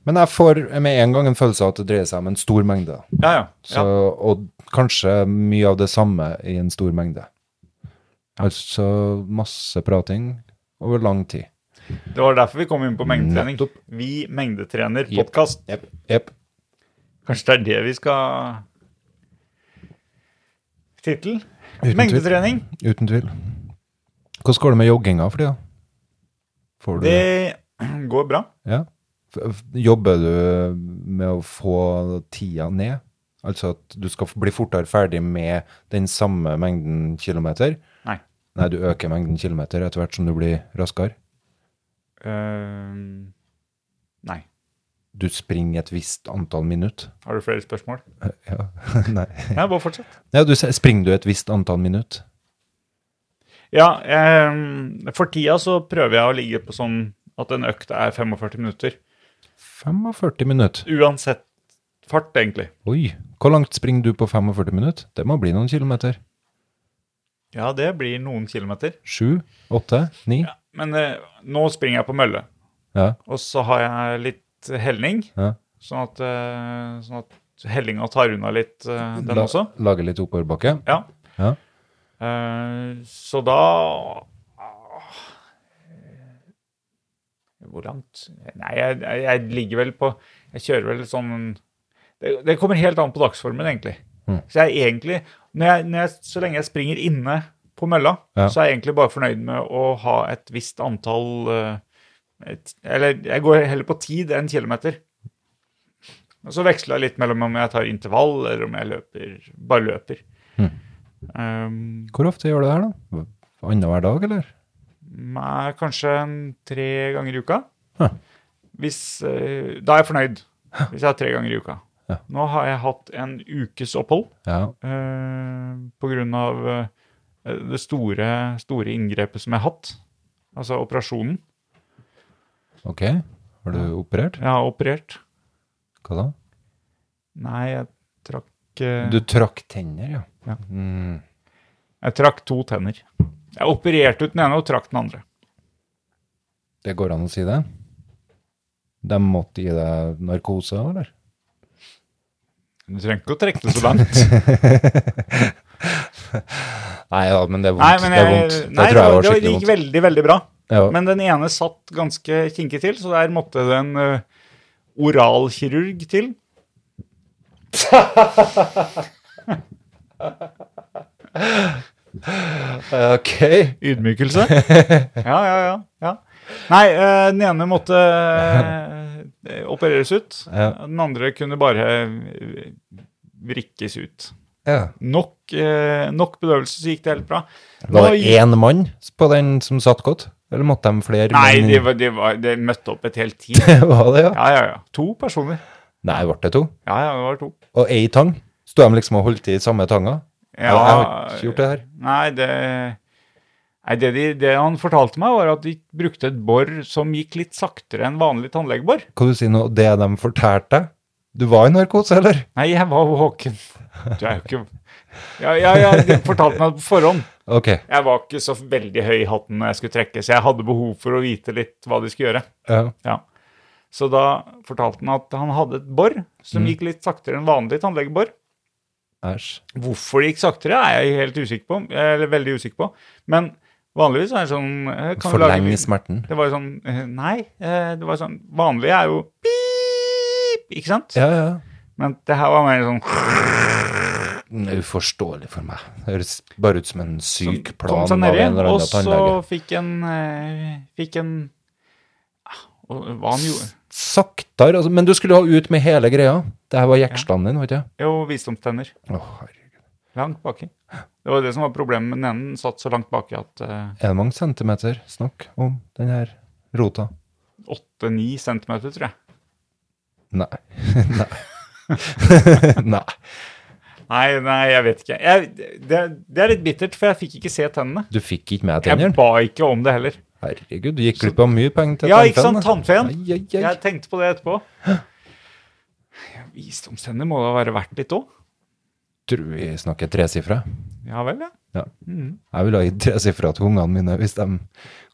Speaker 2: Men jeg får med en gang en følelse av at det dreier seg om en stor mengde.
Speaker 1: Ja, ja.
Speaker 2: Så, Og kanskje mye av det samme i en stor mengde. Altså masse prating over lang tid.
Speaker 1: ja. Det var derfor vi kom inn på mengdetrening. Vi mengdetrener
Speaker 2: Jepp.
Speaker 1: podkast.
Speaker 2: Jepp. Jepp.
Speaker 1: Kanskje det er det vi skal Tittel?
Speaker 2: Uten
Speaker 1: Mengdetrening.
Speaker 2: tvil. Uten tvil. Hvordan går det med jogginga for tida? Får du
Speaker 1: Det går bra.
Speaker 2: Ja. F- f- Jobber du med å få tida ned? Altså at du skal f- bli fortere ferdig med den samme mengden kilometer?
Speaker 1: Nei.
Speaker 2: Nei, du øker mengden kilometer etter hvert som du blir raskere.
Speaker 1: Eh, nei.
Speaker 2: Du springer et visst antall minutt.
Speaker 1: Har du flere spørsmål?
Speaker 2: Ja, nei.
Speaker 1: Nei, bare fortsett.
Speaker 2: Ja, du, s- springer du et visst antall minutt?
Speaker 1: Ja, eh, for tida så prøver jeg å ligge på sånn at en økt er 45 minutter.
Speaker 2: 45 minutt.
Speaker 1: Uansett fart, egentlig.
Speaker 2: Oi, hvor langt springer du på 45 minutt? Det må bli noen kilometer.
Speaker 1: Ja, det blir noen kilometer.
Speaker 2: Sju? Åtte? Ni? Ja.
Speaker 1: Men eh, nå springer jeg på mølle, og så har jeg litt helning.
Speaker 2: Ja.
Speaker 1: Sånn at, eh, sånn at hellinga tar unna litt, eh, den
Speaker 2: La-
Speaker 1: også.
Speaker 2: Lager litt oppoverbakke?
Speaker 1: Ja.
Speaker 2: Ja.
Speaker 1: Eh, så da ah, Hvor langt Nei, jeg, jeg, jeg ligger vel på Jeg kjører vel sånn Det, det kommer helt an på dagsformen, egentlig.
Speaker 2: Mm.
Speaker 1: Så jeg er egentlig når jeg, når jeg, Så lenge jeg springer inne på mølla,
Speaker 2: Ja.
Speaker 1: så er jeg egentlig bare fornøyd med å ha et visst antall eh, et, Eller jeg går heller på tid enn kilometer. Og så veksler jeg litt mellom om jeg tar intervall, eller om jeg løper, bare løper.
Speaker 2: Mm.
Speaker 1: Um,
Speaker 2: Hvor ofte gjør du det her, da? Annenhver dag, eller?
Speaker 1: Nei, kanskje en tre ganger i uka.
Speaker 2: Hæ.
Speaker 1: Hvis, eh, da er jeg fornøyd, hvis jeg har tre ganger i uka.
Speaker 2: Ja.
Speaker 1: Nå har jeg hatt en ukes opphold
Speaker 2: Ja.
Speaker 1: eh, pga. Eh, det store, store inngrepet som jeg har hatt. Altså operasjonen.
Speaker 2: Ok. Har du operert?
Speaker 1: Jeg har operert.
Speaker 2: Hva da?
Speaker 1: Nei, jeg trakk eh,
Speaker 2: Du trakk tenner, ja.
Speaker 1: Ja.
Speaker 2: Mm.
Speaker 1: Jeg trakk to tenner. Jeg opererte ut den ene og trakk den andre.
Speaker 2: Det går an å si det? De måtte gi deg narkose, eller?
Speaker 1: Du trenger ikke å trekke det så langt.
Speaker 2: Nei ja, men det er vondt.
Speaker 1: Nei, men
Speaker 2: det er
Speaker 1: jeg,
Speaker 2: vondt. Det
Speaker 1: nei, det,
Speaker 2: tror jeg var
Speaker 1: det
Speaker 2: skikkelig
Speaker 1: gikk
Speaker 2: vondt.
Speaker 1: veldig, veldig bra.
Speaker 2: Ja.
Speaker 1: Men den ene satt ganske kinkig til, så der måtte det en eh, oralkirurg til.
Speaker 2: Ok.
Speaker 1: Ydmykelse. Ja, ja, ja. ja. Nei, eh, den ene måtte eh, opereres ut.
Speaker 2: Ja.
Speaker 1: Den andre kunne bare eh, vrikkes ut.
Speaker 2: Ja.
Speaker 1: Nok, eh, nok bedøvelse, så gikk det helt bra.
Speaker 2: Var
Speaker 1: Nå-
Speaker 2: det én mann på den som satt godt? Eller måtte de flere?
Speaker 1: Nei, det
Speaker 2: menn inn?
Speaker 1: var, de var, de møtte opp et helt team.
Speaker 2: var det, ja.
Speaker 1: Ja, ja, ja. To personer.
Speaker 2: Nei, ble det to?
Speaker 1: Ja, ja, det var to.
Speaker 2: Og ei tang? Sto de liksom og holdt i samme tanga?
Speaker 1: Ja,
Speaker 2: Jeg har ikke gjort det her.
Speaker 1: Nei, det, nei det, de, det han fortalte meg, var at de brukte et bor som gikk litt saktere enn vanlig tannlegebor.
Speaker 2: Kan du si noe det de fortalte deg? Du var i narkose, eller?
Speaker 1: Nei, jeg var våken. Du er jo ikke Ja, ja, ja de fortalte meg det på forhånd.
Speaker 2: Ok.
Speaker 1: Jeg var ikke så veldig høy i hatten når jeg skulle trekke, så jeg hadde behov for å vite litt hva de skulle gjøre.
Speaker 2: Ja.
Speaker 1: Ja. Så da fortalte han at han hadde et bor som gikk litt saktere enn vanlig tannlegebor.
Speaker 2: Æsj.
Speaker 1: Hvorfor det gikk saktere, er jeg helt usikker på, eller veldig usikker på. Men vanligvis er det sånn eh, kan du lage-
Speaker 2: Forlenge smerten.
Speaker 1: Det var jo sånn eh, Nei, eh, det var sånn Vanlig er jo pip, ikke sant?
Speaker 2: Ja, ja.
Speaker 1: Men det her var mer sånn
Speaker 2: Det er Uforståelig for meg. Det høres bare ut som en syk
Speaker 1: kom
Speaker 2: plan
Speaker 1: seg
Speaker 2: av
Speaker 1: nedi,
Speaker 2: en eller
Speaker 1: og
Speaker 2: annen
Speaker 1: så
Speaker 2: tannlege.
Speaker 1: fikk en eh, Fikk en Ah, og Hva han gjorde
Speaker 2: Saktere, altså. Men du skulle ha ut med hele greia. Det her var jekslene dine, var ikke det?
Speaker 1: Jo, visdomstenner.
Speaker 2: Å, herregud.
Speaker 1: Langt baki. Det var det som var problemet med den ene. Den satt så langt baki at eh,
Speaker 2: Er det mange centimeter snakk om den her rota?
Speaker 1: åtte-ni centimeter, tror jeg.
Speaker 2: Nei. Nei. Nei.
Speaker 1: Nei, nei, jeg vet ikke. Jeg, det, det er litt bittert, for jeg fikk ikke se tennene.
Speaker 2: Du fikk ikke med
Speaker 1: Jeg
Speaker 2: tennene?
Speaker 1: ba ikke om det heller.
Speaker 2: Herregud, du gikk glipp av mye penger til
Speaker 1: Ja, ikke sant? Tannfeen.
Speaker 2: Ai, ai, ai.
Speaker 1: Jeg tenkte på det etterpå. Visdomstenner må da være verdt litt òg?
Speaker 2: Tror vi snakker tresifra.
Speaker 1: Ja vel, ja.
Speaker 2: Ja.
Speaker 1: Mhm.
Speaker 2: Jeg ville ha gitt tresifra til ungene mine hvis de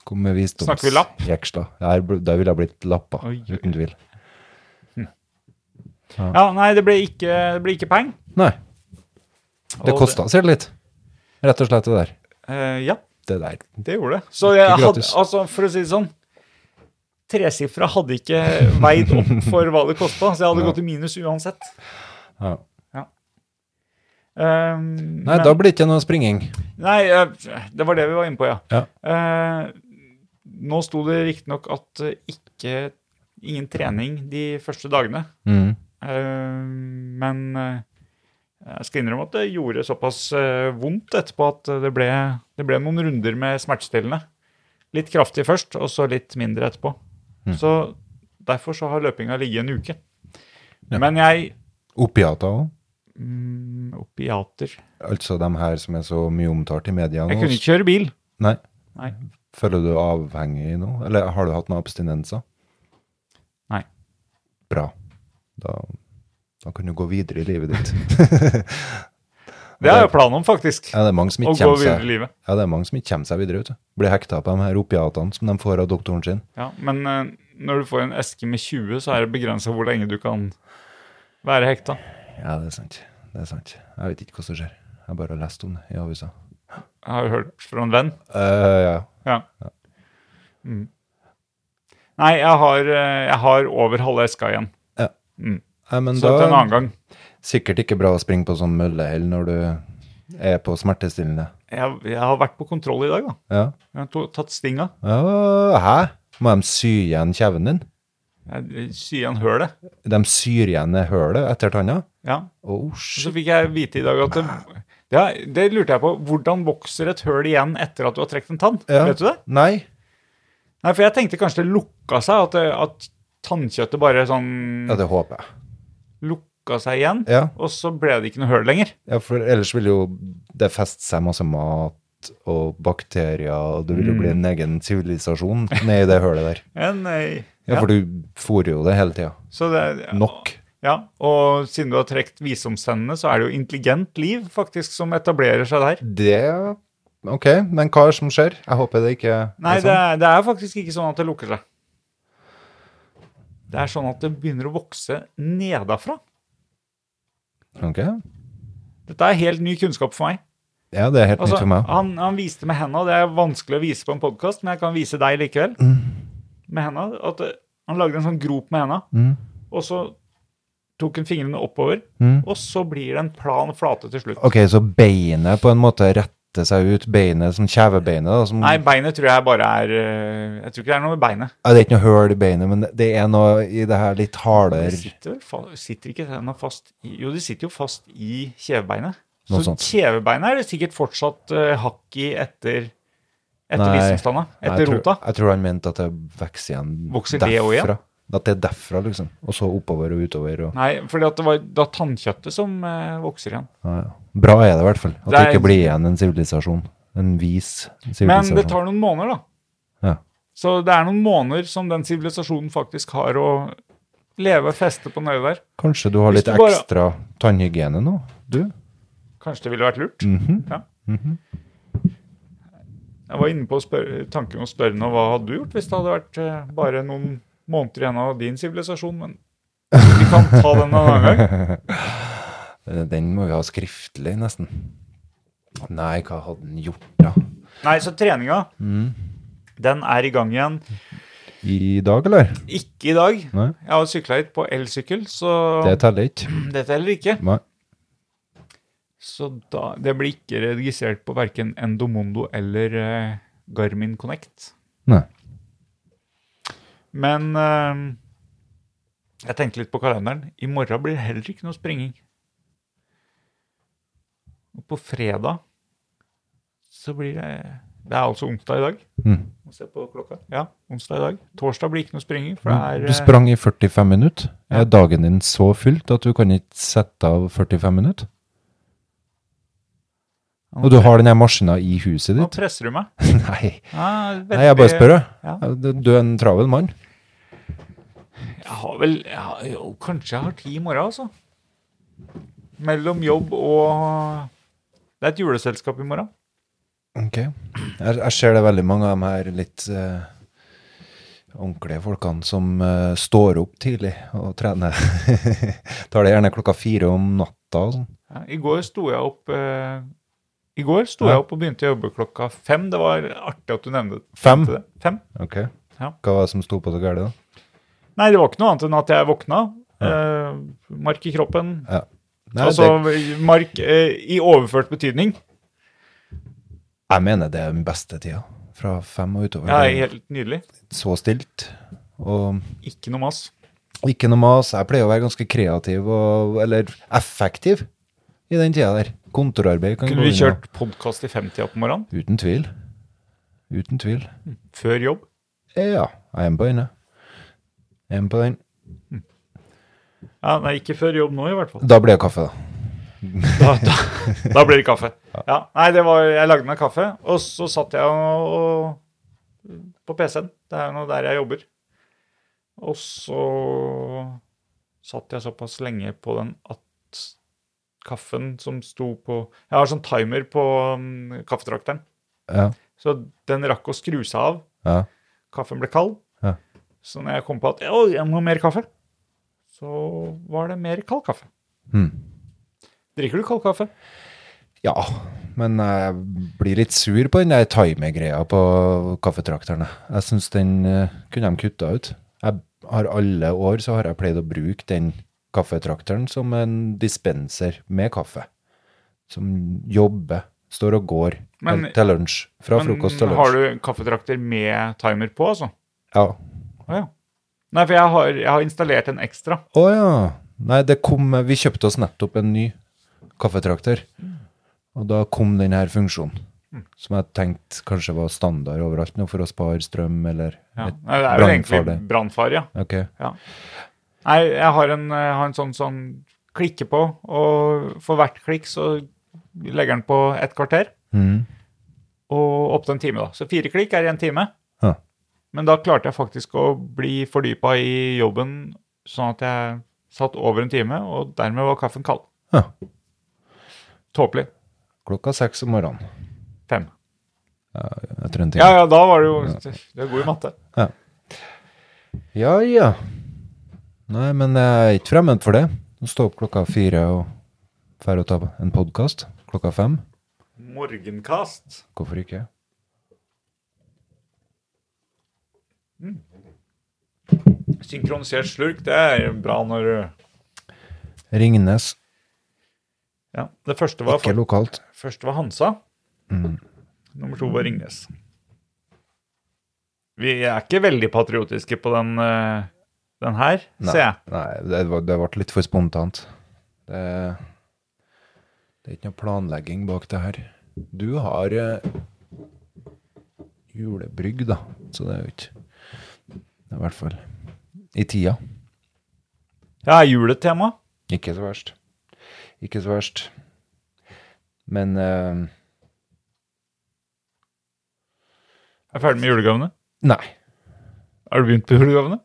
Speaker 2: kom med visdoms...
Speaker 1: Snakker vi lapp?
Speaker 2: Jeksla. Ja, her bl- Da ville jeg blitt lappa,
Speaker 1: Oi, oi,
Speaker 2: uten tvil.
Speaker 1: ja nei, det ble ikke, det ble ikke penger.
Speaker 2: Nei,
Speaker 1: Og
Speaker 2: det kosta seg litt. Rett og slett det der.
Speaker 1: eh, ja,
Speaker 2: Det der.
Speaker 1: det gjorde det. Så jeg hadde,
Speaker 2: gratis.
Speaker 1: altså, for å si det sånn Tresifra hadde ikke veid opp for hva det kosta, så jeg hadde
Speaker 2: Ja.
Speaker 1: gått i minus uansett.
Speaker 2: Ja.
Speaker 1: Um,
Speaker 2: Nei,
Speaker 1: men-
Speaker 2: da blir det ikke noe springing.
Speaker 1: Nei, eh, det var det vi var inne på, ja.
Speaker 2: Ja.
Speaker 1: Eh, nå sto det riktignok at eh, ikke Ingen trening de første dagene.
Speaker 2: Mm.
Speaker 1: Eh, men eh, jeg skal innrømme at det gjorde såpass eh, vondt etterpå at det ble, det ble noen runder med smertestillende. Litt kraftig først, og så litt mindre etterpå.
Speaker 2: Mm.
Speaker 1: Så derfor så har løpinga ligget en uke.
Speaker 2: Ja.
Speaker 1: Men jeg
Speaker 2: Opiater òg.
Speaker 1: mm, Opiater
Speaker 2: Altså de her som er så mye omtalt i media nå.
Speaker 1: Jeg kunne ikke kjøre bil.
Speaker 2: Nei.
Speaker 1: Nei.
Speaker 2: Føler du deg avhengig nå? Eller har du hatt noen abstinenser?
Speaker 1: Nei.
Speaker 2: Bra. Da, da kan du gå videre i livet ditt.
Speaker 1: Det er jo planen om, faktisk.
Speaker 2: Ja, det er mange som
Speaker 1: Å
Speaker 2: ikke
Speaker 1: gå
Speaker 2: kommer
Speaker 1: videre
Speaker 2: seg,
Speaker 1: i livet.
Speaker 2: ja, det er mange som ikke kommer seg videre ut. Blir hekta på de her opiatene som de får av doktoren sin.
Speaker 1: Ja, men eh, når du får en eske med 20, så er det begrensa hvor lenge du kan være hekta.
Speaker 2: Ja, det er sant. Det er sant. Jeg vet ikke hva som skjer. Jeg har bare lest om det i avisa.
Speaker 1: Jeg har hørt fra en venn.
Speaker 2: Eh, ja.
Speaker 1: Ja. Mm. Nei, jeg har, eh, jeg har over halve eska igjen.
Speaker 2: Ja.
Speaker 1: Mm.
Speaker 2: Nei, men
Speaker 1: Så til en
Speaker 2: da
Speaker 1: annen gang.
Speaker 2: Sikkert ikke bra å springe på sånn møllehell når du er på smertestillende.
Speaker 1: Jeg, jeg har vært på kontroll i dag, da.
Speaker 2: Ja.
Speaker 1: Jeg har to, tatt stinga.
Speaker 2: Ja, hæ? Må de sy igjen kjeven din?
Speaker 1: Jeg sier igjen hølet.
Speaker 2: De syr igjen det hølet etter tanna?
Speaker 1: Ja.
Speaker 2: Oh,
Speaker 1: Og
Speaker 2: shit.
Speaker 1: så fikk jeg vite i dag at det, ja, det lurte jeg på. Hvordan vokser et høl igjen etter at du har trukket en tann?
Speaker 2: Ja.
Speaker 1: Vet du det?
Speaker 2: Nei,
Speaker 1: Nei, for jeg tenkte kanskje det lukka seg, at, det- at tannkjøttet bare sånn
Speaker 2: ja, det håper jeg.
Speaker 1: lukka seg igjen,
Speaker 2: Ja,
Speaker 1: og så ble det ikke noe høl lenger.
Speaker 2: ja for ellers vil jo det feste seg masse mat og bakterier, og det vil jo bli en
Speaker 1: Mm.
Speaker 2: egen sivilisasjon nedi det hølet der.
Speaker 1: Ja, nei.
Speaker 2: Ja,
Speaker 1: Ja.
Speaker 2: for du fôrer jo det hele tida.
Speaker 1: eh, Så det, er-
Speaker 2: Nok.
Speaker 1: Ja, og siden du har trukket visdomstennene, så er det jo intelligent liv faktisk som etablerer seg der.
Speaker 2: Det Ok, men hva er det som skjer? Jeg håper det ikke
Speaker 1: Nei, det
Speaker 2: er sånn.
Speaker 1: er, det er faktisk ikke sånn at det lukker seg. Det er sånn at det begynner å vokse nedafra.
Speaker 2: Ok.
Speaker 1: Dette er helt ny kunnskap for meg.
Speaker 2: Ja, det er helt nytt
Speaker 1: Altså,
Speaker 2: for meg.
Speaker 1: han, han viste med henda, og det er vanskelig å vise på en podkast, men jeg kan vise deg likevel. Med henda, at eh, Han lagde en sånn grop med henda,
Speaker 2: Mm.
Speaker 1: og så tok han fingrene oppover,
Speaker 2: Mm.
Speaker 1: og så blir det en plan flate til slutt.
Speaker 2: Ok, så beinet på en måte retter seg ut, beinet som kjevebeinet da, som,
Speaker 1: Nei, beinet tror jeg bare er eh, Jeg tror ikke det er noe med beinet.
Speaker 2: Ja, det er ikke noe høl i beinet, men det er noe i det her litt
Speaker 1: De
Speaker 2: hardere
Speaker 1: sitter, vel fa- sitter ikke tenna fast i Jo, de sitter jo fast i kjevebeinet.
Speaker 2: Noe
Speaker 1: Så
Speaker 2: sånt.
Speaker 1: kjevebeinet er det sikkert fortsatt eh, hakk i etter etter
Speaker 2: Nei.
Speaker 1: visdomstanna.
Speaker 2: Nei,
Speaker 1: Etter
Speaker 2: jeg tror-
Speaker 1: rota.
Speaker 2: Jeg tror han mente at det vokser igjen
Speaker 1: Vokser det også igjen?
Speaker 2: At det er derfra, liksom. Og så oppover og utover. Og,
Speaker 1: Nei, for det var da tannkjøttet som eh, vokser igjen.
Speaker 2: ja, ja. Bra er det i hvert fall. At det,
Speaker 1: Det er-
Speaker 2: ikke blir igjen en sivilisasjon. En vis
Speaker 1: Men
Speaker 2: sivilisasjon.
Speaker 1: det tar noen måneder, da.
Speaker 2: Ja.
Speaker 1: Så det er noen måneder som den sivilisasjonen faktisk har å leve og feste på nøye der.
Speaker 2: Kanskje du har
Speaker 1: Hvis
Speaker 2: litt
Speaker 1: du bare-
Speaker 2: ekstra tannhygiene nå, du?
Speaker 1: Kanskje det ville vært lurt.
Speaker 2: Mhm.
Speaker 1: Ja. Jeg var inne på å spørre, tanken om å spørre henne hva hadde du gjort hvis det hadde vært eh, bare noen måneder igjen av din sivilisasjon, men vi kan ta den en annen gang.
Speaker 2: Eh, Den må vi ha skriftlig, nesten. Nei, hva hadde han gjort da?
Speaker 1: Nei, så treninga,
Speaker 2: Mhm.
Speaker 1: den er i gang igjen.
Speaker 2: I dag, eller?
Speaker 1: Ikke i dag.
Speaker 2: Nei.
Speaker 1: Jeg har sykla hit på elsykkel, så
Speaker 2: Det teller ikke.
Speaker 1: dette heller ikke.
Speaker 2: Nei.
Speaker 1: Så da, det blir ikke registrert på verken Endomondo eller eh, Garmin Connect.
Speaker 2: Nei.
Speaker 1: Men eh, jeg tenkte litt på kalenderen. I morgen blir det heller ikke noe springing. Og på fredag så blir det Det er altså onsdag i dag.
Speaker 2: Mm.
Speaker 1: Må se på klokka. Ja, onsdag i dag. Torsdag blir ikke noe springing, for det er
Speaker 2: Mm, Du
Speaker 1: eh,
Speaker 2: sprang i 45 minutter.
Speaker 1: ja.
Speaker 2: Er dagen din så fylt at du kan ikke sette av 45 minutter? Og du har den her maskina i huset
Speaker 1: eh, Nå
Speaker 2: ditt?
Speaker 1: presser du meg.
Speaker 2: Nei,
Speaker 1: Ja, veldig,
Speaker 2: Nei jeg bare spør,
Speaker 1: Ja.
Speaker 2: jeg. Du- Du er en travel mann.
Speaker 1: Jeg har vel jeg har, jo, Kanskje jeg har ti i morgen, altså. Mellom jobb og Det er et juleselskap i morgen.
Speaker 2: Ok. Jeg, jeg ser det veldig mange av de her litt eh, ordentlige folkene som eh, står opp tidlig og trener. Tar det gjerne klokka fire om natta og sånn.
Speaker 1: Ja, I går sto jeg opp eh, I går sto
Speaker 2: Ja.
Speaker 1: jeg opp og begynte å jobbe klokka fem. Det var artig at du nevnte
Speaker 2: Fem?
Speaker 1: det. Fem?
Speaker 2: Ok.
Speaker 1: Ja.
Speaker 2: Hva var det som sto på så gærent, da?
Speaker 1: Nei, det var ikke noe annet enn at jeg våkna. Eh, mark i kroppen.
Speaker 2: Nei,
Speaker 1: altså mark eh, i overført betydning.
Speaker 2: det, jeg mener det er den beste tida. Fra fem og utover.
Speaker 1: Ja,
Speaker 2: Det er
Speaker 1: helt nydelig.
Speaker 2: Så stilt. Og
Speaker 1: Ikke noe mas.
Speaker 2: ikke noe mas. Jeg pleier å være ganske kreativ og Eller effektiv i den tida der. Kontorarbeid kan
Speaker 1: Kunne
Speaker 2: gå
Speaker 1: vi
Speaker 2: unna.
Speaker 1: kjørt podkast i femtida på morgenen?
Speaker 2: Uten tvil. Uten tvil. Eh,
Speaker 1: Før jobb?
Speaker 2: Ja, jeg er med på den, jeg. Jeg er med på den.
Speaker 1: Ja, Nei, ikke før jobb nå, i hvert fall.
Speaker 2: Da blir det kaffe, da.
Speaker 1: Da, da, da blir det kaffe. Ja, Nei, det var Jeg lagde meg kaffe, og så satt jeg og, og på PC-en. Det er jo nå der jeg jobber. Og så satt jeg såpass lenge på den at kaffen som sto på Jeg har sånn timer på mm, kaffetrakteren.
Speaker 2: Ja,
Speaker 1: Så den rakk å skru seg av.
Speaker 2: ja.
Speaker 1: Kaffen ble kald.
Speaker 2: Ja.
Speaker 1: Så når jeg kom på at «Å, jeg må ha mer kaffe, så var det mer kald kaffe.
Speaker 2: Hmm.
Speaker 1: Drikker du kald kaffe?
Speaker 2: ja. Men jeg blir litt sur på den der timer-greia på kaffetrakterne. Jeg syns den eh, kunne de kutta ut. Jeg har alle år så har jeg pleid å bruke den kaffetrakteren som en dispenser med kaffe. Som jobber, står og går
Speaker 1: Men-
Speaker 2: til- til lunsj. Fra frokost til
Speaker 1: Men
Speaker 2: lunsj.
Speaker 1: har du kaffetrakter med timer på, altså?
Speaker 2: Ja.
Speaker 1: Å ja. Nei, for jeg har, jeg har installert en ekstra.
Speaker 2: Å ja. Nei, det kom Vi kjøpte oss nettopp en ny kaffetrakter. Og da kom den her funksjonen.
Speaker 1: Mm.
Speaker 2: Som jeg tenkte kanskje var standard overalt nå, for å spare strøm eller
Speaker 1: Ja.
Speaker 2: et-
Speaker 1: Nei, det er jo egentlig
Speaker 2: brannfarlig.
Speaker 1: brannfare, ja.
Speaker 2: Ok.
Speaker 1: Nei, jeg har en, jeg har en sånn, sånn klikke på, og for hvert klikk så legger den på et kvarter.
Speaker 2: Mm.
Speaker 1: og opp til en time, da. Så fire klikk er én time.
Speaker 2: Ja.
Speaker 1: Men da klarte jeg faktisk å bli fordypa i jobben, sånn at jeg satt over en time, og dermed var kaffen kald.
Speaker 2: Ja.
Speaker 1: Tåpelig.
Speaker 2: Klokka seks om morgenen.
Speaker 1: Fem.
Speaker 2: Etter en time.
Speaker 1: Ja, ja, da var det jo Du er god i matte.
Speaker 2: Ja, ja. Nei, men jeg er ikke fremmed for det. Å stå opp klokka fire og dra og ta en podkast klokka fem.
Speaker 1: Morgenkast.
Speaker 2: Hvorfor ikke?
Speaker 1: Synkronisert slurk, det er jo bra når du
Speaker 2: Ringnes,
Speaker 1: Ja. Det første var,
Speaker 2: ikke lokalt.
Speaker 1: første var Hansa.
Speaker 2: Mm.
Speaker 1: Nummer to var Ringnes. Vi er ikke veldig patriotiske på den, eh, den her,
Speaker 2: Nei,
Speaker 1: ser jeg.
Speaker 2: nei det, var, det ble litt for spontant. Det, det er ikke noe planlegging bak det her. Du har eh, julebrygg, da, så det er jo ikke Det er i hvert fall i tida.
Speaker 1: Ja, er juletema?
Speaker 2: Ikke så verst. Ikke så verst. Men eh,
Speaker 1: Er ferdig med julegavene?
Speaker 2: Nei.
Speaker 1: Har du begynt på julegavene?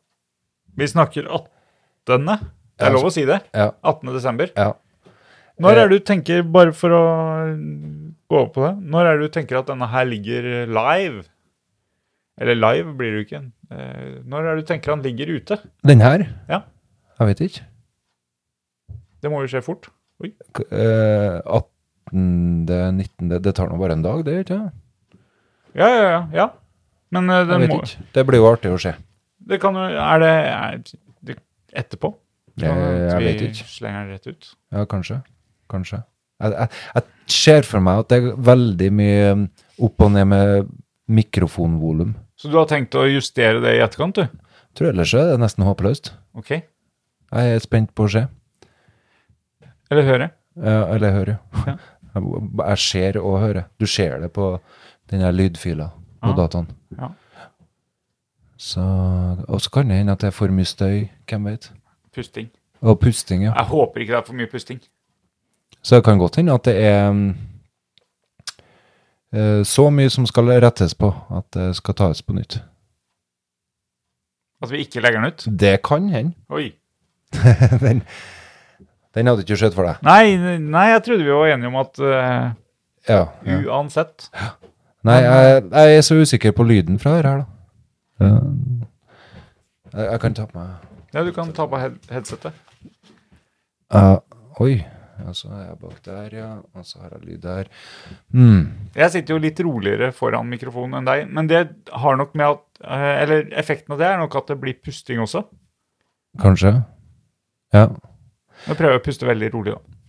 Speaker 1: Vi snakker 18. Det er
Speaker 2: Ja,
Speaker 1: lov å si det.
Speaker 2: Ja.
Speaker 1: 18. desember.
Speaker 2: ja. Eh,
Speaker 1: Når er det du tenker, bare for å gå over på det, når er det du tenker at denne her ligger live? Eller live blir det jo ikke. Eh, Når er det du tenker han ligger ute?
Speaker 2: Den her?
Speaker 1: Ja.
Speaker 2: Jeg vet ikke.
Speaker 1: Det må jo skje fort.
Speaker 2: K- eh, 18., 19. Det tar nå bare en dag, det, gjør ikke det?
Speaker 1: Ja, ja, ja. ja. Men eh, det,
Speaker 2: Jeg vet
Speaker 1: må,
Speaker 2: ikke. Det blir jo artig å se.
Speaker 1: det kan jo Er det, er det etterpå?
Speaker 2: Jeg, Eh, jeg vet ikke.
Speaker 1: Vi slenger den rett ut.
Speaker 2: Ja, kanskje. Kanskje. Jeg, jeg, jeg ser for meg at det er veldig mye um, opp og ned med mikrofonvolum.
Speaker 1: Så du har tenkt å justere det i etterkant, du?
Speaker 2: Tror ellers er det nesten håpløst.
Speaker 1: OK.
Speaker 2: Jeg er spent på å se.
Speaker 1: Eller høre?
Speaker 2: Ja, eller høre.
Speaker 1: Ja.
Speaker 2: Jeg, jeg ser og hører. Du ser det på den her lydfila på
Speaker 1: Ja.
Speaker 2: dataen.
Speaker 1: Ah. Ja.
Speaker 2: Så, og så kan det hende at det er for mye støy, hvem vet.
Speaker 1: Pusting.
Speaker 2: Og pusting, ja.
Speaker 1: Jeg håper ikke det er for mye pusting.
Speaker 2: Så det kan godt hende at det er um, eh, så mye som skal rettes på at det skal tas på nytt.
Speaker 1: At vi ikke legger den ut?
Speaker 2: Det kan hende.
Speaker 1: Oi.
Speaker 2: den, den hadde du ikke sett for deg.
Speaker 1: Nei, nei, jeg trodde vi var enige om at eh,
Speaker 2: Ja. ja.
Speaker 1: uansett
Speaker 2: Nei, jeg, jeg er så usikker på lyden fra her, her da. Jeg, jeg kan ta på meg
Speaker 1: Ja, du kan ta på head headsetet.
Speaker 2: Ja, Oi. Og så er jeg bak der, ja. Og så har jeg lyd der. Mm.
Speaker 1: Jeg sitter jo litt roligere foran mikrofonen enn deg, men det har nok med at eh, Eller effekten av det er nok at det blir pusting også.
Speaker 2: Kanskje. Ja.
Speaker 1: Nå prøver jeg å puste veldig rolig, da.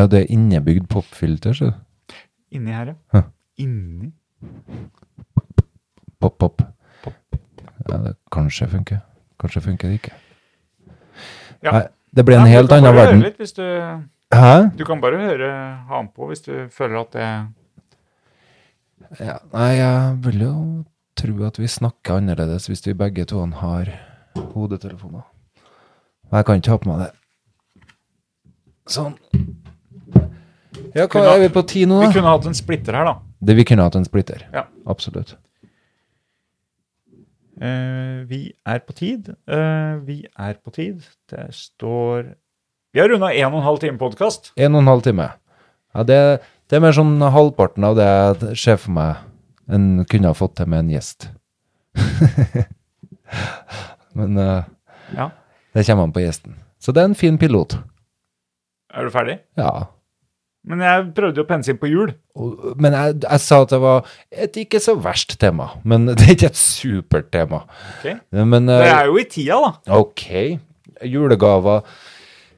Speaker 2: ja, det er innebygd popfilter, så.
Speaker 1: Inni her, ja.
Speaker 2: Hæ.
Speaker 1: Inni?
Speaker 2: Pop, pop. Ja, det kanskje funker. Kanskje funker det ikke.
Speaker 1: Ja.
Speaker 2: Nei, det blir en
Speaker 1: Nei,
Speaker 2: helt annen
Speaker 1: Du kan bare
Speaker 2: verden.
Speaker 1: høre litt hvis du
Speaker 2: Hæ?
Speaker 1: Du kan bare høre ha den på hvis du føler at det
Speaker 2: Ja, nei, jeg vil jo tro at vi snakker annerledes hvis vi begge to har hodetelefoner. Men jeg kan ikke ha på meg det. Sånn. Ja, hva
Speaker 1: Kunne-
Speaker 2: er vi på ti nå,
Speaker 1: Vi
Speaker 2: da?
Speaker 1: kunne hatt en splitter her, da.
Speaker 2: Det, vi kunne hatt en splitter.
Speaker 1: Ja.
Speaker 2: Absolutt.
Speaker 1: Eh, vi er på tid. Eh, vi er på tid. Det står Vi har runda en og en halv time podkast.
Speaker 2: En og en halv time. Ja, det, det er mer sånn halvparten av det jeg ser for meg en kunne ha fått til med en gjest. Men eh,
Speaker 1: Ja.
Speaker 2: det kommer an på gjesten. Så det er en fin pilot.
Speaker 1: Er du ferdig?
Speaker 2: Ja.
Speaker 1: Men jeg prøvde jo å pense inn på jul.
Speaker 2: Og- Men jeg, jeg sa at det var et ikke så verst tema. Men det er ikke et supert tema.
Speaker 1: Ok.
Speaker 2: Men eh,
Speaker 1: Det er jo i tida, da.
Speaker 2: OK. Julegaver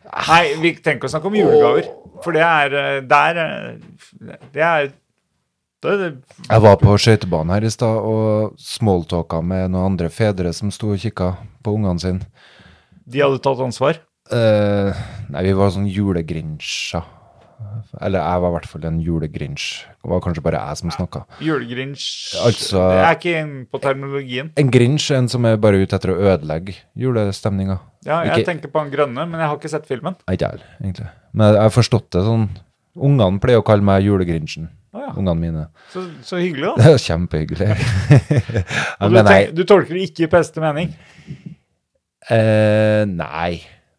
Speaker 1: Nei, vi tenker å snakke om julegaver. For det er eh, Der eh, Det er det, det,
Speaker 2: Jeg var på skøytebanen her i stad og smalltalka med noen andre fedre som sto og kikka på ungene sine.
Speaker 1: De hadde tatt ansvar.
Speaker 2: Eh, nei, vi var sånn julegrinsja. Eller jeg var i hvert fall en julegrinsj. Det var kanskje bare jeg som snakka.
Speaker 1: Julegrinsj
Speaker 2: Altså-
Speaker 1: Jeg er ikke inne på terminologien.
Speaker 2: En grinsj er en som er bare ute etter å ødelegge julestemninga.
Speaker 1: Ja, jeg
Speaker 2: Ikke-
Speaker 1: tenker på han grønne, men jeg har ikke sett filmen.
Speaker 2: Nei, Ikke jeg heller, egentlig. Men jeg har forstått det sånn. Ungene pleier å kalle meg julegrinsjen.
Speaker 1: Å ja.
Speaker 2: Ungene mine.
Speaker 1: Så, så hyggelig, da.
Speaker 2: Det er kjempehyggelig.
Speaker 1: Og du,
Speaker 2: jeg mener,
Speaker 1: tenk, du tolker det ikke i beste mening.
Speaker 2: Eh, nei. nei,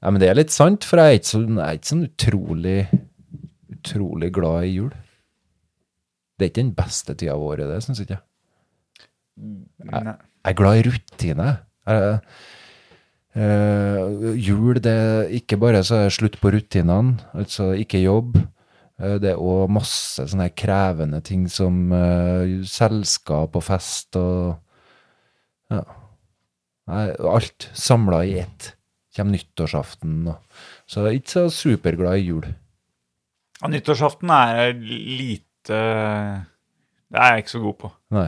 Speaker 2: men det er litt sant, for jeg er ikke sånn, jeg er ikke sånn utrolig, utrolig glad i jul. Det er ikke den beste tida av året, det syns jeg ikke.
Speaker 1: Nei.
Speaker 2: Jeg er glad i rutine. Jeg- eh, jul, det er ikke bare så er det slutt på rutinene, altså ikke jobb. Eh, det er òg masse sånne her krevende ting som eh, selskap og fest og Ja. Nei, alt samla i ett. Kjem nyttårsaften og Så jeg er ikke så superglad i jul.
Speaker 1: Og Nyttårsaften er lite Det er jeg ikke så god på.
Speaker 2: Nei.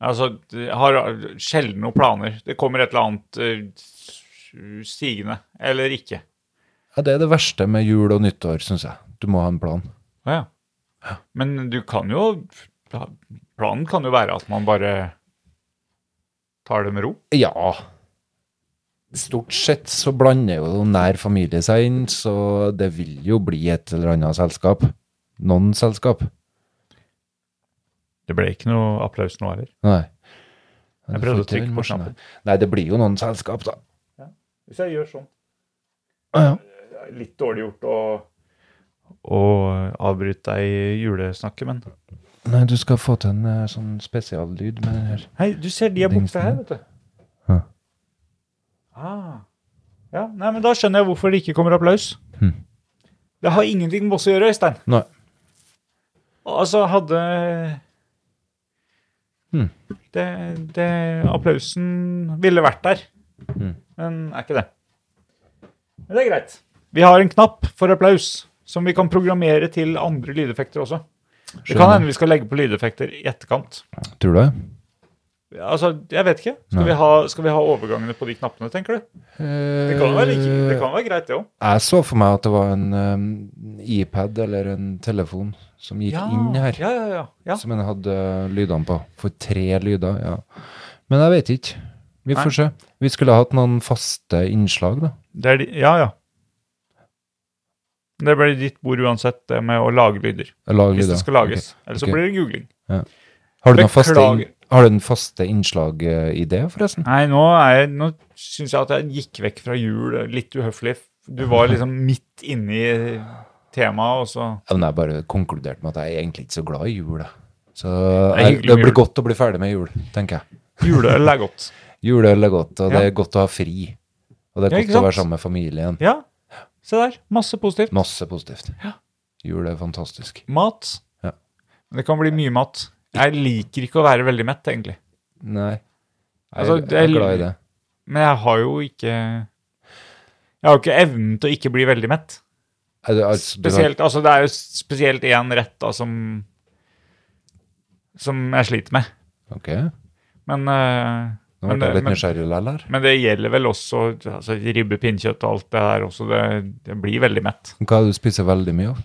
Speaker 1: Altså, jeg har sjelden noen planer. Det kommer et eller annet eh, stigende, eller ikke.
Speaker 2: Ja, det er det verste med jul og nyttår, syns jeg. Du må ha en plan.
Speaker 1: Å ja. Men du kan jo Planen kan jo være at man bare tar det med ro.
Speaker 2: Ja. Stort sett så blander jo nær familie seg inn, så det vil jo bli et eller annet selskap. Noen selskap.
Speaker 1: Det ble ikke noe applaus nå heller.
Speaker 2: Nei.
Speaker 1: Jeg prøvde
Speaker 2: Du får
Speaker 1: å
Speaker 2: ikke
Speaker 1: trykke
Speaker 2: den
Speaker 1: på
Speaker 2: morsen
Speaker 1: knappen.
Speaker 2: her. Nei, det blir jo noen selskap, da.
Speaker 1: Hvis jeg gjør sånn
Speaker 2: Ja.
Speaker 1: Det er litt dårlig gjort å, å avbryte deg i julesnakket, men
Speaker 2: Nei, du skal få til en eh, sånn spesiallyd med den her.
Speaker 1: Hei, du ser de er borte her, vet du.
Speaker 2: Ja.
Speaker 1: Ah. Ja, nei, men Da skjønner jeg hvorfor det ikke kommer applaus.
Speaker 2: Hm.
Speaker 1: Det har ingenting med oss å gjøre, Øystein.
Speaker 2: Nei.
Speaker 1: Altså, hadde
Speaker 2: Hm.
Speaker 1: det, det Applausen ville vært der,
Speaker 2: Hm.
Speaker 1: men er ikke det. Men det er greit. Vi har en knapp for applaus som vi kan programmere til andre lydeffekter også. Det kan
Speaker 2: Skjønner.
Speaker 1: hende vi skal legge på lydeffekter i etterkant.
Speaker 2: Tror du det?
Speaker 1: Altså, jeg vet ikke. Skal vi, ha, skal vi ha overgangene på de knappene, tenker du?
Speaker 2: Eh,
Speaker 1: Det kan være, ikke, det kan være greit, det òg.
Speaker 2: Jeg så for meg at det var en eh, iPad eller en telefon som gikk inn her.
Speaker 1: ja, ja, ja, ja.
Speaker 2: som en hadde eh, lydene på. For tre lyder, ja. Men jeg vet ikke. Vi får
Speaker 1: Nei.
Speaker 2: se. Vi skulle ha hatt noen faste innslag, da.
Speaker 1: Det er de, ja, ja. Det blir ditt bord uansett, det med å lage lyder.
Speaker 2: Lag
Speaker 1: Hvis
Speaker 2: lyder.
Speaker 1: det skal lages.
Speaker 2: Ok,
Speaker 1: Ellers
Speaker 2: ok.
Speaker 1: så blir det googling.
Speaker 2: Har du noen faste,
Speaker 1: Beklager.
Speaker 2: inn- har du en faste innslag eh, i det, forresten?
Speaker 1: Nei, nå, er jeg- nå syns jeg at jeg gikk vekk fra jul litt uhøflig. Du var liksom midt inne i temaet, og så
Speaker 2: Ja, men jeg bare konkluderte med at jeg er egentlig ikke så glad i jul. da. Så
Speaker 1: Det er
Speaker 2: jeg,
Speaker 1: hyggelig
Speaker 2: det
Speaker 1: med
Speaker 2: blir
Speaker 1: jul.
Speaker 2: godt å bli ferdig med jul, tenker jeg.
Speaker 1: Juleøl er godt.
Speaker 2: Juleøl er godt, og
Speaker 1: Ja.
Speaker 2: det er godt å ha fri. Og det
Speaker 1: Ja,
Speaker 2: er
Speaker 1: ikke
Speaker 2: godt å være
Speaker 1: sant?
Speaker 2: sammen med familien.
Speaker 1: Ja, se der. Masse positivt.
Speaker 2: Masse positivt.
Speaker 1: Ja.
Speaker 2: Jul er fantastisk.
Speaker 1: Mat.
Speaker 2: Ja.
Speaker 1: Det kan bli mye mat. Jeg liker ikke å være veldig mett, egentlig.
Speaker 2: Nei, jeg,
Speaker 1: Altså, det
Speaker 2: jeg er
Speaker 1: er-
Speaker 2: glad i det.
Speaker 1: Men jeg har jo ikke Jeg har jo ikke evnen til å ikke bli veldig mett.
Speaker 2: Er det- altså, du har-
Speaker 1: Spesielt, altså Det er jo spesielt én rett da som Som jeg sliter med.
Speaker 2: Ok,
Speaker 1: Men, eh,
Speaker 2: nå ble
Speaker 1: men,
Speaker 2: jeg litt
Speaker 1: men,
Speaker 2: nysgjerrig likevel her.
Speaker 1: men det gjelder vel også altså, ribbe, pinnkjøtt og alt det der også. Det, det blir veldig mett.
Speaker 2: Hva er det du spiser veldig mye av?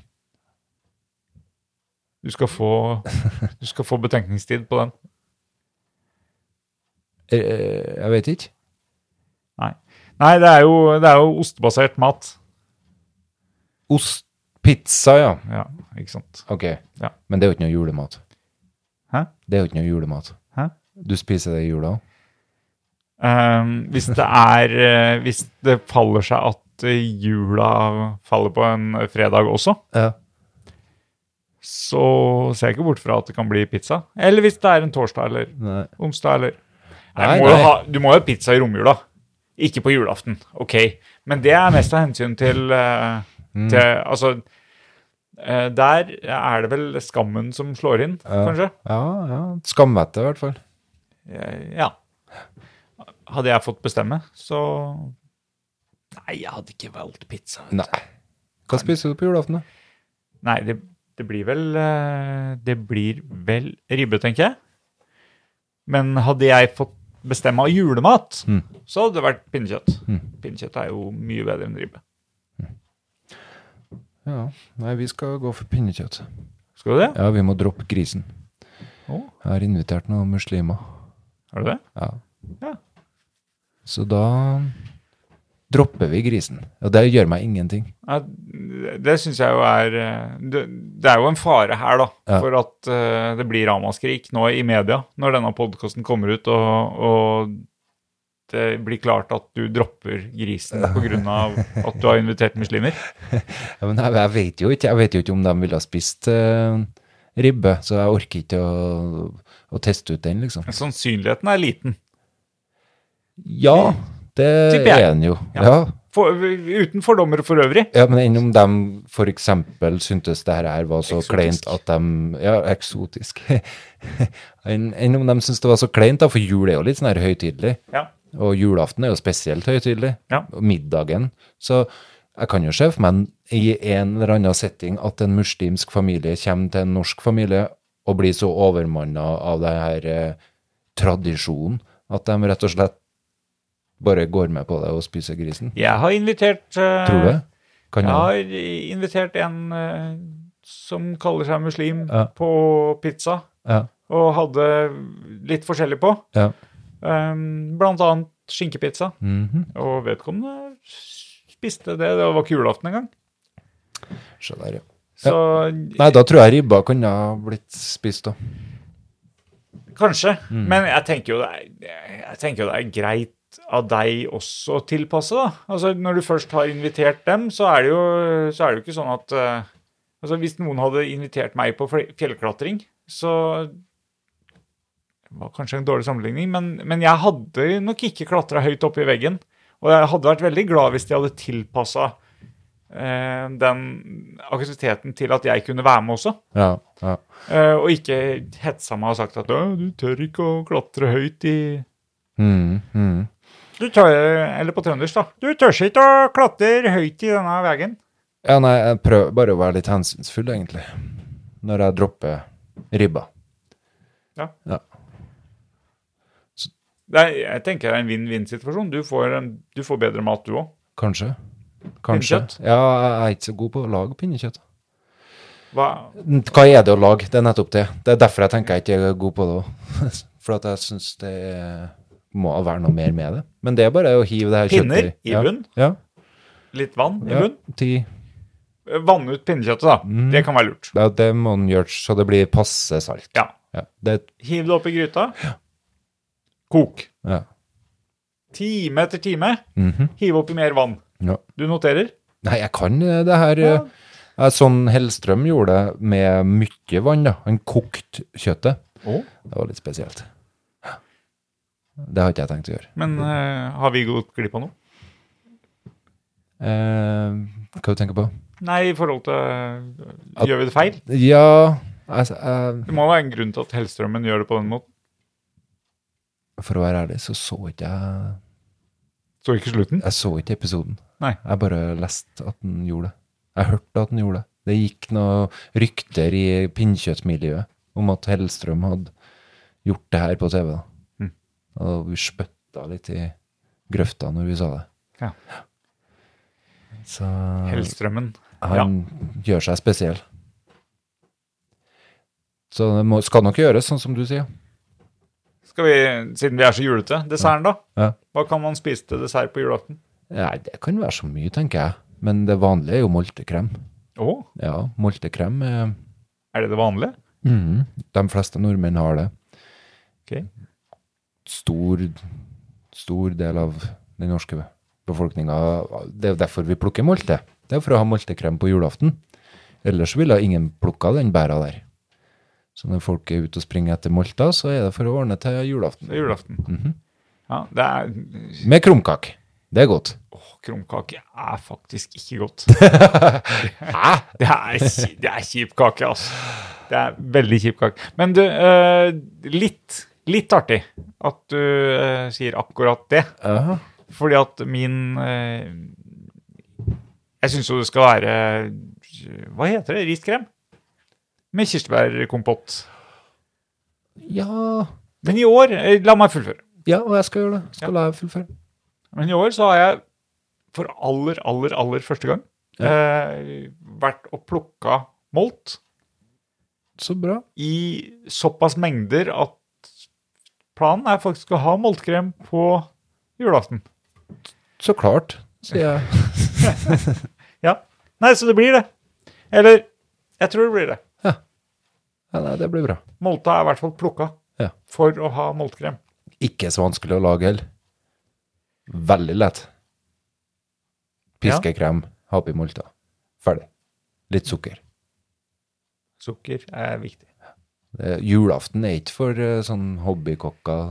Speaker 1: Du skal få, du skal få betenkningstid på den.
Speaker 2: Eh, eh, Jeg vet ikke.
Speaker 1: Nei, det er jo, det er jo ostebasert mat.
Speaker 2: Ost, pizza, ja.
Speaker 1: Ja, ikke sant.
Speaker 2: Ok,
Speaker 1: Ja.
Speaker 2: men det er jo ikke noe julemat.
Speaker 1: Hæ?
Speaker 2: Det er jo ikke noe julemat.
Speaker 1: Hæ?
Speaker 2: Du spiser det i jula?
Speaker 1: Ehm, hvis det er eh, Hvis det faller seg at eh, jula faller på en fredag også,
Speaker 2: Ja.
Speaker 1: så ser jeg ikke bort fra at det kan bli pizza. Eller hvis det er en torsdag eller
Speaker 2: Nei.
Speaker 1: onsdag eller Nei,
Speaker 2: Nei,
Speaker 1: du, må jo
Speaker 2: nei.
Speaker 1: ha, du må jo ha pizza i romjula. Ikke på julaften, OK. Men det er mest av hensyn til, eh,
Speaker 2: Mm.
Speaker 1: til Altså, eh, der er det vel skammen som slår inn, kanskje.
Speaker 2: Ja, ja. Skamvette, i hvert fall.
Speaker 1: Eh, Ja. Hadde jeg fått bestemme, så Nei, jeg hadde ikke valgt pizza.
Speaker 2: Nei. Hva spiser du på julaften, da?
Speaker 1: Nei, det, det blir vel eh, Det blir vel ribbe, tenker jeg. Men hadde jeg fått bestemme av julemat,
Speaker 2: Mm.
Speaker 1: så hadde det vært pinnekjøtt.
Speaker 2: Mm.
Speaker 1: Pinnekjøtt er jo mye bedre enn ribbe.
Speaker 2: Ja, Nei, vi skal gå for pinnekjøtt.
Speaker 1: Skal du det?
Speaker 2: Ja, vi må droppe grisen.
Speaker 1: Å.
Speaker 2: Jeg har invitert noen muslimer.
Speaker 1: Har du det?
Speaker 2: Ja.
Speaker 1: Ja.
Speaker 2: Så da dropper vi grisen. Og det gjør meg ingenting.
Speaker 1: Ja, det syns jeg jo er eh, det, det er jo en fare her, da,
Speaker 2: Ja.
Speaker 1: for at eh, det blir ramaskrik nå i media når denne podkasten kommer ut og, og det blir klart at du dropper grisen pga. at du har invitert muslimer.
Speaker 2: Ja, men jeg, jeg vet jo ikke Jeg vet jo ikke om de ville ha spist eh, ribbe, så jeg orker ikke å, å teste ut den, liksom.
Speaker 1: Sannsynligheten er liten.
Speaker 2: Ja, det
Speaker 1: Tipper jeg.
Speaker 2: er den jo.
Speaker 1: Ja.
Speaker 2: ja.
Speaker 1: For, uten fordommer for øvrig.
Speaker 2: Ja, men enn om de for eksempel syntes det her her var så
Speaker 1: Eksotisk.
Speaker 2: kleint at de Ja, eksotisk. enn enn om de syntes det var så kleint, da, for jul er jo litt sånn her høytidelig.
Speaker 1: Ja.
Speaker 2: Og julaften er jo spesielt høytidelig.
Speaker 1: Ja.
Speaker 2: Og middagen. Så jeg kan jo se for meg i en eller annen setting at en muslimsk familie kommer til en norsk familie og blir så overmanna av det her eh, tradisjonen at de rett og slett bare går med på det og spiser grisen.
Speaker 1: Jeg har invitert eh,
Speaker 2: Tror du det?
Speaker 1: Jeg
Speaker 2: Kan jeg-
Speaker 1: har invitert en eh, som kaller seg muslim,
Speaker 2: Ja.
Speaker 1: på pizza,
Speaker 2: Ja.
Speaker 1: og hadde litt forskjellig på.
Speaker 2: Ja.
Speaker 1: Um, blant annet skinkepizza.
Speaker 2: Mhm.
Speaker 1: Og vedkommende spiste det. Det var ikke julaften engang.
Speaker 2: Se der, ja.
Speaker 1: Så
Speaker 2: Nei, da tror jeg ribba kunne ha blitt spist, da.
Speaker 1: kanskje. Men jeg tenker, jo det er, jeg tenker jo det er greit av deg også å tilpasse, da. Altså, når du først har invitert dem, så er det jo, så er det jo ikke sånn at eh, Altså, hvis noen hadde invitert meg på fl- fjellklatring, så det var kanskje en dårlig sammenligning, men, men jeg hadde nok ikke klatra høyt opp i veggen. Og jeg hadde vært veldig glad hvis de hadde tilpassa eh, den aktiviteten til at jeg kunne være med også.
Speaker 2: Ja, ja.
Speaker 1: Eh, og ikke hetsa meg og sagt at «Å, du tør ikke å klatre høyt i
Speaker 2: Mm, mm.
Speaker 1: du tør, Eller på trøndersk, da. Du tør ikke å klatre høyt i denne veien.
Speaker 2: ja nei, jeg prøver bare å være litt hensynsfull, egentlig, når jeg dropper ribba.
Speaker 1: Det er, jeg tenker det er en vinn-vinn-situasjon. Du, får en- du får bedre mat, du òg.
Speaker 2: Kanskje. Kanskje.
Speaker 1: Pinnekjøtt?
Speaker 2: Ja, jeg er ikke så god på å lage pinnekjøtt.
Speaker 1: Hva
Speaker 2: Hva er det å lage? Det er nettopp det. Det er derfor jeg tenker jeg ikke er god på det òg. For at jeg syns det må være noe mer med det. Men det er bare å hive det her
Speaker 1: Pinner
Speaker 2: kjøttet
Speaker 1: i bunn?
Speaker 2: Ja. Mm.
Speaker 1: Litt vann i
Speaker 2: ja,
Speaker 1: bunn?
Speaker 2: ja. Ti
Speaker 1: Vanne ut pinnekjøttet, da. Det kan være lurt.
Speaker 2: Ja, det må den gjøre så det blir passe salt.
Speaker 1: Ja.
Speaker 2: Ja, det,
Speaker 1: Hiv det opp i gryta. Kok.
Speaker 2: ja. Mhm.
Speaker 1: Time etter time. Hiv oppi mer vann.
Speaker 2: Ja.
Speaker 1: Du noterer?
Speaker 2: Nei, jeg kan eh, det her.
Speaker 1: Ja.
Speaker 2: eh, eh, Sånn Hellstrøm gjorde det med mye vann. da. Han kokte kjøttet.
Speaker 1: Å.
Speaker 2: Det var litt spesielt. Det har ikke jeg tenkt å gjøre.
Speaker 1: Men eh, har vi gått glipp av noe?
Speaker 2: Eh, hva du tenker på?
Speaker 1: Nei, i forhold til
Speaker 2: At-
Speaker 1: Gjør vi det feil?
Speaker 2: Ja altså, jeg-
Speaker 1: Det må være en grunn til at Hellstrømmen gjør det på den måten.
Speaker 2: For å være ærlig, så så ikke jeg
Speaker 1: Så ikke slutten?
Speaker 2: Jeg så ikke episoden.
Speaker 1: Nei.
Speaker 2: Jeg bare leste at den gjorde det. Jeg hørte at den gjorde det. Det gikk noen rykter i pinnkjøttmiljøet om at Hellstrøm hadde gjort det her på TV. da.
Speaker 1: Mm.
Speaker 2: Og vi spytta litt i grøfta når vi sa det.
Speaker 1: Ja.
Speaker 2: Så
Speaker 1: Hellstrømmen.
Speaker 2: han gjør seg spesiell. Så det må, skal nok gjøres, sånn som du sier.
Speaker 1: Skal vi, siden vi er så julete, desserten, da?
Speaker 2: Ja.
Speaker 1: Hva kan man spise til dessert på julaften?
Speaker 2: Nei, det kan være så mye, tenker jeg. Men det vanlige er jo moltekrem.
Speaker 1: Å,
Speaker 2: Ja, moltekrem er
Speaker 1: er det det vanlige?
Speaker 2: Mhm. De fleste nordmenn har det.
Speaker 1: Ok.
Speaker 2: Stor, stor del av den norske befolkninga Det er jo derfor vi plukker molte. Det er for å ha moltekrem på julaften. Ellers ville ingen plukka den bæra der. Så når folk er ute og springer etter molta, så er det for å ordne til julaften.
Speaker 1: Det er julaften.
Speaker 2: Mhm.
Speaker 1: Ja, det er
Speaker 2: Med krumkake. Det er godt.
Speaker 1: Åh, krumkake er faktisk ikke godt.
Speaker 2: Hæ?
Speaker 1: Det er, ki- det er kjip kake, altså. Det er veldig kjip kake. Men du, eh, litt, litt artig at du eh, sier akkurat det.
Speaker 2: Ja.
Speaker 1: Fordi at min eh, Jeg syns jo det skal være Hva heter det? Riskrem? Med kirsebærkompott.
Speaker 2: ja.
Speaker 1: Men i år eh, La meg fullføre.
Speaker 2: Ja, og jeg skal gjøre det. Skal jeg fullføre.
Speaker 1: Men i år så har jeg for aller, aller, aller første gang eh, vært og plukka molt
Speaker 2: Så bra.
Speaker 1: i såpass mengder at planen er faktisk å ha moltkrem på julaften.
Speaker 2: Så klart, sier jeg.
Speaker 1: Ja. Nei, så det blir det. Eller Jeg tror det blir det.
Speaker 2: Ja, nei, det blir bra.
Speaker 1: Molta er i hvert fall plukka
Speaker 2: Ja.
Speaker 1: for å ha moltkrem.
Speaker 2: Ikke så vanskelig å lage heller. Veldig lett. Piskekrem, ha oppi molta. Ferdig. Litt sukker.
Speaker 1: Sukker er viktig.
Speaker 2: Det, julaften er ikke for eh, sånn hobbykokker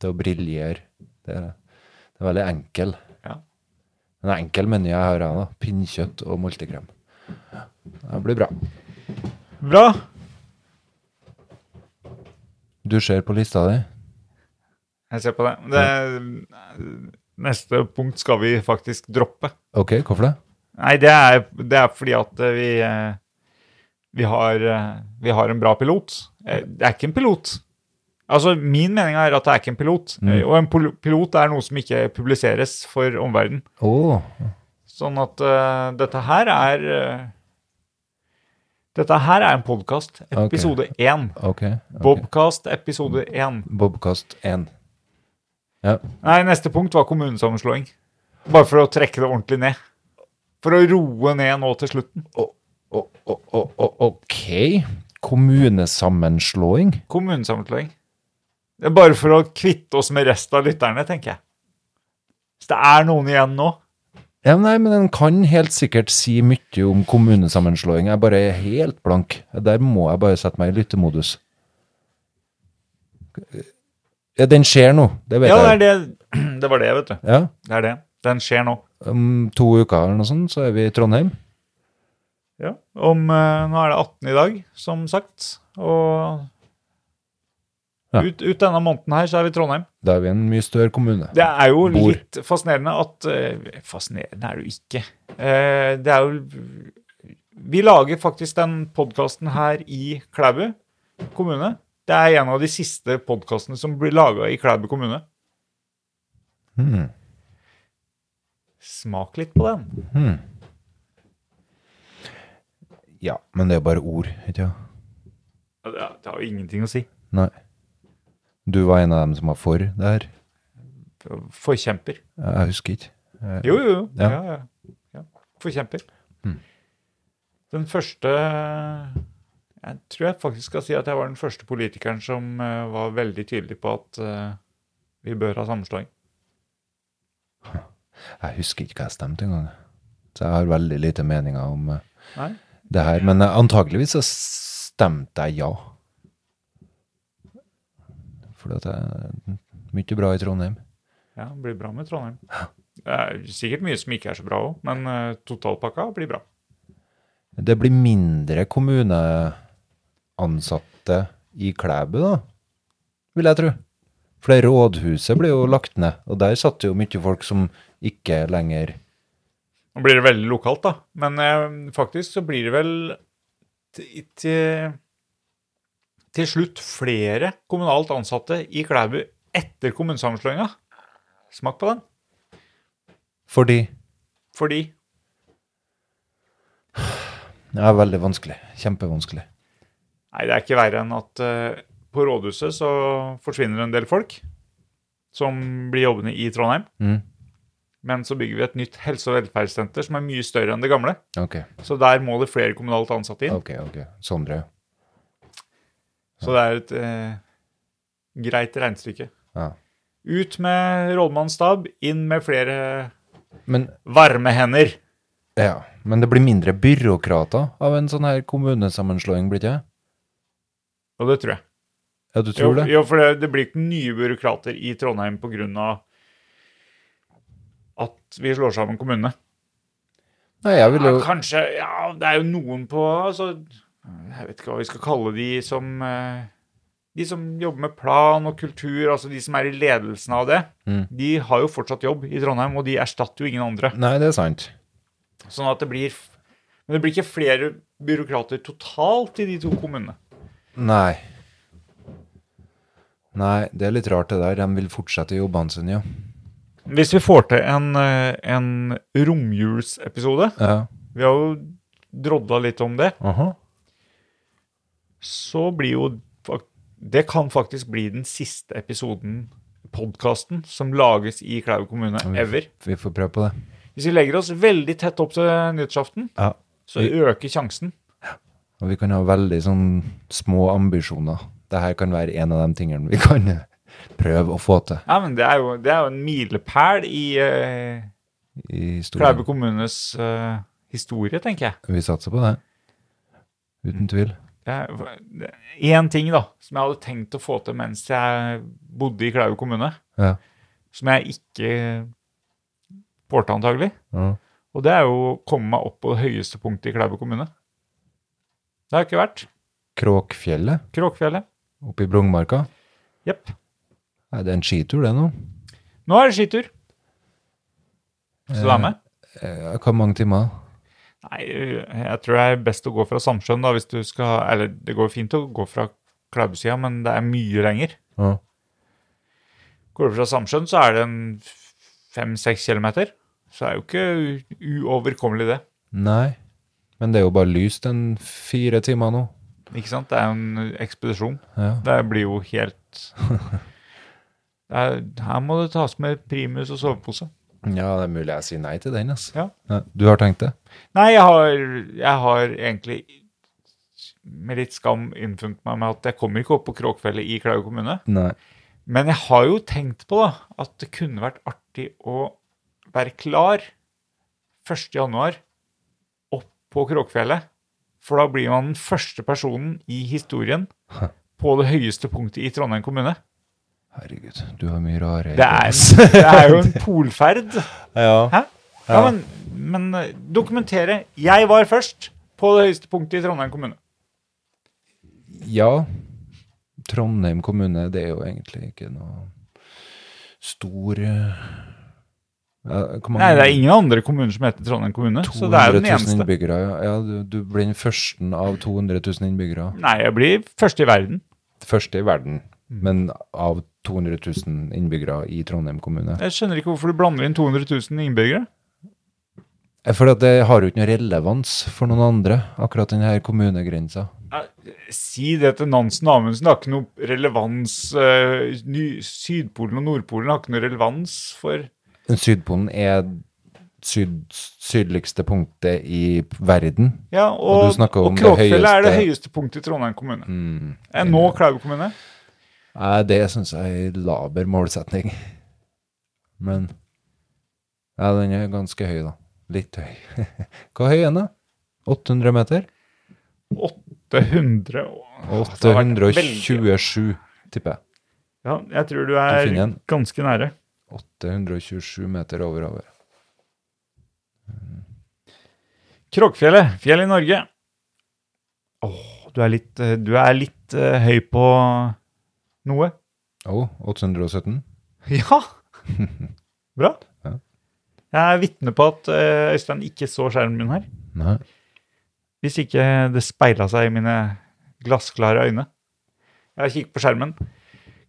Speaker 2: til å briljere. Det, er- det er veldig enkel.
Speaker 1: Ja.
Speaker 2: En enkel meny jeg har her, da. Pinnkjøtt og moltekrem. Det blir bra.
Speaker 1: Bra.
Speaker 2: Du ser på lista di.
Speaker 1: Jeg ser på det. det. Neste punkt skal vi faktisk droppe.
Speaker 2: Ok, hvorfor det?
Speaker 1: Nei, det er, det er fordi at eh, vi, eh, vi, har, eh, vi har en bra pilot. Eh, Det er ikke en pilot. Altså, Min mening er at det er ikke en pilot.
Speaker 2: Mm.
Speaker 1: Eh, Og en pol- pilot er noe som ikke publiseres for omverdenen.
Speaker 2: Å,
Speaker 1: Sånn at eh, dette her er eh, Dette her er en podkast, episode én.
Speaker 2: ok. ok.
Speaker 1: Bobkast, episode én.
Speaker 2: Bobkast 1. Ja.
Speaker 1: Nei, neste punkt var kommunesammenslåing. Bare for å trekke det ordentlig ned. For å roe ned nå til slutten.
Speaker 2: O- o- o- o- Ok. Kommunesammenslåing?
Speaker 1: Kommunesammenslåing. Det er bare for å kvitte oss med resten av lytterne, tenker jeg. Hvis det er noen igjen nå.
Speaker 2: Ja, nei, men den kan helt sikkert si mye om kommunesammenslåing. Jeg bare er helt blank. Der må jeg bare sette meg i lyttemodus. Ja, den skjer nå. Det vet
Speaker 1: Ja, det
Speaker 2: jeg.
Speaker 1: er det. Det var det, vet du.
Speaker 2: Ja.
Speaker 1: Det er det. Den skjer nå.
Speaker 2: Om to uker eller noe sånt, så er vi i Trondheim.
Speaker 1: Ja. Om eh, Nå er det 18 i dag, som sagt. Og
Speaker 2: Ja.
Speaker 1: ut, ut denne måneden her så er vi i Trondheim.
Speaker 2: Da er vi en mye større kommune.
Speaker 1: Det er jo
Speaker 2: Bor.
Speaker 1: litt fascinerende at eh, Fascinerende er det jo ikke. Eh, det er jo Vi lager faktisk den podkasten her i Klæbu kommune. Det er en av de siste podkastene som blir laga i Klæbu kommune.
Speaker 2: Hmm.
Speaker 1: Smak litt på den.
Speaker 2: Hmm. Ja, men det er bare ord, ikke sant?
Speaker 1: Ja, Det det har jo ingenting å si.
Speaker 2: Nei. Du var en av dem som var for det her.
Speaker 1: Forkjemper.
Speaker 2: Jeg husker ikke.
Speaker 1: Jo, jo, jo.
Speaker 2: Ja.
Speaker 1: Ja. Ja, ja. Forkjemper. Den første Jeg tror jeg faktisk skal si at jeg var den første politikeren som eh, var veldig tydelig på at eh, vi bør ha sammenslåing.
Speaker 2: Jeg husker ikke hva jeg stemte engang. Så jeg har veldig lite meninger om eh,
Speaker 1: Nei?
Speaker 2: det her. Men eh, antageligvis så stemte jeg ja. For det er mye bra i Trondheim.
Speaker 1: Ja, det blir bra med Trondheim. Det er sikkert mye som ikke er så bra òg, men eh, totalpakka blir bra.
Speaker 2: Det blir mindre kommuneansatte i Klæbu, da, vil jeg tro. For det rådhuset ble jo lagt ned, og der satt det jo mye folk som ikke lenger
Speaker 1: Nå blir det veldig lokalt, da. Men eh, faktisk så blir det vel til, til, til slutt flere kommunalt ansatte i Klæbu etter kommunesammenslåinga. Smak på den.
Speaker 2: Fordi
Speaker 1: Fordi
Speaker 2: det er veldig vanskelig. Kjempevanskelig.
Speaker 1: Nei, det er ikke verre enn at eh, på rådhuset så forsvinner en del folk som blir jobbende i Trondheim.
Speaker 2: Mm.
Speaker 1: Men så bygger vi et nytt helse- og velferdssenter som er mye større enn det gamle.
Speaker 2: Ok,
Speaker 1: Så der må det flere kommunalt ansatte inn.
Speaker 2: ok. ok. Sondre.
Speaker 1: Så det er et eh, greit regnestykke.
Speaker 2: Ja.
Speaker 1: Ut med rådmannsstab, inn med flere
Speaker 2: Men,
Speaker 1: varme hender.
Speaker 2: ja. Men det blir mindre byråkrater av en sånn her kommunesammenslåing, blir det ikke?
Speaker 1: Og det tror jeg.
Speaker 2: Ja, du tror det?
Speaker 1: Jo, jo for det, det blir ikke nye byråkrater i Trondheim pga. at vi slår sammen kommunene.
Speaker 2: Nei, jeg vil
Speaker 1: Ja,
Speaker 2: jo
Speaker 1: kanskje Ja, det er jo noen på altså, Jeg vet ikke hva vi skal kalle de som eh, De som jobber med plan og kultur, altså de som er i ledelsen av det,
Speaker 2: Mm.
Speaker 1: de har jo fortsatt jobb i Trondheim, og de erstatter jo ingen andre.
Speaker 2: Nei, det er sant.
Speaker 1: Sånn at det blir Men det blir ikke flere byråkrater totalt i de to kommunene.
Speaker 2: Nei. Nei, det er litt rart det der. De vil fortsette jobbene sine, ja.
Speaker 1: Hvis vi får til en, eh, en romjulsepisode
Speaker 2: ja.
Speaker 1: Vi har jo drodla litt om det.
Speaker 2: Aha.
Speaker 1: Så blir jo fak- Det kan faktisk bli den siste episoden, podkasten, som lages i Klæbu kommune ever.
Speaker 2: Vi får prøve på det.
Speaker 1: Hvis vi legger oss veldig tett opp til nyttårsaften,
Speaker 2: Ja.
Speaker 1: så øker sjansen.
Speaker 2: Og vi kan ha veldig sånn små ambisjoner. Dette kan være en av de tingene vi kan eh, prøve å få til
Speaker 1: Ja, men det er jo, det er jo en milepæl i eh,
Speaker 2: i
Speaker 1: Klæbu
Speaker 2: historien.
Speaker 1: kommunes eh, historie, tenker jeg.
Speaker 2: Vi satser på det. Uten tvil.
Speaker 1: Én ting da, som jeg hadde tenkt å få til mens jeg bodde i Klæbu kommune,
Speaker 2: Ja.
Speaker 1: som jeg ikke får til antagelig,
Speaker 2: Ja.
Speaker 1: og det er jo å komme meg opp på det høyeste punktet i Klæbu kommune. Det har jeg ikke vært.
Speaker 2: Kråkfjellet
Speaker 1: Kråkfjellet.
Speaker 2: oppe i Brongmarka.
Speaker 1: Jepp.
Speaker 2: Nei, det er en skitur, det nå.
Speaker 1: Nå er det skitur. Skal du være med?
Speaker 2: Eh, Hvor mange timer?
Speaker 1: Nei, jeg tror det er best å gå fra Samsjøen, da, hvis du skal Eller det går fint å gå fra Klæbu-sida, men det er mye lenger.
Speaker 2: Ja.
Speaker 1: Går du fra Samsjøen, så er det en fem-seks kilometer. Så det er jo ikke u- uoverkommelig, det.
Speaker 2: Nei. Men det er jo bare lyst en fire timer nå.
Speaker 1: Ikke sant? Det er jo en ekspedisjon.
Speaker 2: Ja.
Speaker 1: Det blir jo helt det er, Her må det tas med primus og sovepose.
Speaker 2: Ja, det er mulig jeg sier nei til den, altså.
Speaker 1: Ja.
Speaker 2: Du har tenkt det?
Speaker 1: Nei, jeg har, jeg har egentlig med litt skam innfunnet meg med at jeg kommer ikke opp på Kråkfjellet i Klau kommune.
Speaker 2: Nei.
Speaker 1: Men jeg har jo tenkt på da, at det kunne vært artig å være klar 1. januar opp på Kråkfjellet. For da blir man den første personen i historien på det høyeste punktet i Trondheim kommune.
Speaker 2: Herregud, du har mye rare altså.
Speaker 1: Det er, det er jo en polferd.
Speaker 2: Ja.
Speaker 1: Hæ? Ja, men, men eh, dokumentere. Jeg var først på det høyeste punktet i Trondheim kommune.
Speaker 2: ja. Trondheim kommune, det er jo egentlig ikke noe stor eh, ja, hvor mange-
Speaker 1: Nei, det er ingen andre kommuner som heter Trondheim kommune, så det er jo den
Speaker 2: 200 000
Speaker 1: eneste.
Speaker 2: innbyggere. Ja, ja du, du blir den første av 200 000 innbyggere.
Speaker 1: Nei, jeg blir først i verden.
Speaker 2: Første i verden,
Speaker 1: Mm.
Speaker 2: men av 200 000 innbyggere i Trondheim kommune.
Speaker 1: Jeg skjønner ikke hvorfor du blander inn 200 000 innbyggere.
Speaker 2: Eh, For at det har jo ikke noe relevans for noen andre, akkurat denne kommunegrensa.
Speaker 1: Ja, Si det til Nansen og Amundsen, det har ikke noe relevans. eh, ny- Sydpolen og Nordpolen har ikke noe relevans for
Speaker 2: Sydpolen er syd, sydligste punktet i verden.
Speaker 1: Ja,
Speaker 2: Og
Speaker 1: og,
Speaker 2: du snakker
Speaker 1: og,
Speaker 2: om det
Speaker 1: Kroppfjellet er det
Speaker 2: høyeste-
Speaker 1: høyeste punktet i Trondheim kommune.
Speaker 2: Mm.
Speaker 1: Eh, Nå Klæbu kommune.
Speaker 2: Nei, det syns jeg er en laber målsetning. Men ja, den er ganske høy, da. Litt høy. Hvor høy er den, da? 800 meter?
Speaker 1: 800 og- Åh, det har vært veldig-
Speaker 2: 827, tipper jeg.
Speaker 1: Ja, jeg tror du
Speaker 2: Du finner
Speaker 1: er
Speaker 2: den.
Speaker 1: ganske nære.
Speaker 2: 827 meter over havet.
Speaker 1: Kråkfjellet, fjell i Norge. Åh, du er litt, eh, du er litt eh, høy på noe.
Speaker 2: Å, 817?
Speaker 1: Ja! Bra.
Speaker 2: Ja.
Speaker 1: Jeg er vitne på at eh, Øystein ikke så skjermen min her.
Speaker 2: Nei.
Speaker 1: Hvis ikke det speila seg i mine glassklare øyne. Jeg kikker på skjermen.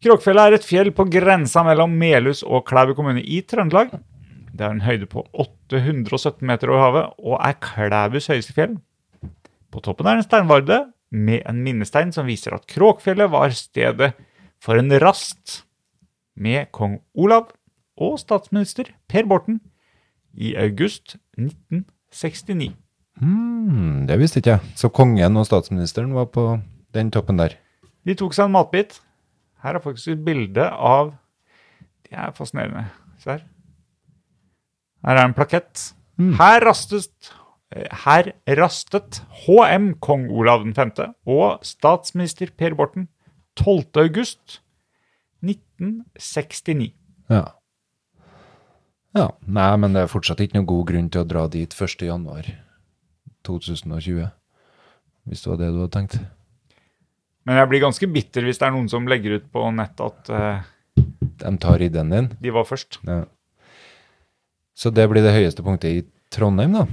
Speaker 1: Kråkfjellet er et fjell på grensa mellom Melhus og Klæbu kommune i Trøndelag. Det har en høyde på 817 meter over havet og er Klæbus høyeste fjell. På toppen er en steinvarde med en minnestein som viser at Kråkfjellet var stedet for en rast med kong Olav og statsminister Per Borten i august 1969.
Speaker 2: Hmm, det visste ikke jeg. Så kongen og statsministeren var på den toppen der.
Speaker 1: De tok seg en matbit. Her er faktisk et bilde av Det er fascinerende. Se her. Her er en plakett. Her rastet eh, her rastet HM kong Olav 5. og statsminister Per Borten 12. august 1969.
Speaker 2: Ja. ja. Nei, men det er fortsatt ikke noen god grunn til å dra dit 1. januar 2020. Hvis det var det du hadde tenkt.
Speaker 1: Men jeg blir ganske bitter hvis det er noen som legger ut på nett at eh,
Speaker 2: De tar ideen din.
Speaker 1: de var først.
Speaker 2: Ja. Så det blir det høyeste punktet i Trondheim, da.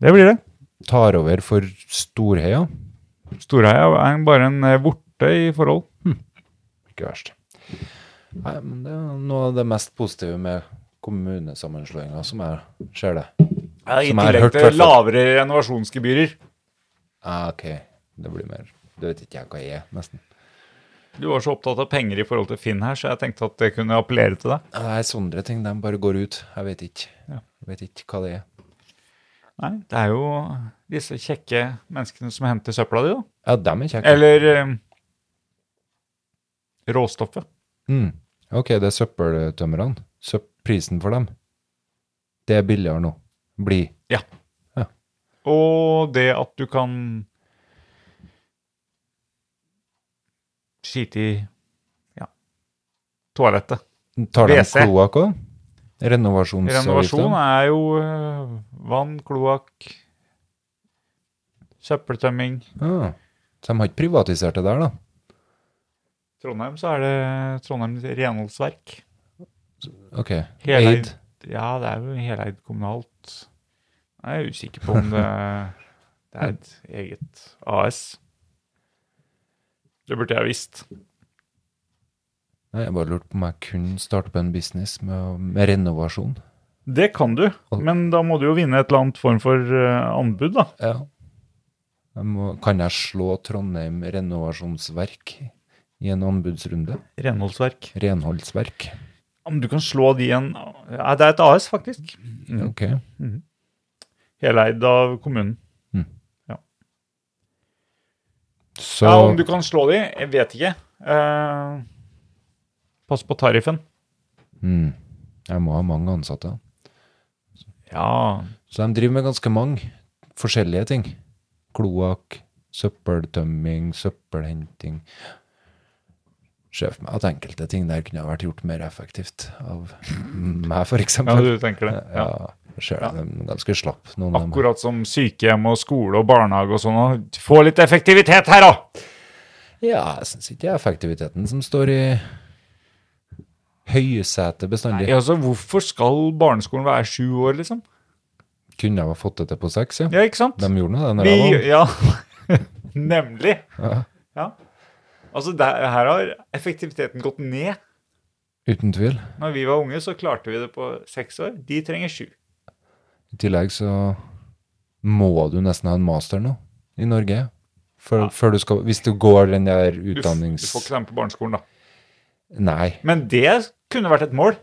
Speaker 1: Det blir det.
Speaker 2: Tar over for Storheia.
Speaker 1: Storheia er bare en eh, vorte i forhold.
Speaker 2: Ikke verst. Nei, men det er noe av det mest positive med kommunesammenslåinga, som jeg ser det.
Speaker 1: I
Speaker 2: Som jeg har
Speaker 1: tillegg
Speaker 2: hørt,
Speaker 1: til
Speaker 2: hvertfall.
Speaker 1: lavere renovasjonsgebyrer.
Speaker 2: Ah, ok. Det blir mer Det vet ikke jeg hva jeg er, nesten.
Speaker 1: Du var så opptatt av penger i forhold til Finn her, så jeg tenkte at det kunne appellere til deg.
Speaker 2: Nei, Det er sånne ting. De bare går ut. Jeg vet ikke.
Speaker 1: Ja.
Speaker 2: Jeg vet ikke hva det er.
Speaker 1: Nei, det er jo disse kjekke menneskene som henter søpla di, da.
Speaker 2: Ja, dem er kjekke.
Speaker 1: Eller eh, råstoffet.
Speaker 2: Mm. Ok, det er søppeltømmerne. Søpp prisen for dem. Det er billigere nå. Bli.
Speaker 1: Og det at du kan skite i ja, toalettet.
Speaker 2: Tar de
Speaker 1: WC.
Speaker 2: kloakk òg? Renovasjonsavgiften?
Speaker 1: Renovasjon er jo eh, vann, kloakk, søppeltømming.
Speaker 2: Ah. Så de har ikke privatisert det der, da?
Speaker 1: Trondheim så er det Trondheim renholdsverk.
Speaker 2: Ok.
Speaker 1: Heleid.
Speaker 2: Eid.
Speaker 1: Ja, det er jo heleid kommunalt. Jeg er usikker på om det, det er et eget AS. Det burde jeg visst.
Speaker 2: Nei, jeg bare lurte på om jeg kunne starte på en business med, med renovasjon.
Speaker 1: Det kan du, men da må du jo vinne et eller annet form for eh, anbud, da.
Speaker 2: Ja. Jeg må, kan jeg slå Trondheim renovasjonsverk i en anbudsrunde?
Speaker 1: Renholdsverk.
Speaker 2: Renholdsverk.
Speaker 1: Om du kan slå de en ja, Det er et AS, faktisk. Mm.
Speaker 2: Ok.
Speaker 1: Heleid av kommunen.
Speaker 2: Så
Speaker 1: Ja, Om du kan slå de, jeg vet ikke. Eh, pass på tariffen.
Speaker 2: mm, Jeg må ha mange ansatte.
Speaker 1: Ja,
Speaker 2: Så de driver med ganske mange forskjellige ting. Kloakk, søppeltømming, søppelhenting. Ser for meg at enkelte ting der kunne ha vært gjort mer effektivt av meg, f.eks.
Speaker 1: ja du tenker det.
Speaker 2: ja, ser jeg dem ganske slapp, noen av dem.
Speaker 1: Akkurat som sykehjem og skole og barnehage og sånn. og Få litt effektivitet her, da!
Speaker 2: Ja, jeg syns ikke det er effektiviteten som står i høysetet bestandig.
Speaker 1: Nei, altså, hvorfor skal barneskolen være sju år, liksom?
Speaker 2: Kunne jeg ha fått det til på seks, ja.
Speaker 1: Ja, ikke sant?
Speaker 2: De gjorde nå det når
Speaker 1: Vi,
Speaker 2: jeg var ung.
Speaker 1: ja, nemlig.
Speaker 2: Ja,
Speaker 1: Ja. Altså, der, her har effektiviteten gått ned.
Speaker 2: uten tvil.
Speaker 1: Når vi var unge, så klarte vi det på seks år. De trenger sju.
Speaker 2: I tillegg så må du nesten ha en master nå i Norge. Før, før du skal, hvis du går den der
Speaker 1: Du, f- du
Speaker 2: utdannings...
Speaker 1: får ikke være med på barneskolen, da.
Speaker 2: Nei,
Speaker 1: Men det kunne vært et mål.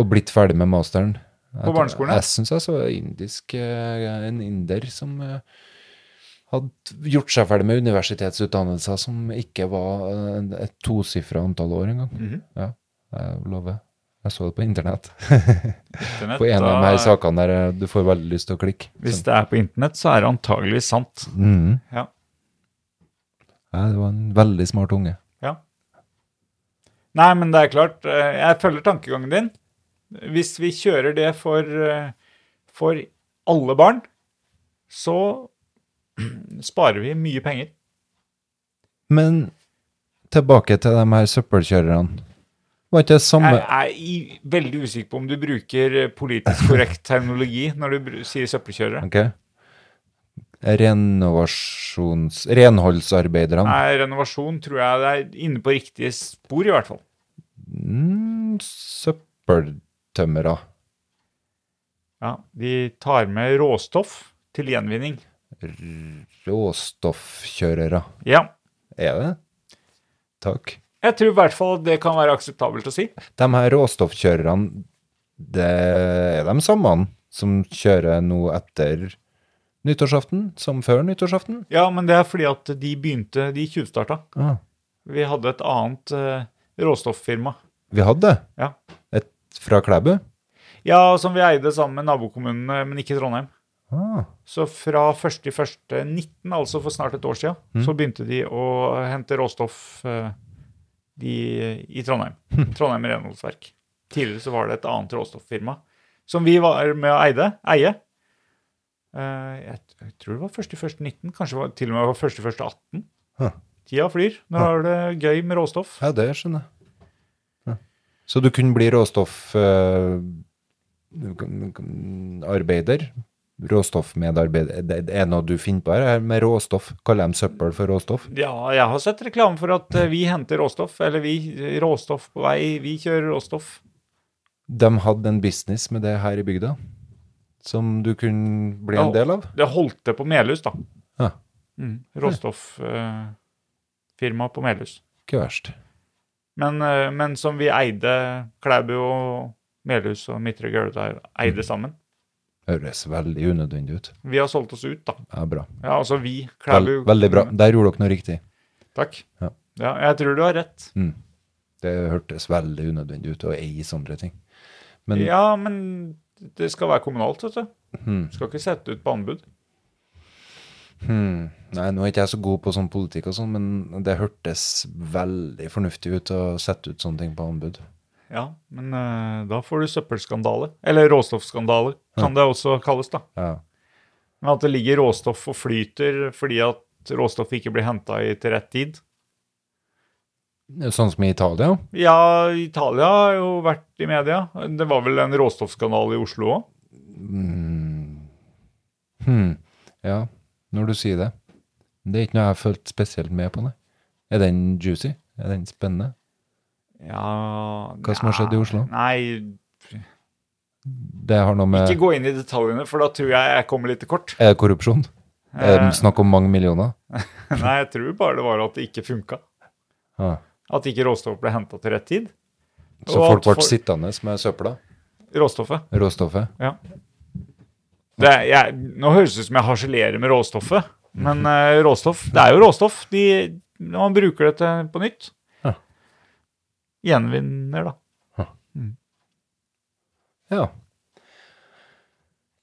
Speaker 2: og blitt ferdig med masteren Jeg
Speaker 1: På
Speaker 2: tror-
Speaker 1: barneskolen, ja.
Speaker 2: Jeg syns jeg så indisk, eh, en inder som eh, hadde gjort seg ferdig med universitetsutdannelser som ikke var eh, et tosifra antall år engang.
Speaker 1: Mhm.
Speaker 2: Ja, jeg lover. Jeg så det på internett.
Speaker 1: Internett,
Speaker 2: På en av de
Speaker 1: da-
Speaker 2: her sakene der eh, du får veldig lyst til å klikke.
Speaker 1: Hvis
Speaker 2: Så-
Speaker 1: det er på internett, så er det antageligvis sant.
Speaker 2: Mhm.
Speaker 1: Ja.
Speaker 2: ja, det var en veldig smart unge.
Speaker 1: Nei, men det er klart. eh, Jeg følger tankegangen din. Hvis vi kjører det for, eh, for alle barn, så sparer vi mye penger.
Speaker 2: Men tilbake til de her søppelkjørerne. Var ikke det samme
Speaker 1: Jeg er i, veldig usikker på om du bruker eh, politisk korrekt terminologi når du bru- sier søppelkjørere.
Speaker 2: Ok. Renovasjons... Renholdsarbeiderne.
Speaker 1: Nei, renovasjon tror jeg det er inne på riktige spor, i hvert fall.
Speaker 2: Mm, søppeltømmere.
Speaker 1: Ja, De tar med råstoff til gjenvinning.
Speaker 2: Råstoffkjørere.
Speaker 1: Ja.
Speaker 2: Er det? Takk.
Speaker 1: Jeg tror i hvert fall det kan være akseptabelt å si.
Speaker 2: De her råstoffkjørerne, det er de samme som kjører nå etter nyttårsaften, som før nyttårsaften?
Speaker 1: Ja, men det er fordi at de begynte, de tjuvstarta.
Speaker 2: Ah,
Speaker 1: Vi hadde et annet eh, råstofffirma.
Speaker 2: vi hadde det.
Speaker 1: Ja.
Speaker 2: Et fra Klæbu?
Speaker 1: Ja, som vi eide sammen med nabokommunene, men ikke Trondheim.
Speaker 2: Ah,
Speaker 1: Så fra 1.1.19, altså for snart et år siden, så begynte de å hente råstoff eh, de, i Trondheim. Trondheim Renholdsverk. Tidligere så var det et annet råstofffirma som vi var med å eide, eie. Eh, jeg, t- jeg tror det var 1.1.19, kanskje det var, til og med var 1.1.18.
Speaker 2: Huh.
Speaker 1: Tida flyr. Nå er det gøy med råstoff.
Speaker 2: ja, det skjønner jeg. Ja. Så du kunne bli eh, råstoffarbeider? Råstoffmedarbeider Det er noe du finner på her, med råstoff? Kaller de søppel for råstoff?
Speaker 1: Ja, jeg har sett reklame for at eh, vi henter råstoff, eller vi eh, råstoff på vei, vi kjører råstoff.
Speaker 2: De hadde en business med det her i bygda, som du kunne bli
Speaker 1: Ja.
Speaker 2: en del av?
Speaker 1: Det holdt det på Melhus, da.
Speaker 2: Ja.
Speaker 1: Mm, Råstofffirma på Melhus.
Speaker 2: Ikke verst.
Speaker 1: Men, eh, men som vi eide, Klæbu og Melhus og Midtre Gøldal
Speaker 2: Mm.
Speaker 1: eide sammen.
Speaker 2: Høres veldig unødvendig ut.
Speaker 1: Vi har solgt oss ut, da.
Speaker 2: Ja, bra.
Speaker 1: Ja, altså vi,
Speaker 2: Vel,
Speaker 1: Klæbu
Speaker 2: veldig bra. Der gjorde dere noe riktig.
Speaker 1: Takk.
Speaker 2: Ja.
Speaker 1: Ja, jeg tror du har rett.
Speaker 2: Mm. Det hørtes veldig unødvendig ut å eie sånne ting. Men
Speaker 1: Ja, men det skal være kommunalt, vet du.
Speaker 2: Hmm.
Speaker 1: Skal ikke sette ut på anbud.
Speaker 2: Hmm. Nei, nå er ikke jeg så god på sånn politikk og sånn, men det hørtes veldig fornuftig ut å sette ut sånne ting på anbud.
Speaker 1: Ja, men eh, da får du søppelskandale. Eller råstoffskandale, kan det også kalles, da.
Speaker 2: Ja.
Speaker 1: Men at det ligger råstoff og flyter fordi at råstoff ikke blir henta i til rett tid.
Speaker 2: Sånn som i Italia?
Speaker 1: Ja, Italia har jo vært i media. Det var vel en råstoffskandale i Oslo òg?
Speaker 2: Hmm. Hmm. Ja, når du sier det. Det er ikke noe jeg har følt spesielt med på, nei. Er den juicy? Er den spennende?
Speaker 1: Ja
Speaker 2: Hva som har skjedd i Oslo?
Speaker 1: Nei,
Speaker 2: Det har noe med
Speaker 1: ikke gå inn i detaljene, for da tror jeg jeg kommer litt til kort.
Speaker 2: Er det korrupsjon? Er
Speaker 1: Eh.
Speaker 2: det snakk om mange millioner?
Speaker 1: Nei, jeg tror bare det var at det ikke funka.
Speaker 2: Ja.
Speaker 1: At ikke råstoff ble henta til rett tid.
Speaker 2: Så
Speaker 1: Og
Speaker 2: folk
Speaker 1: at
Speaker 2: ble sittende med søpla?
Speaker 1: Råstoffet.
Speaker 2: Råstoffet?
Speaker 1: Det, er- jeg, nå høres det ut som jeg harselerer med råstoffet, men eh, råstoff Det er jo råstoff. De, man bruker det til, på nytt.
Speaker 2: Ja.
Speaker 1: Gjenvinner, da.
Speaker 2: Ja.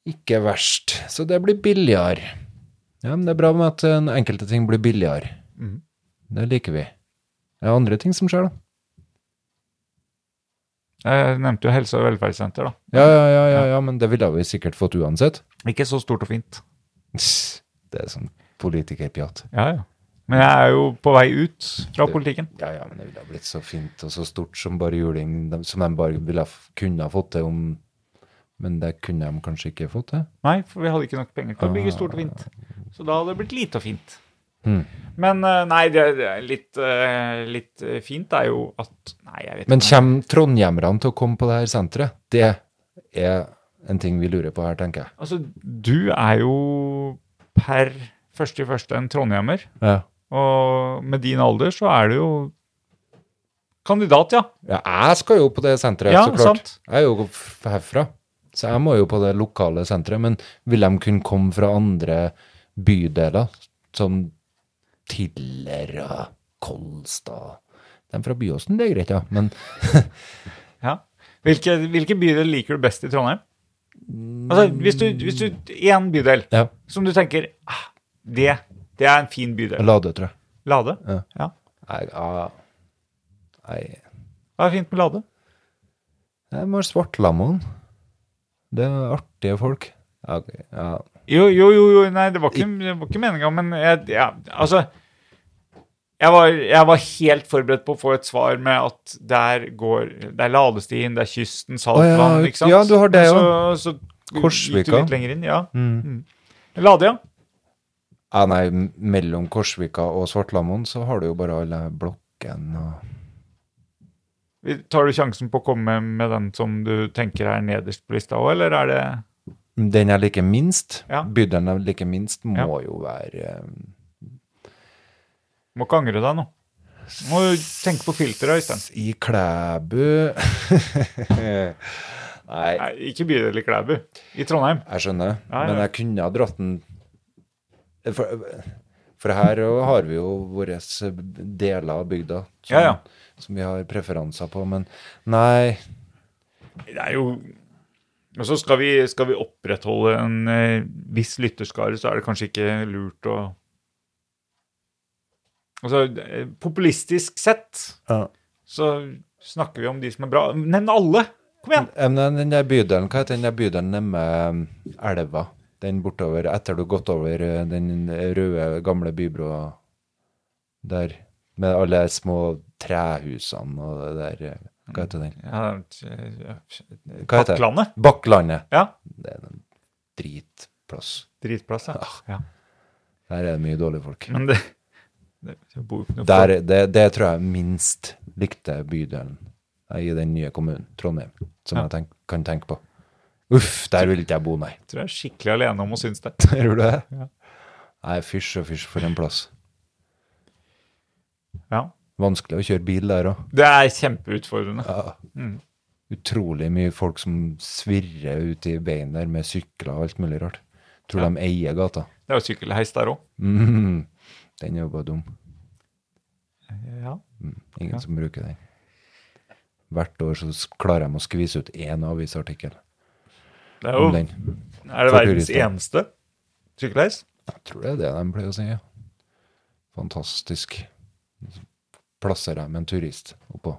Speaker 2: Ikke verst. Så det blir billigere. Ja, men det er bra med at eh, enkelte ting blir billigere.
Speaker 1: Mhm.
Speaker 2: Det liker vi. Det er andre ting som skjer, da.
Speaker 1: Jeg nevnte jo helse- og velferdssenter, da.
Speaker 2: Ja, ja, ja, ja, ja men det ville vi sikkert fått uansett.
Speaker 1: Ikke så stort og fint.
Speaker 2: Det er sånn politikerpjatt.
Speaker 1: Ja, ja. Men jeg er jo på vei ut fra politikken.
Speaker 2: Ja, ja, men det ville ha blitt så fint og så stort som bare juling, de- som de bare ville ha f- kunne ha fått til om Men det kunne de kanskje ikke fått til?
Speaker 1: Nei, for vi hadde ikke nok penger til å bygge stort og fint. Så da hadde det blitt lite og fint.
Speaker 2: Mhm.
Speaker 1: Men eh, nei, det, det er litt, eh, litt eh, fint er jo at Nei, jeg vet
Speaker 2: Men
Speaker 1: ikke.
Speaker 2: kommer trondhjemmerne til å komme på det her senteret? Det er en ting vi lurer på her, tenker jeg.
Speaker 1: Altså, du er jo per første i første en trondhjemmer.
Speaker 2: Ja.
Speaker 1: Og med din alder så er du jo kandidat, ja.
Speaker 2: Ja, jeg skal jo på det senteret,
Speaker 1: Ja,
Speaker 2: så klart.
Speaker 1: sant.
Speaker 2: Jeg er jo f- herfra. Så jeg må jo på det lokale senteret, men vil de kunne komme fra andre bydeler, Sånn som Tiller, Kolstad De fra Byåsen, det er greit, ja. Men
Speaker 1: Ja. Hvilke, hvilke bydel liker du best i Trondheim? Altså, hvis du, hvis du En bydel
Speaker 2: ja,
Speaker 1: som du tenker ah, det, det er en fin bydel.
Speaker 2: Lade, tror jeg.
Speaker 1: Lade?
Speaker 2: Ja.
Speaker 1: Ja.
Speaker 2: Nei, ja. Nei.
Speaker 1: Hva er fint med Lade?
Speaker 2: Jeg må ha svartlamoen. Det er artige folk. Ja, ok, ja.
Speaker 1: Jo, jo, jo, jo nei, det var ikke, det var ikke meninga, men jeg, ja, altså jeg var, jeg var helt forberedt på å få et svar med at der går Det er ladestien, det er kysten, Saltland,
Speaker 2: Å, ja,
Speaker 1: ikke sant?
Speaker 2: ja, du har det,
Speaker 1: Men Så, så
Speaker 2: Korsvika.
Speaker 1: gikk du litt lenger inn, ja. Mm. Lade, ja.
Speaker 2: ja, nei, m- mellom Korsvika og Svartlamoen så har du jo bare alle blokkene og
Speaker 1: Vi- Tar du sjansen på å komme med den som du tenker er nederst på lista òg, eller er det
Speaker 2: Den jeg liker minst,
Speaker 1: Ja.
Speaker 2: bydelen jeg liker minst, må
Speaker 1: Ja.
Speaker 2: jo være eh,
Speaker 1: Må ikke angre deg nå. Må jo tenke på filteret, Øystein.
Speaker 2: i Klæbu Nei,
Speaker 1: Nei, ikke bydel i Klæbu. I Trondheim.
Speaker 2: jeg skjønner,
Speaker 1: Ja, ja.
Speaker 2: men jeg kunne ha dratt den eh, for, for her jo har vi jo våre eh, deler av bygda som,
Speaker 1: Ja, ja.
Speaker 2: som vi har preferanser på, men nei
Speaker 1: Det er jo Og så skal vi, skal vi opprettholde en eh, viss lytterskare, så er det kanskje ikke lurt å Altså, eh, populistisk sett så snakker vi om de som er bra. Nevn alle! Kom igjen!
Speaker 2: Ja, men den der bydelen, hva heter den der bydelen nemme um, elva? Den bortover, etter du har gått over uh, den røde, gamle bybroa der, med alle de små trehusene og det der, uh, hva heter den?
Speaker 1: Ja, eh,
Speaker 2: Hva heter det?
Speaker 1: Bakklandet.
Speaker 2: Bakklandet.
Speaker 1: Ja.
Speaker 2: Det er en dritplass.
Speaker 1: Dritplass, ja.
Speaker 2: Ah.
Speaker 1: ja.
Speaker 2: Der er det mye dårlige folk.
Speaker 1: Men det, det jeg bor jo ikke noe
Speaker 2: Der, det, det tror jeg minst likte bydelen uh, i den nye kommunen, Trondheim, som
Speaker 1: Ja.
Speaker 2: jeg tenk, kan tenke på. Uff, der vil ikke jeg bo, nei.
Speaker 1: Jeg tror jeg er skikkelig alene om å synes det.
Speaker 2: Tror du det? Nei, fysj og fysj for en plass.
Speaker 1: Ja.
Speaker 2: Vanskelig å kjøre bil der òg.
Speaker 1: Det er kjempeutfordrende.
Speaker 2: Utrolig mye folk som svirrer ut i bein der med sykler og alt mulig rart. Tror de eier gata.
Speaker 1: Det er jo sykkelheis der òg.
Speaker 2: Mhm. Den er jo bare dum.
Speaker 1: Ja.
Speaker 2: Ingen som bruker den. Hvert år så s- klarer de å skvise ut én avisartikkel
Speaker 1: Det er
Speaker 2: om
Speaker 1: jo
Speaker 2: den.
Speaker 1: Er det
Speaker 2: For
Speaker 1: verdens
Speaker 2: turister.
Speaker 1: eneste sykkelheis?
Speaker 2: Jeg tror det er det de pleier å si, ja. Fantastisk. Plasser dem en turist oppå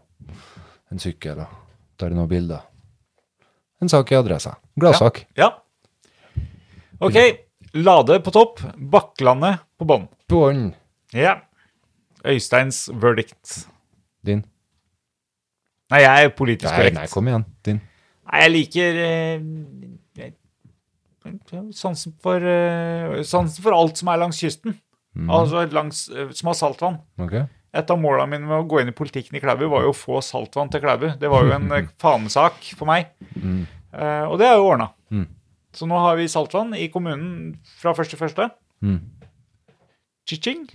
Speaker 2: en sykkel og tar noen bilder. En sak i adressa. Gladsak.
Speaker 1: Ja. Ok. Lade på topp, Bakklandet på bånn.
Speaker 2: Bånn
Speaker 1: Ja. Øysteins verdict.
Speaker 2: din.
Speaker 1: Nei, jeg er politisk
Speaker 2: Nei,
Speaker 1: korrekt.
Speaker 2: nei, kom igjen. Din.
Speaker 1: Nei, jeg liker eh, jeg- jeg- sansen for, eh, sansen for alt som er langs kysten.
Speaker 2: Mm.
Speaker 1: Altså langs, eh, som har saltvann.
Speaker 2: Ok.
Speaker 1: Et av måla mine med å gå inn i politikken i Klæbu var jo å få saltvann til Klæbu. Det var jo en eh, fanesak for meg. Eh, og det er jo ordna.
Speaker 2: Mm.
Speaker 1: Så nå har vi saltvann i kommunen fra første første.
Speaker 2: Mm.
Speaker 1: Chiching.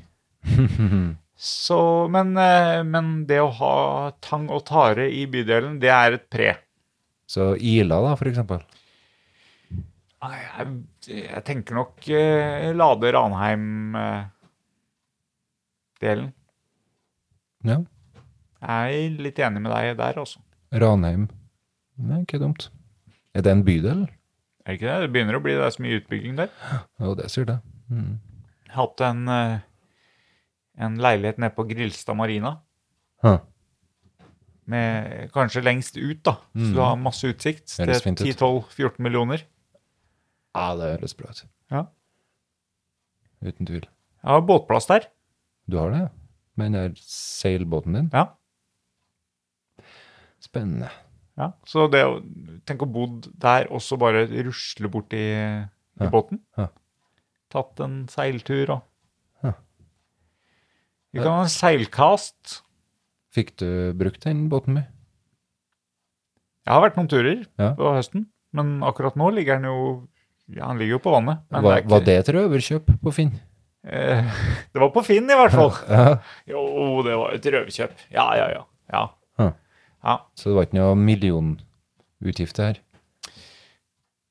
Speaker 1: Så, men, eh, men det å ha tang og tare i bydelen, det er et pre.
Speaker 2: Så Ila, da, for eksempel.
Speaker 1: Nei, Jeg, jeg tenker nok eh, Lade eh, Ranheim-delen.
Speaker 2: Ja.
Speaker 1: jeg er litt enig med deg der, altså.
Speaker 2: Ranheim. Nei, ikke dumt. Er det en bydel?
Speaker 1: Er det ikke det? Det begynner å bli det er så mye utbygging der.
Speaker 2: Jo, det sier det. Mm.
Speaker 1: Jeg har hatt en, eh, en leilighet nede på Grilstad marina,
Speaker 2: Huh.
Speaker 1: med kanskje lengst ut, da. Så du har masse utsikt.
Speaker 2: Mm. Høres
Speaker 1: Det er
Speaker 2: fint ut.
Speaker 1: 10-12-14 millioner.
Speaker 2: Ja, det høres bra ut.
Speaker 1: Ja.
Speaker 2: Uten tvil.
Speaker 1: Jeg har båtplass der.
Speaker 2: Du har det, ja? Med den der seilbåten din?
Speaker 1: Ja.
Speaker 2: Spennende.
Speaker 1: ja. Så det å Tenk å bo der og så bare rusle bort i, i
Speaker 2: Ja.
Speaker 1: båten.
Speaker 2: Ja.
Speaker 1: Tatt en seiltur og
Speaker 2: Ja.
Speaker 1: Vi kan ha en seilkast.
Speaker 2: Fikk du brukt den båten min?
Speaker 1: Jeg har vært noen turer
Speaker 2: Ja.
Speaker 1: på høsten, men akkurat nå ligger den jo ja, Han ligger jo på vannet. Men
Speaker 2: Var,
Speaker 1: er ikke-
Speaker 2: var det et røverkjøp på Finn?
Speaker 1: Eh, det var på Finn, i hvert fall.
Speaker 2: Ja.
Speaker 1: Jo, det var jo et røverkjøp. Ja, ja, ja. ja.
Speaker 2: Huh.
Speaker 1: Ja.
Speaker 2: Så det var ikke noe millionutgifter her?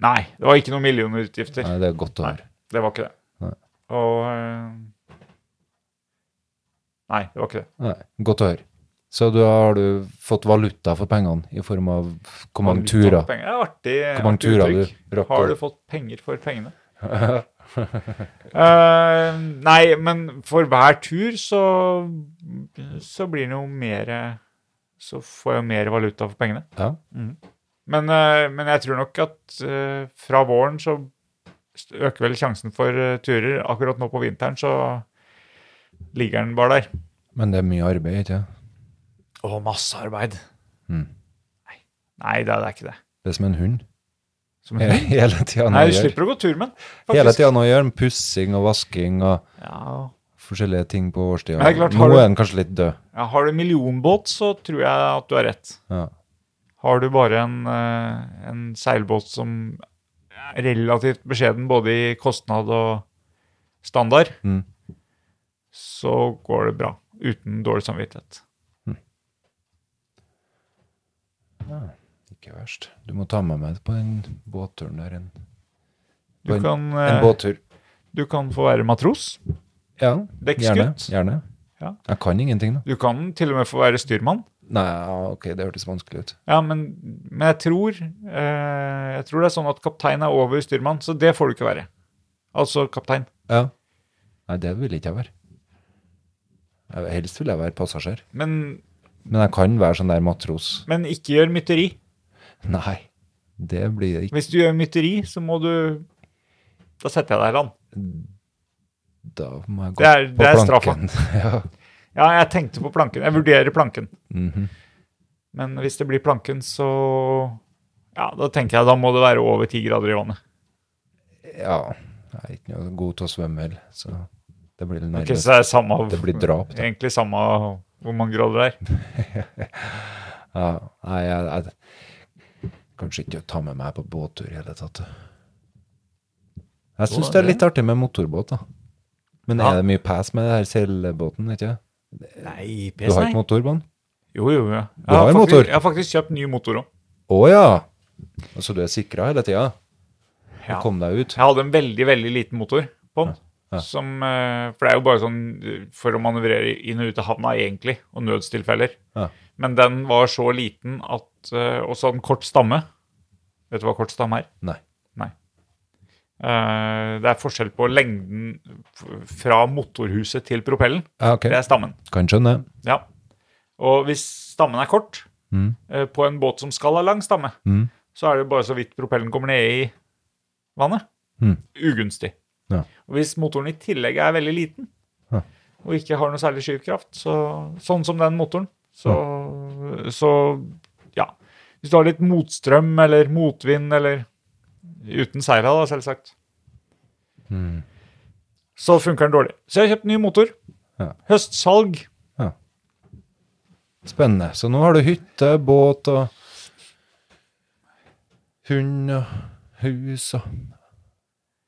Speaker 1: Nei, det var ikke noen millionutgifter.
Speaker 2: Nei, det er godt å høre.
Speaker 1: Det var ikke det.
Speaker 2: Nei.
Speaker 1: Og eh, Nei, det var ikke det.
Speaker 2: Nei, godt å høre. Så da har du fått valuta for pengene i form av hvor mange turer.
Speaker 1: sånn Penger. Det er artig,
Speaker 2: Hvor mange
Speaker 1: artig
Speaker 2: turer
Speaker 1: uttrykk.
Speaker 2: du rakk
Speaker 1: Har
Speaker 2: å-
Speaker 1: du fått penger for pengene? Eh, nei, men for hver tur så, så blir det jo mer Så får jeg jo mer valuta for pengene.
Speaker 2: Ja.
Speaker 1: Men, eh, men jeg tror nok at eh, fra våren så øker vel sjansen for eh, turer. Akkurat nå på vinteren så ligger den bare der.
Speaker 2: Men det er mye arbeid, ikke sant?
Speaker 1: Og masse arbeid.
Speaker 2: Mm.
Speaker 1: Nei, det er, det er ikke det.
Speaker 2: Det er som en hund.
Speaker 1: Som,
Speaker 2: He- Hele tida
Speaker 1: Mhm. nei,
Speaker 2: noe
Speaker 1: du
Speaker 2: å gjøre.
Speaker 1: slipper å gå tur med den.
Speaker 2: Hele
Speaker 1: faktisk.
Speaker 2: tida noe å gjøre. med Pussing og vasking og
Speaker 1: Ja.
Speaker 2: forskjellige ting på årstida.
Speaker 1: Men det er klart,
Speaker 2: Nå
Speaker 1: har du-
Speaker 2: er den kanskje litt død.
Speaker 1: Ja, har du millionbåt, så tror jeg at du har rett.
Speaker 2: Ja.
Speaker 1: Har du bare en, eh, en seilbåt som er relativt beskjeden både i kostnad og standard,
Speaker 2: Mm.
Speaker 1: så går det bra. Uten dårlig samvittighet.
Speaker 2: Ikke verst. Du må ta med meg på den båtturen der. En,
Speaker 1: Du
Speaker 2: på en,
Speaker 1: kan,
Speaker 2: en
Speaker 1: eh,
Speaker 2: båttur.
Speaker 1: du kan få være matros.
Speaker 2: Ja, gjerne.
Speaker 1: Dekkskutt.
Speaker 2: gjerne.
Speaker 1: Ja.
Speaker 2: Jeg kan ingenting, da.
Speaker 1: Du kan til og med få være styrmann.
Speaker 2: Nei, ja, ok, det hørtes vanskelig ut.
Speaker 1: Ja, men, men jeg tror eh, Jeg tror det er sånn at kaptein er over styrmann, så det får du ikke være. Altså kaptein.
Speaker 2: Ja. Nei, det vil ikke jeg være. Jeg- Helst vil jeg være passasjer.
Speaker 1: Men,
Speaker 2: Men jeg kan være sånn der matros.
Speaker 1: men ikke gjør mytteri.
Speaker 2: Nei, det blir det ikke.
Speaker 1: Hvis du gjør mytteri, så må du Da setter jeg deg i land.
Speaker 2: Da må jeg gå
Speaker 1: Det er-
Speaker 2: på
Speaker 1: det er
Speaker 2: planken. ja.
Speaker 1: Ja, jeg tenkte på planken. Jeg vurderer planken.
Speaker 2: Mhm.
Speaker 1: Men hvis det blir planken, så Ja, da tenker jeg da må det være over ti grader i vannet.
Speaker 2: ja. Jeg er ikke noe god til å svømme heller, så det blir
Speaker 1: Ok,
Speaker 2: nærmest
Speaker 1: så det er samme
Speaker 2: Det blir drap, da.
Speaker 1: Egentlig samme hvor mange grader det er.
Speaker 2: Ja, nei, jeg, jeg Kanskje ikke å ta med meg på båttur i hele tatt. Jeg syns
Speaker 1: Å,
Speaker 2: det er
Speaker 1: det-
Speaker 2: litt artig med motorbåt, da. Men
Speaker 1: Ja.
Speaker 2: er det mye pass med den her seilbåten, ikke
Speaker 1: Nei,
Speaker 2: Du har ikke motorbånd?
Speaker 1: Jo, jo, ja. Jeg
Speaker 2: har
Speaker 1: faktisk,
Speaker 2: motor.
Speaker 1: Jeg har faktisk kjøpt ny motor òg.
Speaker 2: Å ja! Så du er sikra hele tida?
Speaker 1: Ja.
Speaker 2: Kom deg ut?
Speaker 1: Jeg hadde en veldig, veldig liten motor på den.
Speaker 2: Ja.
Speaker 1: Som, eh, for det er jo bare sånn eh, for å manøvrere inn og ut av havna, egentlig, og nødstilfeller.
Speaker 2: Ja.
Speaker 1: Men den var så liten at eh, Og så hadde den kort stamme. Vet du hva kort stamme er?
Speaker 2: Nei.
Speaker 1: Eh, Det er forskjell på lengden f- fra motorhuset til propellen.
Speaker 2: Ja, ok.
Speaker 1: Det er stammen.
Speaker 2: Kan skjønne.
Speaker 1: Ja. Og hvis stammen er kort,
Speaker 2: Mm.
Speaker 1: eh, på en båt som skal ha lang stamme,
Speaker 2: Mm.
Speaker 1: så er det bare så vidt propellen kommer ned i vannet.
Speaker 2: Mm.
Speaker 1: Ugunstig.
Speaker 2: Ja.
Speaker 1: Og hvis motoren i tillegg er veldig liten,
Speaker 2: Ja.
Speaker 1: og ikke har noe særlig skyvkraft, så, sånn som den motoren, så, så ja. Hvis du har litt motstrøm eller motvind eller uten seila, da, selvsagt,
Speaker 2: Mm.
Speaker 1: så funker den dårlig. Så jeg har kjøpt ny motor.
Speaker 2: Ja.
Speaker 1: Høstsalg.
Speaker 2: Spennende. Så nå har du hytte, båt og hund og hus og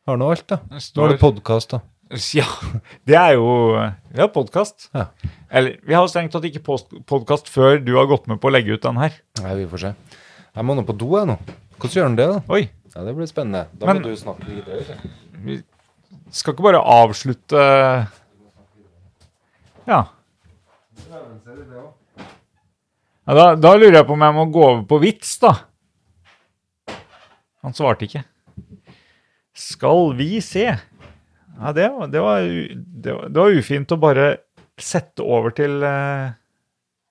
Speaker 2: Har nå alt, da.
Speaker 1: Det
Speaker 2: Nå har
Speaker 1: står-
Speaker 2: du podkast, da.
Speaker 1: Ja, det er jo eh, Vi har podkast.
Speaker 2: Ja.
Speaker 1: Eller vi har strengt tatt ikke podkast før du har gått med på å legge ut den her.
Speaker 2: Nei, vi får se. Jeg må nå på do, jeg nå. Hvordan gjør han det, da?
Speaker 1: Oi.
Speaker 2: Ja, Det blir spennende. Da
Speaker 1: Men-
Speaker 2: må du snakke videre. ikke?
Speaker 1: Vi skal ikke bare avslutte eh, Ja. ja da, da lurer jeg på om jeg må gå over på vits, da. Han svarte ikke. Skal vi se. Ja, det, var- det, var, u- det, var, det var ufint å bare sette over til, eh,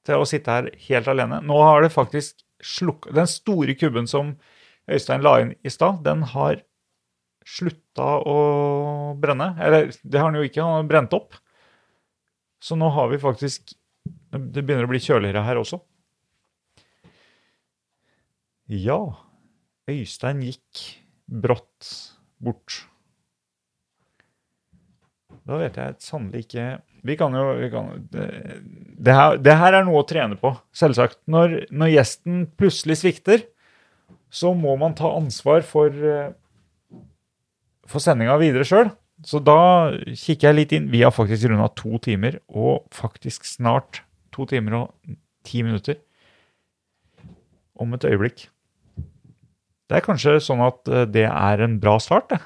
Speaker 1: til å sitte her helt alene. Nå har det faktisk slukka Den store kubben som Øystein la inn i stad, den har slutta å brenne. Eller det har han jo ikke, han har brent opp. Så nå har vi faktisk Det begynner å bli kjøligere her også. Ja, Øystein gikk brått bort. Da vet jeg sannelig ikke Vi kan jo vi kan, det, det, her, det her er noe å trene på, selvsagt. Når, når gjesten plutselig svikter, så må man ta ansvar for eh, for sendinga videre sjøl. Så da kikker jeg litt inn. Vi har faktisk runda to timer, og faktisk snart to timer og ti minutter. Om et øyeblikk. Det er kanskje sånn at eh, det er en bra start, det.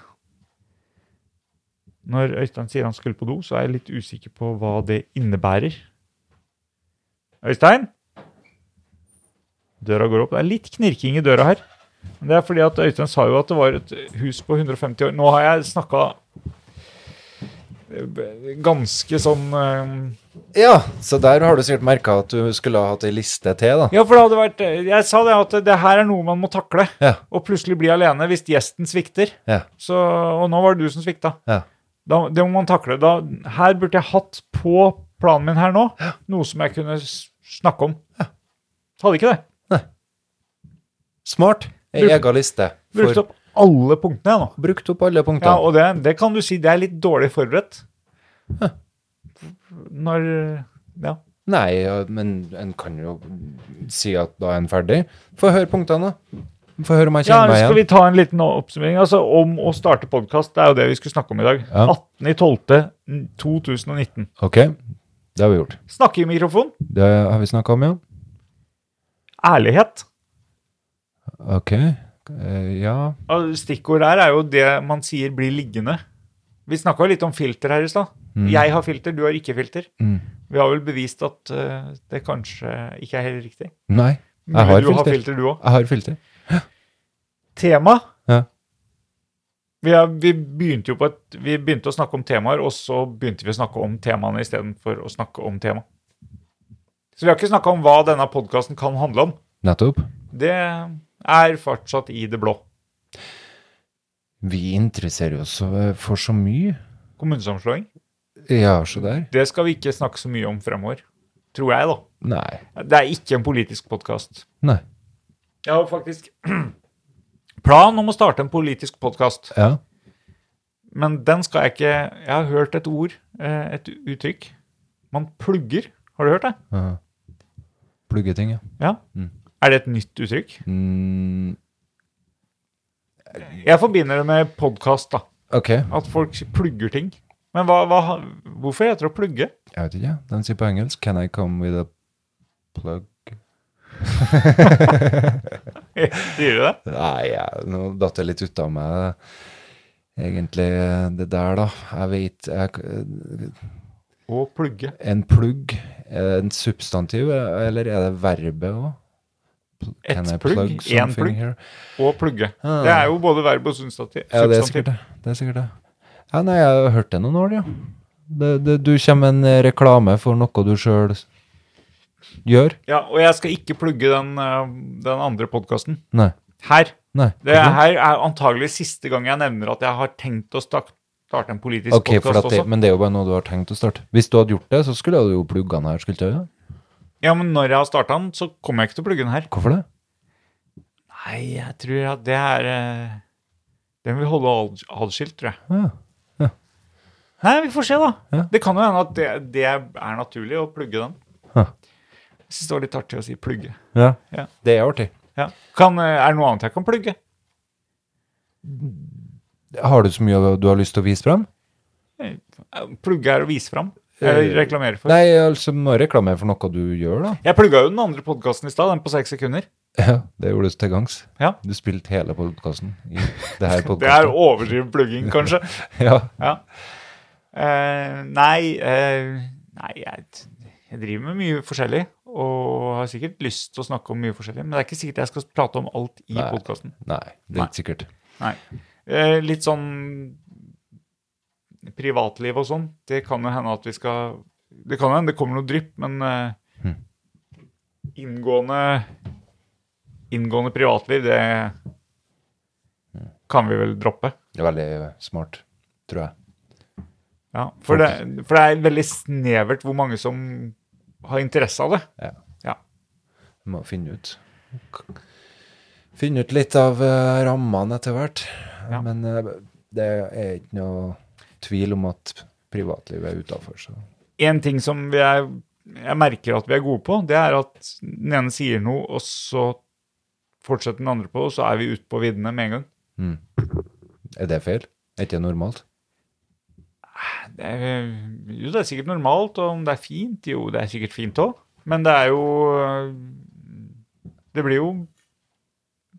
Speaker 1: Når Øystein sier han skulle på do, så er jeg litt usikker på hva det innebærer. Øystein? Døra går opp. Det er litt knirking i døra her. Men det er fordi at Øystein sa jo at det var et hus på 150 år. Nå har jeg snakka ganske sånn eh,
Speaker 2: Ja, så der har du sikkert merka at du skulle ha hatt ei liste til, da.
Speaker 1: Ja, for det hadde vært eh, Jeg sa det at det her er noe man må takle.
Speaker 2: Ja.
Speaker 1: Og plutselig bli alene hvis gjesten svikter.
Speaker 2: Ja.
Speaker 1: Så, og nå var det du som svikta.
Speaker 2: Ja.
Speaker 1: Da, det må man takle. Da, her burde jeg hatt på planen min her nå noe som jeg kunne s- snakke om. Så hadde ikke det.
Speaker 2: Smart. Ei
Speaker 1: Brukt-
Speaker 2: ega liste.
Speaker 1: Brukt opp alle punktene jeg nå.
Speaker 2: brukt opp alle punktene.
Speaker 1: Ja, og det, det kan du si, det er litt dårlig forberedt. Når Ja.
Speaker 2: Nei, ja, men en kan jo si at da er en ferdig. Få høre punktene, da. Få høre om jeg
Speaker 1: Ja,
Speaker 2: kjenner meg
Speaker 1: skal
Speaker 2: igjen.
Speaker 1: vi ta en liten oppsummering? Altså, Om å starte podkast, det er jo det vi skulle snakke om i dag.
Speaker 2: Ja.
Speaker 1: 18.12.2019.
Speaker 2: Ok, det har vi gjort.
Speaker 1: Snakke i mikrofon.
Speaker 2: Det har vi snakka om, ja.
Speaker 1: Ærlighet.
Speaker 2: Ok. Eh, ja.
Speaker 1: Og Stikkord der er jo det man sier blir liggende. Vi snakka litt om filter her i stad. Jeg har filter, du har ikke filter.
Speaker 2: Mm.
Speaker 1: Vi har vel bevist at eh, det kanskje ikke er helt riktig.
Speaker 2: Nei,
Speaker 1: Mulig
Speaker 2: har
Speaker 1: du har
Speaker 2: filter.
Speaker 1: filter, du òg.
Speaker 2: jeg har filter.
Speaker 1: Tema.
Speaker 2: Ja.
Speaker 1: Vi, er, vi begynte jo på et, vi begynte å snakke om temaer, og så begynte vi å snakke om temaene istedenfor å snakke om tema. Så vi har ikke snakka om hva denne podkasten kan handle om.
Speaker 2: Nettopp.
Speaker 1: Det er fortsatt i det blå.
Speaker 2: Vi interesserer oss eh, for så mye.
Speaker 1: Kommunesammenslåing.
Speaker 2: Ja, så der.
Speaker 1: Det skal vi ikke snakke så mye om fremover. Tror jeg, da.
Speaker 2: Nei.
Speaker 1: Det er ikke en politisk podkast.
Speaker 2: Nei.
Speaker 1: Jeg har faktisk plan om å starte en politisk podkast,
Speaker 2: Ja.
Speaker 1: men den skal jeg ikke Jeg har hørt et ord, eh, et uttrykk. Man plugger. Har du hørt det?
Speaker 2: ja. Pluggeting, ja.
Speaker 1: Ja.
Speaker 2: Mm.
Speaker 1: Er det et nytt uttrykk?
Speaker 2: Mm,
Speaker 1: Jeg forbinder det med podkast, da.
Speaker 2: ok, jeg
Speaker 1: At folk plugger ting. Men hva, hva, hvorfor heter det å plugge?
Speaker 2: vet ikke. Den sier på engelsk 'Can I come with a plug'?
Speaker 1: Sier du det?
Speaker 2: Nei, jeg, nå datt jeg litt ut av meg egentlig det der, da. Jeg vet jeg,
Speaker 1: Å plugge.
Speaker 2: En plugg, er det en substantiv, eller er det verbet òg?
Speaker 1: Et plugg, en plugg. Å plugge.
Speaker 2: Ah.
Speaker 1: Det er jo både verb og substantiv.
Speaker 2: Ja, det er
Speaker 1: substantiv.
Speaker 2: sikkert det. det, er sikkert det. Ja, nei, jeg har hørt det noen år, ja. Det, det, du kommer med en reklame for noe du sjøl gjør?
Speaker 1: Ja, og jeg skal ikke plugge den, eh, den andre podkasten.
Speaker 2: Nei.
Speaker 1: Her.
Speaker 2: nei.
Speaker 1: Det er, her er antagelig siste gang jeg nevner at jeg har tenkt å stak- starte en politisk
Speaker 2: Ok, for
Speaker 1: podkast
Speaker 2: at det,
Speaker 1: også.
Speaker 2: men det er jo bare noe du har tenkt å starte. Hvis du hadde gjort det, så skulle du jo plugga den her. skulle du ikke det?
Speaker 1: Ja, men når jeg har starta den, så kommer jeg ikke til å plugge den her.
Speaker 2: Hvorfor det?
Speaker 1: Nei, jeg tror at det er eh, Den vil holde ad- adskilt, tror jeg.
Speaker 2: Ja.
Speaker 1: Nei, vi får se, da.
Speaker 2: Ja.
Speaker 1: Det kan jo hende at det, det er naturlig å plugge den.
Speaker 2: Ja.
Speaker 1: Jeg syns det var litt artig å si plugge.
Speaker 2: Ja.
Speaker 1: Ja.
Speaker 2: Det er artig.
Speaker 1: Ja. Kan, eh, er det noe annet jeg kan plugge?
Speaker 2: Har du så mye du har lyst til å vise frem?
Speaker 1: Eh, Plugge er å vise fram. Eller
Speaker 2: Eh,
Speaker 1: reklamere for.
Speaker 2: Nei, altså må jeg reklamere for noe du gjør, da.
Speaker 1: Jeg plugga jo den andre podkasten i stad, den på seks sekunder.
Speaker 2: Ja, det gjorde du til gangs.
Speaker 1: Ja.
Speaker 2: Du spilte hele podkasten i det her
Speaker 1: Det er
Speaker 2: podkasten.
Speaker 1: overdrevet plugging, kanskje.
Speaker 2: Ja.
Speaker 1: Ja. Eh, nei, eh, nei jeg, jeg driver med mye forskjellig, og har sikkert lyst til å snakke om mye forskjellig, men det er ikke sikkert jeg skal prate om alt i
Speaker 2: Nei.
Speaker 1: podkasten.
Speaker 2: Nei, det er ikke sikkert.
Speaker 1: Eh, litt sånn privatliv og sånn, det kan jo hende at vi skal Det kan hende det kommer noe drypp, men eh,
Speaker 2: Hm.
Speaker 1: inngående Inngående privatliv, det kan vi vel droppe.
Speaker 2: Det er veldig smart, tror jeg.
Speaker 1: Ja, for det, for det er veldig snevert hvor mange som har interesse av det.
Speaker 2: Du må finne ut Finne ut litt av eh, rammene etter hvert.
Speaker 1: Ja.
Speaker 2: Men eh, det er ikke noe tvil om at privatlivet er utafor, så
Speaker 1: En ting som vi er, jeg merker at vi er gode på, det er at den ene sier noe, og så fortsetter den andre på, og så er vi ute på viddene med en gang.
Speaker 2: Er det feil? Er ikke det normalt?
Speaker 1: Det er, jo, det er sikkert normalt, og om det er fint, jo, det er sikkert fint òg. Men det er jo Det blir jo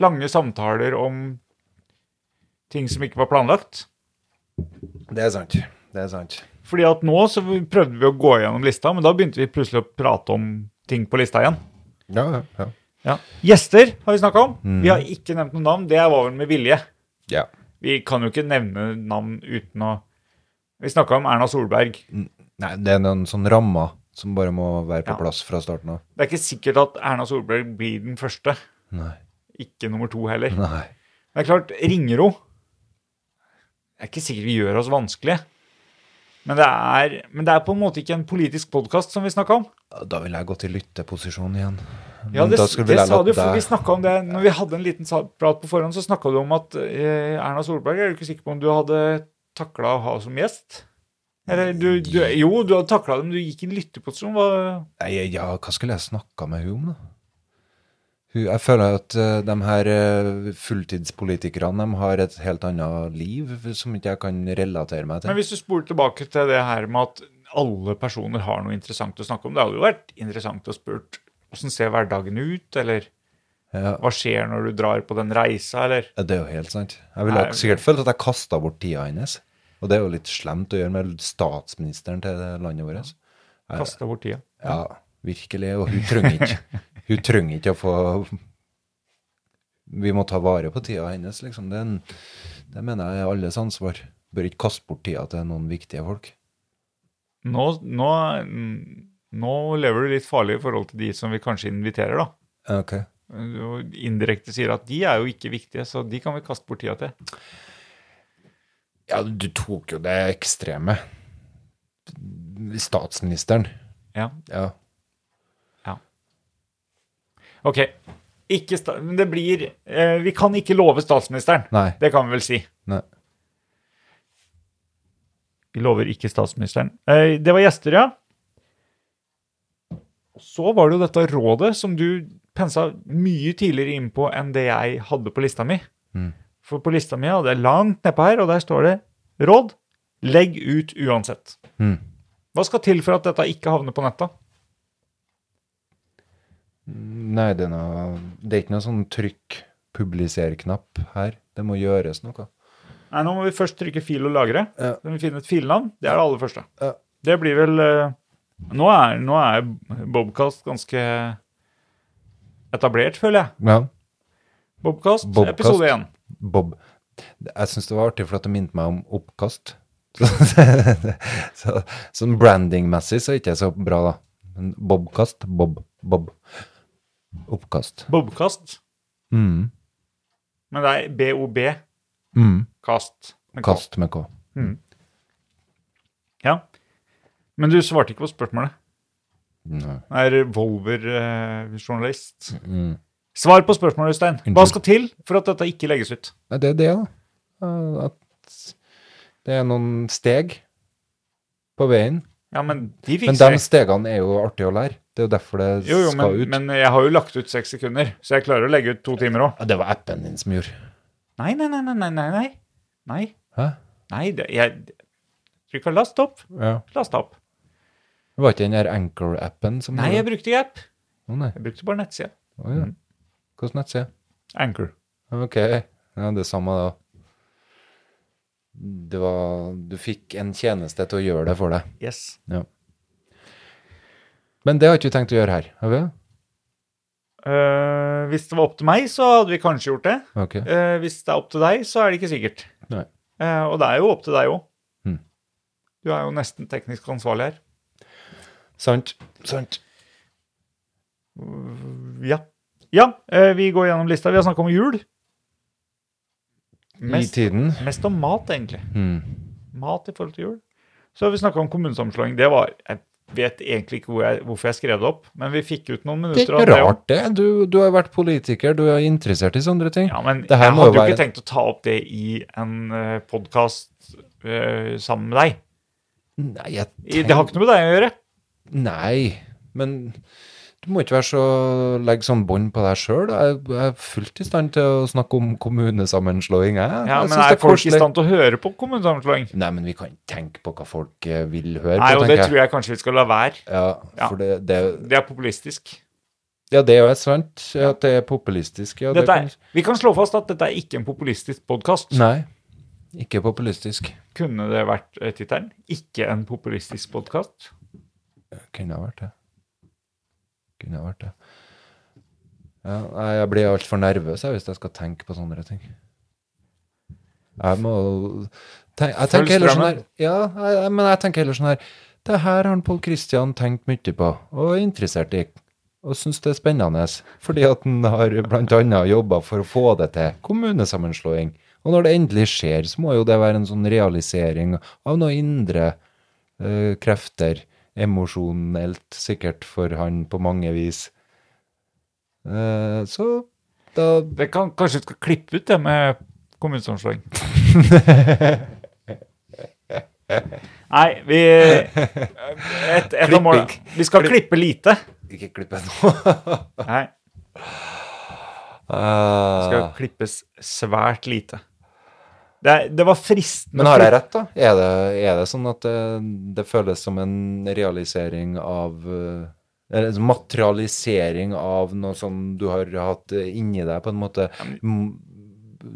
Speaker 1: lange samtaler om ting som ikke var planlagt.
Speaker 2: Det er sant. Det er sant.
Speaker 1: Fordi at nå så prøvde vi å gå gjennom lista, men da begynte vi plutselig å prate om ting på lista igjen.
Speaker 2: Ja, ja, ja.
Speaker 1: Gjester har vi snakka om. Vi har ikke nevnt noen navn. Det var vel med vilje.
Speaker 2: ja.
Speaker 1: Vi kan jo ikke nevne navn uten å Vi snakka om Erna Solberg.
Speaker 2: Nei, det er noen sånne rammer som bare må være på
Speaker 1: Ja.
Speaker 2: plass fra starten av.
Speaker 1: Det er ikke sikkert at Erna Solberg blir den første.
Speaker 2: Nei.
Speaker 1: Ikke nummer to heller.
Speaker 2: Nei.
Speaker 1: Det er klart, ringer hun Det er ikke sikkert vi gjør oss vanskelige. Men det er, men det er på en måte ikke en politisk podkast som vi snakka om.
Speaker 2: Da vil jeg gå til lytteposisjon igjen.
Speaker 1: Ja,
Speaker 2: Men
Speaker 1: det,
Speaker 2: da skulle vi
Speaker 1: det
Speaker 2: lære
Speaker 1: sa
Speaker 2: at
Speaker 1: du, for
Speaker 2: det-
Speaker 1: vi snakket om det Når vi hadde en liten sa- prat på forhånd, så snakka du om at eh, Erna Solberg Er du ikke sikker på om du hadde takla å ha som gjest? Eller du, du Jo, du hadde takla det, men du gikk i en lytteposisjon. hva-
Speaker 2: Nei, ja, hva skulle jeg snakka med hun om, da? Hun, jeg føler at eh, de her eh, fulltidspolitikerne de har et helt annet liv som ikke jeg kan relatere meg
Speaker 1: Men
Speaker 2: til.
Speaker 1: hvis du spoler tilbake til det her med at alle personer har noe interessant å snakke om Det hadde jo vært interessant å spurt åssen ser hverdagen ut, eller
Speaker 2: Ja,
Speaker 1: hva skjer når du drar på den reisa, eller
Speaker 2: det er jo helt sant. Jeg ville
Speaker 1: Nei.
Speaker 2: sikkert følt at jeg kasta bort tida hennes. Og det er jo litt slemt å gjøre med statsministeren til det landet vårt.
Speaker 1: kaste bort tida.
Speaker 2: Ja, virkelig. Og hun trenger ikke Hun trenger ikke å få Vi må ta vare på tida hennes, liksom. Det, er en, det mener jeg er alles ansvar. Bør ikke kaste bort tida til noen viktige folk.
Speaker 1: Nå, nå, mm, nå lever du litt farlig i forhold til de som vi kanskje inviterer, da.
Speaker 2: Ok.
Speaker 1: og indirekte sier at de er jo ikke viktige, så de kan vi kaste bort tida til.
Speaker 2: Ja, du tok jo det ekstreme. Statsministeren.
Speaker 1: Ja,
Speaker 2: Ja.
Speaker 1: ok. Ikke sta men det blir eh, Vi kan ikke love statsministeren.
Speaker 2: Nei.
Speaker 1: Det kan vi vel si.
Speaker 2: Nei.
Speaker 1: Vi lover ikke statsministeren. Eh, det var gjester, ja. Og Så var det jo dette rådet som du pensa mye tidligere inn på enn det jeg hadde på lista mi.
Speaker 2: Mm.
Speaker 1: For på lista mi hadde jeg langt nedpå her, og der står det råd. Legg ut uansett.
Speaker 2: Mm.
Speaker 1: Hva skal til for at dette ikke havner på nettet?
Speaker 2: Nei, det er, noe, det er ikke noe sånn trykk publiser-knapp her. Det må gjøres noe.
Speaker 1: Nei, nå må vi først trykke fil og lagre.
Speaker 2: Ja.
Speaker 1: Så må vi finne et filnavn. Det er det aller første.
Speaker 2: Ja.
Speaker 1: Det blir vel eh, Nå er, nå er Bobcast ganske etablert, føler jeg.
Speaker 2: Ja.
Speaker 1: Bobcast,
Speaker 2: Bobcast.
Speaker 1: episode én.
Speaker 2: Bob. Jeg syns det var artig, for at det minte meg om oppkast. Så, så, sånn branding-messig så er det ikke så bra, da. Men Bobkast, Bob, Bob. Oppkast.
Speaker 1: Bobcast.
Speaker 2: Mm.
Speaker 1: Men det er BOB-kast.
Speaker 2: Mm. Kast med K.
Speaker 1: Ja. Men du svarte ikke på spørsmålet.
Speaker 2: Nei.
Speaker 1: Det er Volver-journalist.
Speaker 2: Mm.
Speaker 1: Svar på spørsmålet, Øystein. Hva
Speaker 2: Unnskyld.
Speaker 1: skal til for at dette ikke legges ut?
Speaker 2: Nei, det er det, da. Eh, At det er noen steg på veien.
Speaker 1: Ja, men de fikser
Speaker 2: Men de stegene er jo artig å lære. Det er jo derfor det
Speaker 1: Jo, jo, men,
Speaker 2: skal ut.
Speaker 1: men jeg har jo lagt ut seks sekunder, så jeg klarer å legge ut to timer òg.
Speaker 2: Ja, det var appen din som gjorde.
Speaker 1: Nei, nei, nei, nei, nei, nei, nei. Nei,
Speaker 2: Hæ?
Speaker 1: nei, det, jeg trykka last opp,
Speaker 2: Ja.
Speaker 1: last opp.
Speaker 2: Det var ikke den der Anchor-appen som
Speaker 1: Nei, jeg Mm.
Speaker 2: gjorde det?
Speaker 1: brukte ikke app.
Speaker 2: Å, nei.
Speaker 1: Jeg brukte bare nettsida.
Speaker 2: Å, ja. Hvordan nettside?
Speaker 1: Anchor.
Speaker 2: Ok, ja, det samme da. Det var, du fikk en tjeneste til å gjøre det for deg.
Speaker 1: Yes.
Speaker 2: Men det har ikke vi tenkt å gjøre her, har vi det?
Speaker 1: Eh, hvis det var opp til meg, så hadde vi kanskje gjort det.
Speaker 2: Ok,
Speaker 1: Eh, hvis det er opp til deg, så er det ikke sikkert.
Speaker 2: Nei.
Speaker 1: Eh, og det er jo opp til deg òg.
Speaker 2: Mm.
Speaker 1: Du er jo nesten teknisk ansvarlig her.
Speaker 2: sant, sant.
Speaker 1: Ja. Ja, eh, vi går gjennom lista. Vi har snakka om jul.
Speaker 2: I
Speaker 1: Mest,
Speaker 2: tiden.
Speaker 1: mest om mat, egentlig.
Speaker 2: Hmm.
Speaker 1: mat i forhold til jul. Så har vi snakka om kommunesammenslåing. Det var Jeg vet egentlig ikke hvor jeg, hvorfor jeg skrev det opp, men vi fikk ut noen
Speaker 2: Det
Speaker 1: minutter
Speaker 2: er ikke
Speaker 1: av det.
Speaker 2: rart det, du, du har vært politiker, du er interessert i sånne ting.
Speaker 1: Ja, men
Speaker 2: Det her
Speaker 1: jeg
Speaker 2: må jo
Speaker 1: hadde jo
Speaker 2: være-
Speaker 1: ikke tenkt å ta opp det i en uh, podkast sammen med deg.
Speaker 2: Nei, jeg
Speaker 1: I, det har ikke noe med deg å gjøre.
Speaker 2: Nei, men du må ikke være så, legge sånn bånd på deg sjøl. Jeg, jeg er fullt i stand til å snakke om kommunesammenslåing, jeg.
Speaker 1: Ja,
Speaker 2: jeg
Speaker 1: men
Speaker 2: synes
Speaker 1: er
Speaker 2: det
Speaker 1: folk i
Speaker 2: koselig.
Speaker 1: stand til å høre på kommunesammenslåing?
Speaker 2: Nei, men vi kan ikke tenke på hva folk eh, vil høre
Speaker 1: Nei,
Speaker 2: på,
Speaker 1: og det
Speaker 2: tenker jeg.
Speaker 1: tror jeg kanskje vi skal la være.
Speaker 2: Ja,
Speaker 1: Ja.
Speaker 2: for det, det,
Speaker 1: Det er populistisk.
Speaker 2: Ja, det er jo sant. At det er populistisk. Ja, det
Speaker 1: Dette er,
Speaker 2: kan-
Speaker 1: vi kan slå fast at dette er ikke en populistisk podkast.
Speaker 2: Nei, ikke populistisk.
Speaker 1: Kunne det vært eh, tittelen? Ikke en populistisk podkast?
Speaker 2: Kunne ha vært det. Kunne ha vært det. Ja, nei, jeg blir altfor nervøs jeg, hvis jeg skal tenke på sånne ting. Jeg må tenk, Jeg
Speaker 1: Følg
Speaker 2: tenker heller sånn
Speaker 1: strømmen.
Speaker 2: her Ja, jeg, jeg- men jeg tenker heller sånn her Det her har Pål Kristian tenkt mye på, og er interessert i. Og syns det er spennende, fordi at han har bl.a. jobba for å få det til. Kommunesammenslåing. Og når det endelig skjer, så må jo det være en sånn realisering av noe indre eh, krefter, emosjonelt sikkert for han på mange vis. Eh, så da
Speaker 1: Det kan, kanskje vi skal klippe ut det med kommunesammenslåing. Nei, vi et, et av målene.
Speaker 2: Klipping. Ah.
Speaker 1: Vi skal klippe lite.
Speaker 2: Ikke klippe nå.
Speaker 1: Nei, det skal
Speaker 2: Eh,
Speaker 1: klippes svært lite. Det, er, det var fristende
Speaker 2: men har
Speaker 1: å
Speaker 2: jeg
Speaker 1: klippe-
Speaker 2: rett, da? Er det, er det sånn at det, det føles som en realisering av eh, eller en materialisering av noe som du har hatt eh, inni deg, på en måte, m-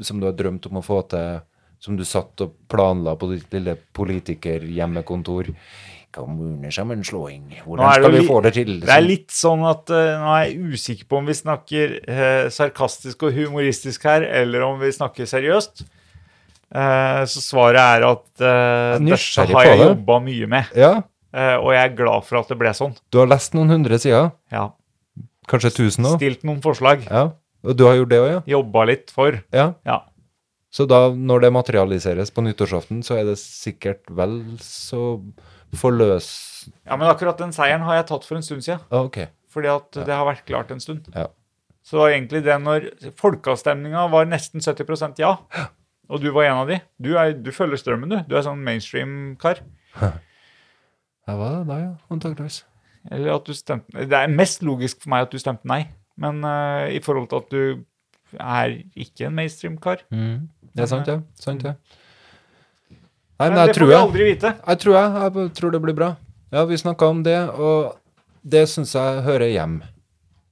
Speaker 2: som du har drømt om å få til, som du satt og planla på ditt lille politikerhjemmekontor. Kommunesammenslåing,
Speaker 1: Nå
Speaker 2: hvordan
Speaker 1: er det
Speaker 2: skal
Speaker 1: jo
Speaker 2: vi
Speaker 1: li-
Speaker 2: få det til? liksom?
Speaker 1: Det er litt sånn at eh, nå er jeg usikker på om vi snakker eh, sarkastisk og humoristisk her, eller om vi snakker seriøst. Eh, så svaret er at eh,
Speaker 2: Jeg er
Speaker 1: dette
Speaker 2: nysgjerrig
Speaker 1: har jeg
Speaker 2: på det.
Speaker 1: jobba mye med,
Speaker 2: Ja,
Speaker 1: eh, og jeg er glad for at det ble sånn.
Speaker 2: du har lest noen hundre sider,
Speaker 1: Ja.
Speaker 2: kanskje tusen nå?
Speaker 1: Stilt noen forslag,
Speaker 2: Ja, og du har gjort det også, ja?
Speaker 1: jobba litt for.
Speaker 2: Ja.
Speaker 1: Ja.
Speaker 2: Så da, når det materialiseres på nyttårsaften, så er det sikkert vel så forløs...
Speaker 1: ja, men akkurat den seieren har jeg tatt for en stund siden,
Speaker 2: Ah, ok.
Speaker 1: fordi at det har vært klart en stund.
Speaker 2: Ja.
Speaker 1: Så det var egentlig det når folkeavstemninga var nesten 70 ja, og du var en av de. Du, er, du følger strømmen, du. Du er sånn mainstream-kar.
Speaker 2: Ja, hva er det da, ja? Antakeligvis.
Speaker 1: Eller at du stemte Det er mest logisk for meg at du stemte nei. Men eh, i forhold til at du er ikke en mainstream-kar.
Speaker 2: Det er sant, ja. Sant, ja. Nei, men
Speaker 1: Mm. Men
Speaker 2: jeg
Speaker 1: det får
Speaker 2: tror
Speaker 1: vi
Speaker 2: jeg...
Speaker 1: aldri vite.
Speaker 2: Jeg tror jeg, jeg b- tror det blir bra. Ja, vi snakka om det, og det syns jeg hører hjem.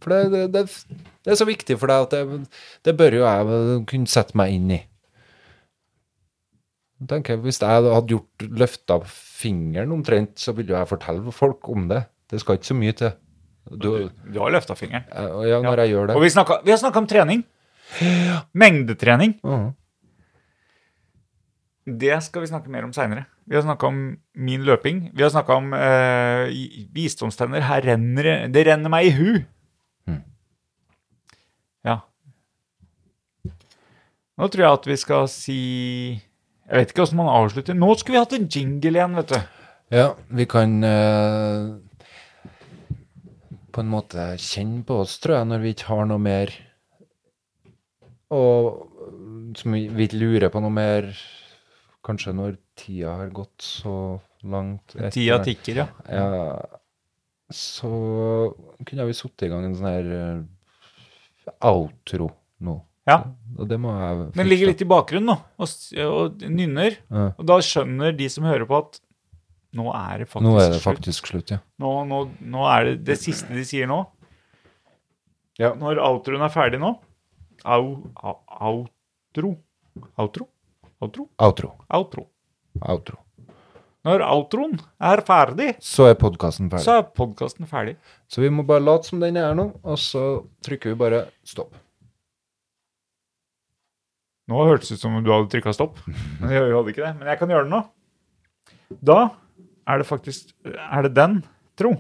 Speaker 2: For det, det, det, det er så viktig for deg at det, det bør jo jeg vel kunne sette meg inn i. Jeg tenker, Hvis jeg hadde gjort løfta fingeren omtrent, så ville jo jeg fortelle folk om det. Det skal ikke så mye til. Du,
Speaker 1: Du har løfta fingeren.
Speaker 2: jeg- ja, når jeg gjør det.
Speaker 1: Og vi, snakka, vi har snakka om trening. Mengdetrening.
Speaker 2: Mhm.
Speaker 1: Det skal vi snakke mer om seinere. Vi har snakka om min løping. Vi har snakka om eh, i- visdomstenner. Her renner det Det renner meg i hu.
Speaker 2: Mm.
Speaker 1: Ja. Nå tror jeg at vi skal si Jeg vet ikke åssen man avslutter. Nå skulle vi hatt en jingle igjen, vet du.
Speaker 2: Ja, vi kan eh, på en måte kjenne på oss, tror jeg, når vi ikke har noe mer Og som vi vi ikke lurer på noe mer Kanskje når tida har gått så langt etter-
Speaker 1: Tida tikker, ja.
Speaker 2: Ja, så kunne vi satt i gang en sånn her eh, outro nå.
Speaker 1: ja.
Speaker 2: Og det må jeg
Speaker 1: Den ligger litt i bakgrunnen nå og, s- og nynner.
Speaker 2: Ja.
Speaker 1: Og da skjønner de som hører på, at nå er det faktisk,
Speaker 2: Nå er det
Speaker 1: slutt.
Speaker 2: faktisk slutt, ja.
Speaker 1: Nå, nå, nå er det det siste de sier nå.
Speaker 2: Ja.
Speaker 1: Når outroen er ferdig nå au, au, Outro? Outro? Outro?
Speaker 2: Outro.
Speaker 1: Outro.
Speaker 2: Outro.
Speaker 1: Når outroen er ferdig,
Speaker 2: Så er podkasten ferdig.
Speaker 1: så er podkasten ferdig.
Speaker 2: Så vi må bare late som den er nå, og så trykker vi bare stopp.
Speaker 1: Nå hørtes det ut som om du hadde trykka stopp. Men jeg hadde ikke det. Men jeg kan gjøre det nå. Da er det faktisk Er det den, tro?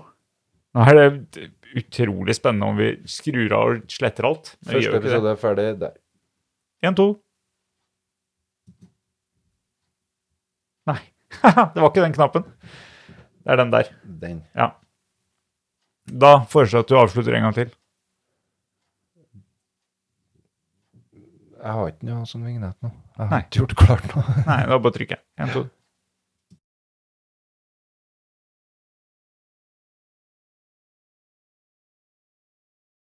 Speaker 1: Nå er det utrolig spennende om vi skrur av og sletter alt. Men vi
Speaker 2: Første
Speaker 1: gjør jo ikke det.
Speaker 2: episode er ferdig der.
Speaker 1: En, to. Nei. det var ikke den knappen. Det er den der.
Speaker 2: Den.
Speaker 1: Ja. Da foreslår jeg at du avslutter en gang til.
Speaker 2: Jeg har ikke noe sånn vignett nå. Jeg har
Speaker 1: Nei.
Speaker 2: ikke gjort klart noe. sånn
Speaker 1: Nei, det var bare å trykke. En, to.